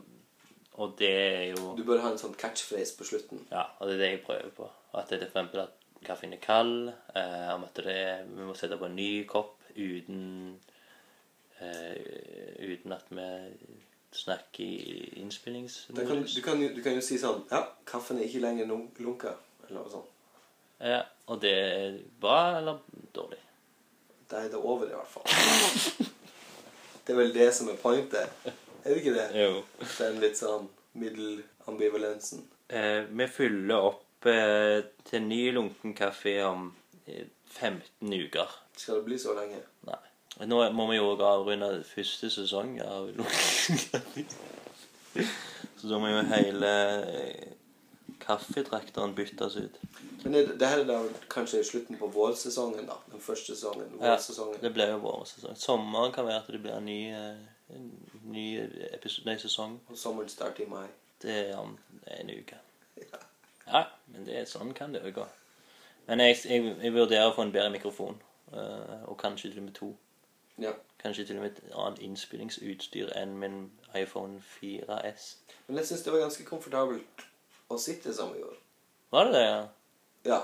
Speaker 1: og det er jo
Speaker 2: Du bør ha en sånn catchphrase på slutten.
Speaker 1: Ja, og det er det jeg prøver på. At det er for eksempel at kaffen er kald, eh, om at det er, vi må sette på en ny kopp uten eh, Uten at vi snakker i
Speaker 2: Da kan,
Speaker 1: innspillingsmodus.
Speaker 2: du, kan jo, du kan jo si sånn Ja, kaffen er ikke lenger lun- lunka. Eller noe sånt.
Speaker 1: Ja, og det er bra eller dårlig?
Speaker 2: Da er det over, i hvert fall. Det er vel det som er pointet. Er det ikke det?
Speaker 1: Jo.
Speaker 2: Den litt sånn middelambivalensen.
Speaker 1: Eh, vi fyller opp eh, til ny lunken kaffe om eh, 15 uker.
Speaker 2: Skal det bli så lenge?
Speaker 1: Nei. Nå må vi jo avrunde første sesong av lunken kaffe. [LAUGHS] Så da må jo hele eh, kaffetraktoren byttes ut.
Speaker 2: Men det, det her er da kanskje slutten på vårsesongen, da. Den første sesongen. Vårsesongen.
Speaker 1: Det blir jo vårsesong. Sommeren kan være at det blir en ny, eh, en ny, episode, nei, sesong.
Speaker 2: Og sommeren starter i mai.
Speaker 1: Det er eh, om en uke. Ja, men det er sånn kan det jo gå. Men jeg, jeg, jeg vurderer å få en bedre mikrofon. eh, og kanskje til og med to.
Speaker 2: Ja.
Speaker 1: Kanskje til og med et annet innspillingsutstyr enn min iPhone 4S.
Speaker 2: Men jeg syns det var ganske komfortabelt å sitte som vi gjorde.
Speaker 1: Var det det, ja?
Speaker 2: Ja.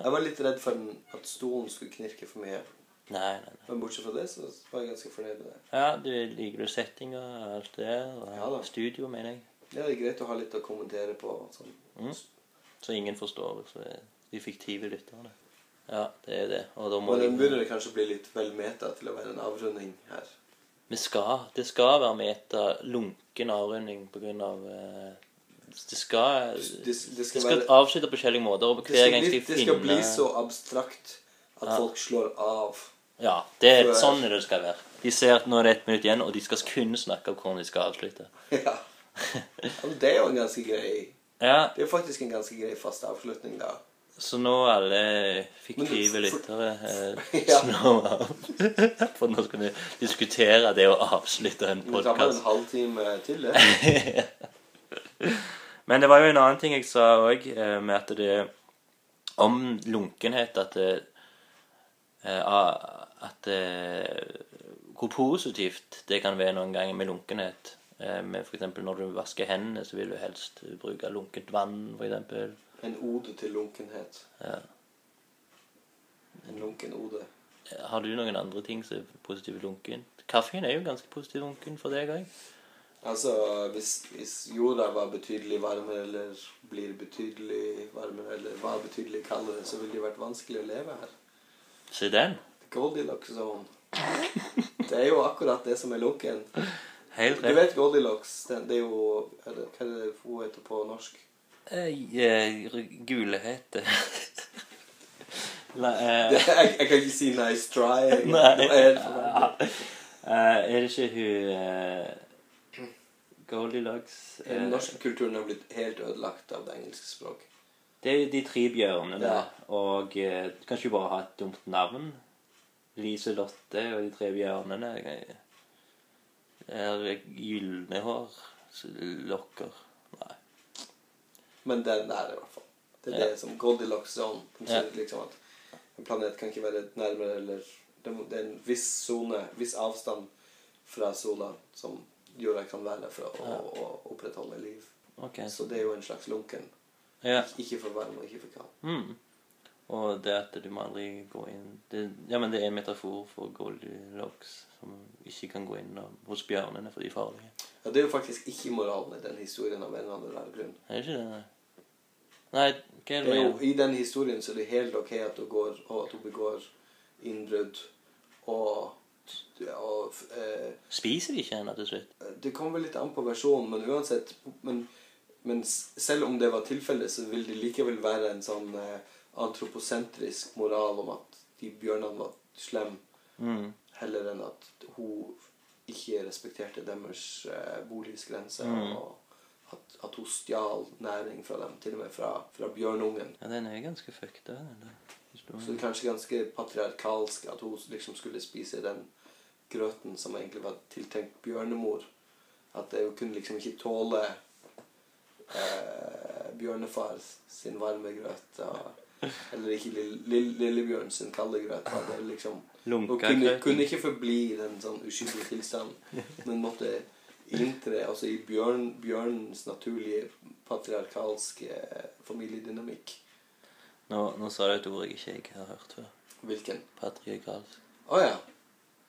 Speaker 2: Jeg var litt redd for den, at stolen skulle knirke for mye.
Speaker 1: Nei, nei, nei.
Speaker 2: Men bortsett fra det, så var jeg ganske fornøyd med det.
Speaker 1: Ja, du liker du settinga og alt det der? Og
Speaker 2: Ja da.
Speaker 1: studio, mener jeg.
Speaker 2: Ja, det er greit å ha litt å kommentere på. Sånn.
Speaker 1: Mm. Så ingen forstår. Så det- de fiktive lytterne. Ja, det er det. Og da må
Speaker 2: Men den
Speaker 1: de-
Speaker 2: begynner kanskje å bli litt vel meta til å være en avrunding her.
Speaker 1: Vi skal. Det skal være meta lunken avrunding på grunn av eh, Det skal Det,
Speaker 2: Det- det skal
Speaker 1: skal
Speaker 2: være-
Speaker 1: avslutte på forskjellige måter, og
Speaker 2: Det
Speaker 1: hver
Speaker 2: skal,
Speaker 1: gang
Speaker 2: bli,
Speaker 1: skal jeg
Speaker 2: det
Speaker 1: finne
Speaker 2: skal bli så abstrakt at folk slår av. [LAUGHS]
Speaker 1: Ja. Det er
Speaker 2: Så-
Speaker 1: sånn det skal være. De ser at nå er det ett minutt igjen, og de skal kun snakke om hvordan de skal avslutte. [LAUGHS]
Speaker 2: Ja. Ja, Men det er jo en ganske grei
Speaker 1: Ja,
Speaker 2: Det er faktisk en ganske grei fast avslutning, da.
Speaker 1: så nå alle fiktive
Speaker 2: Men du- for-
Speaker 1: lyttere eh,
Speaker 2: [LAUGHS] Ja.
Speaker 1: slår av. [LAUGHS] For nå skal vi diskutere det å avslutte en
Speaker 2: Vi tar bare en
Speaker 1: podkast.
Speaker 2: halvtime
Speaker 1: [LAUGHS]
Speaker 2: til, det.
Speaker 1: Men det var jo en annen ting jeg sa òg, med at det Om lunkenhet at det eh, a- At det Hvor positivt det kan være noen ganger med lunkenhet. Eh, Med for eksempel når du vasker hendene, så vil du helst bruke lunkent vann, for eksempel.
Speaker 2: En ode til lunkenhet.
Speaker 1: Ja.
Speaker 2: En lunken ode.
Speaker 1: Har du noen andre ting som er positive lunkent? Kaffen er jo ganske positiv lunken for deg òg.
Speaker 2: Altså, hvis, hvis jorda var betydelig varmere, eller blir betydelig varmere, eller var betydelig kaldere, så ville det vært vanskelig å leve her.
Speaker 1: Se den.
Speaker 2: Goldilocks
Speaker 1: [LAUGHS]
Speaker 2: zone. Det er jo akkurat det som er lunken.
Speaker 1: Helt
Speaker 2: Du
Speaker 1: rett.
Speaker 2: vet Goldilocks, det, det er jo er det, Hva er det hun heter på norsk?
Speaker 1: Eh, eh, [LAUGHS] Gulhete. La, eh,
Speaker 2: [LAUGHS] Jeg, jeg kan ikke si 'nice try'.
Speaker 1: [LAUGHS] Nei.
Speaker 2: Det er helt forferdelig.
Speaker 1: Eh, er det ikke hun uh, Goldilocks eh,
Speaker 2: Den norske kulturen har blitt helt ødelagt av det engelske språket.
Speaker 1: Det er jo de tre bjørnene.
Speaker 2: Ja.
Speaker 1: Og eh, du kan ikke bare ha et dumt navn. Liselotte og de tre bjørnene eh, er gylne hår. s- Lokker Nei.
Speaker 2: Men den der, i hvert fall. Det er
Speaker 1: Ja.
Speaker 2: det som Goldilocks zone. Den sier
Speaker 1: Ja.
Speaker 2: liksom at en planet kan ikke være nærmere eller Det må- det er en viss sone, viss avstand fra sola som jorda kan være for å,
Speaker 1: Ja.
Speaker 2: å, å opprettholde liv.
Speaker 1: Ok.
Speaker 2: Så det er jo en slags lunken.
Speaker 1: Ja.
Speaker 2: Ikke for varm og ikke for kald.
Speaker 1: Mm. Og det at du må aldri gå inn det, Ja, men det er en metafor for Goldilocks som ikke kan gå inn og, hos bjørnene, for de er farlige.
Speaker 2: Ja, det er jo faktisk ikke moralen i den historien av en eller annen rar grunn.
Speaker 1: Er det ikke det? nei? Nei, hva er
Speaker 2: Det
Speaker 1: det med
Speaker 2: er jo, I den historien så er det helt ok at hun går og at hun begår innbrudd og, og eh,
Speaker 1: Spiser de ikke henne til slutt?
Speaker 2: Det kommer vel litt an på versjonen, men uansett men, men s- selv om det var tilfellet, så vil det likevel være en sånn eh, antroposentrisk moral om at de bjørnene var slemme,
Speaker 1: Mm.
Speaker 2: heller enn at hun ikke respekterte deres eh, boligsgrense,
Speaker 1: Mm.
Speaker 2: og at, at hun stjal næring fra dem, til og med fra, fra bjørnungen.
Speaker 1: Ja, den er ganske fucked, da. den der
Speaker 2: Så det
Speaker 1: historien.
Speaker 2: er kanskje ganske patriarkalsk at hun liksom skulle spise den grøten som egentlig var tiltenkt bjørnemor. At det- hun kunne liksom ikke tåle eh, bjørnefar sin varme grøt. Og, eller ikke lille, lille, lillebjørn sin kalde grøt. og Det er liksom, hun
Speaker 1: Lunka
Speaker 2: kunne,
Speaker 1: grøten.
Speaker 2: kunne ikke forbli i den sånn uskyldige tilstanden, men måtte inntre altså i bjørn, bjørnens naturlige patriarkalske eh, familiedynamikk.
Speaker 1: Nå, nå sa du et ord jeg ikke jeg har hørt før.
Speaker 2: Hvilken?
Speaker 1: Patriarkalsk.
Speaker 2: Å ja.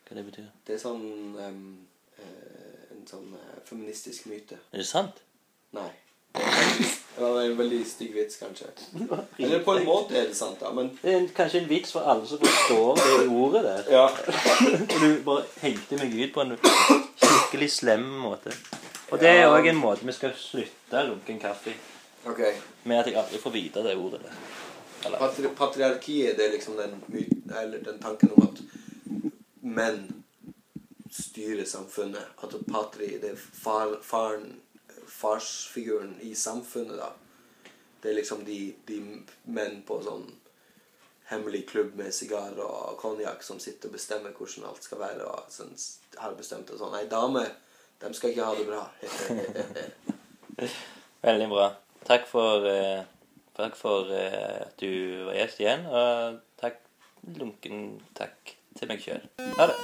Speaker 1: Hva det betyr?
Speaker 2: Det er sånn ehm, eh, En sånn eh, feministisk myte.
Speaker 1: Er det
Speaker 2: [LAUGHS]
Speaker 1: sant?
Speaker 2: Nei. Det var en veldig stygg vits, kanskje. Eller på en måte er det sant, da, men
Speaker 1: Det er en, kanskje en vits for alle som forstår det ordet der.
Speaker 2: ja.
Speaker 1: Og du bare hengte meg ut på en skikkelig slem måte. Og det er
Speaker 2: Ja.
Speaker 1: òg en måte vi skal slutte lunken kaffe
Speaker 2: Ok.
Speaker 1: med at jeg aldri får vite det ordet der. Eller
Speaker 2: Patri patriarkiet det er liksom den, myten, eller den tanken om at menn styrer samfunnet. At patri det er far, faren, farsfiguren i samfunnet, da. Det er liksom de, de menn på sånn hemmelig klubb med sigar og konjakk som sitter og bestemmer hvordan alt skal være. Og sånn, har bestemt det sånn. Nei, damer, de skal ikke ha det bra.
Speaker 1: Veldig bra. Takk for, eh, takk for eh, at du var gjest igjen, og takk lunken takk til meg sjøl. Ha det.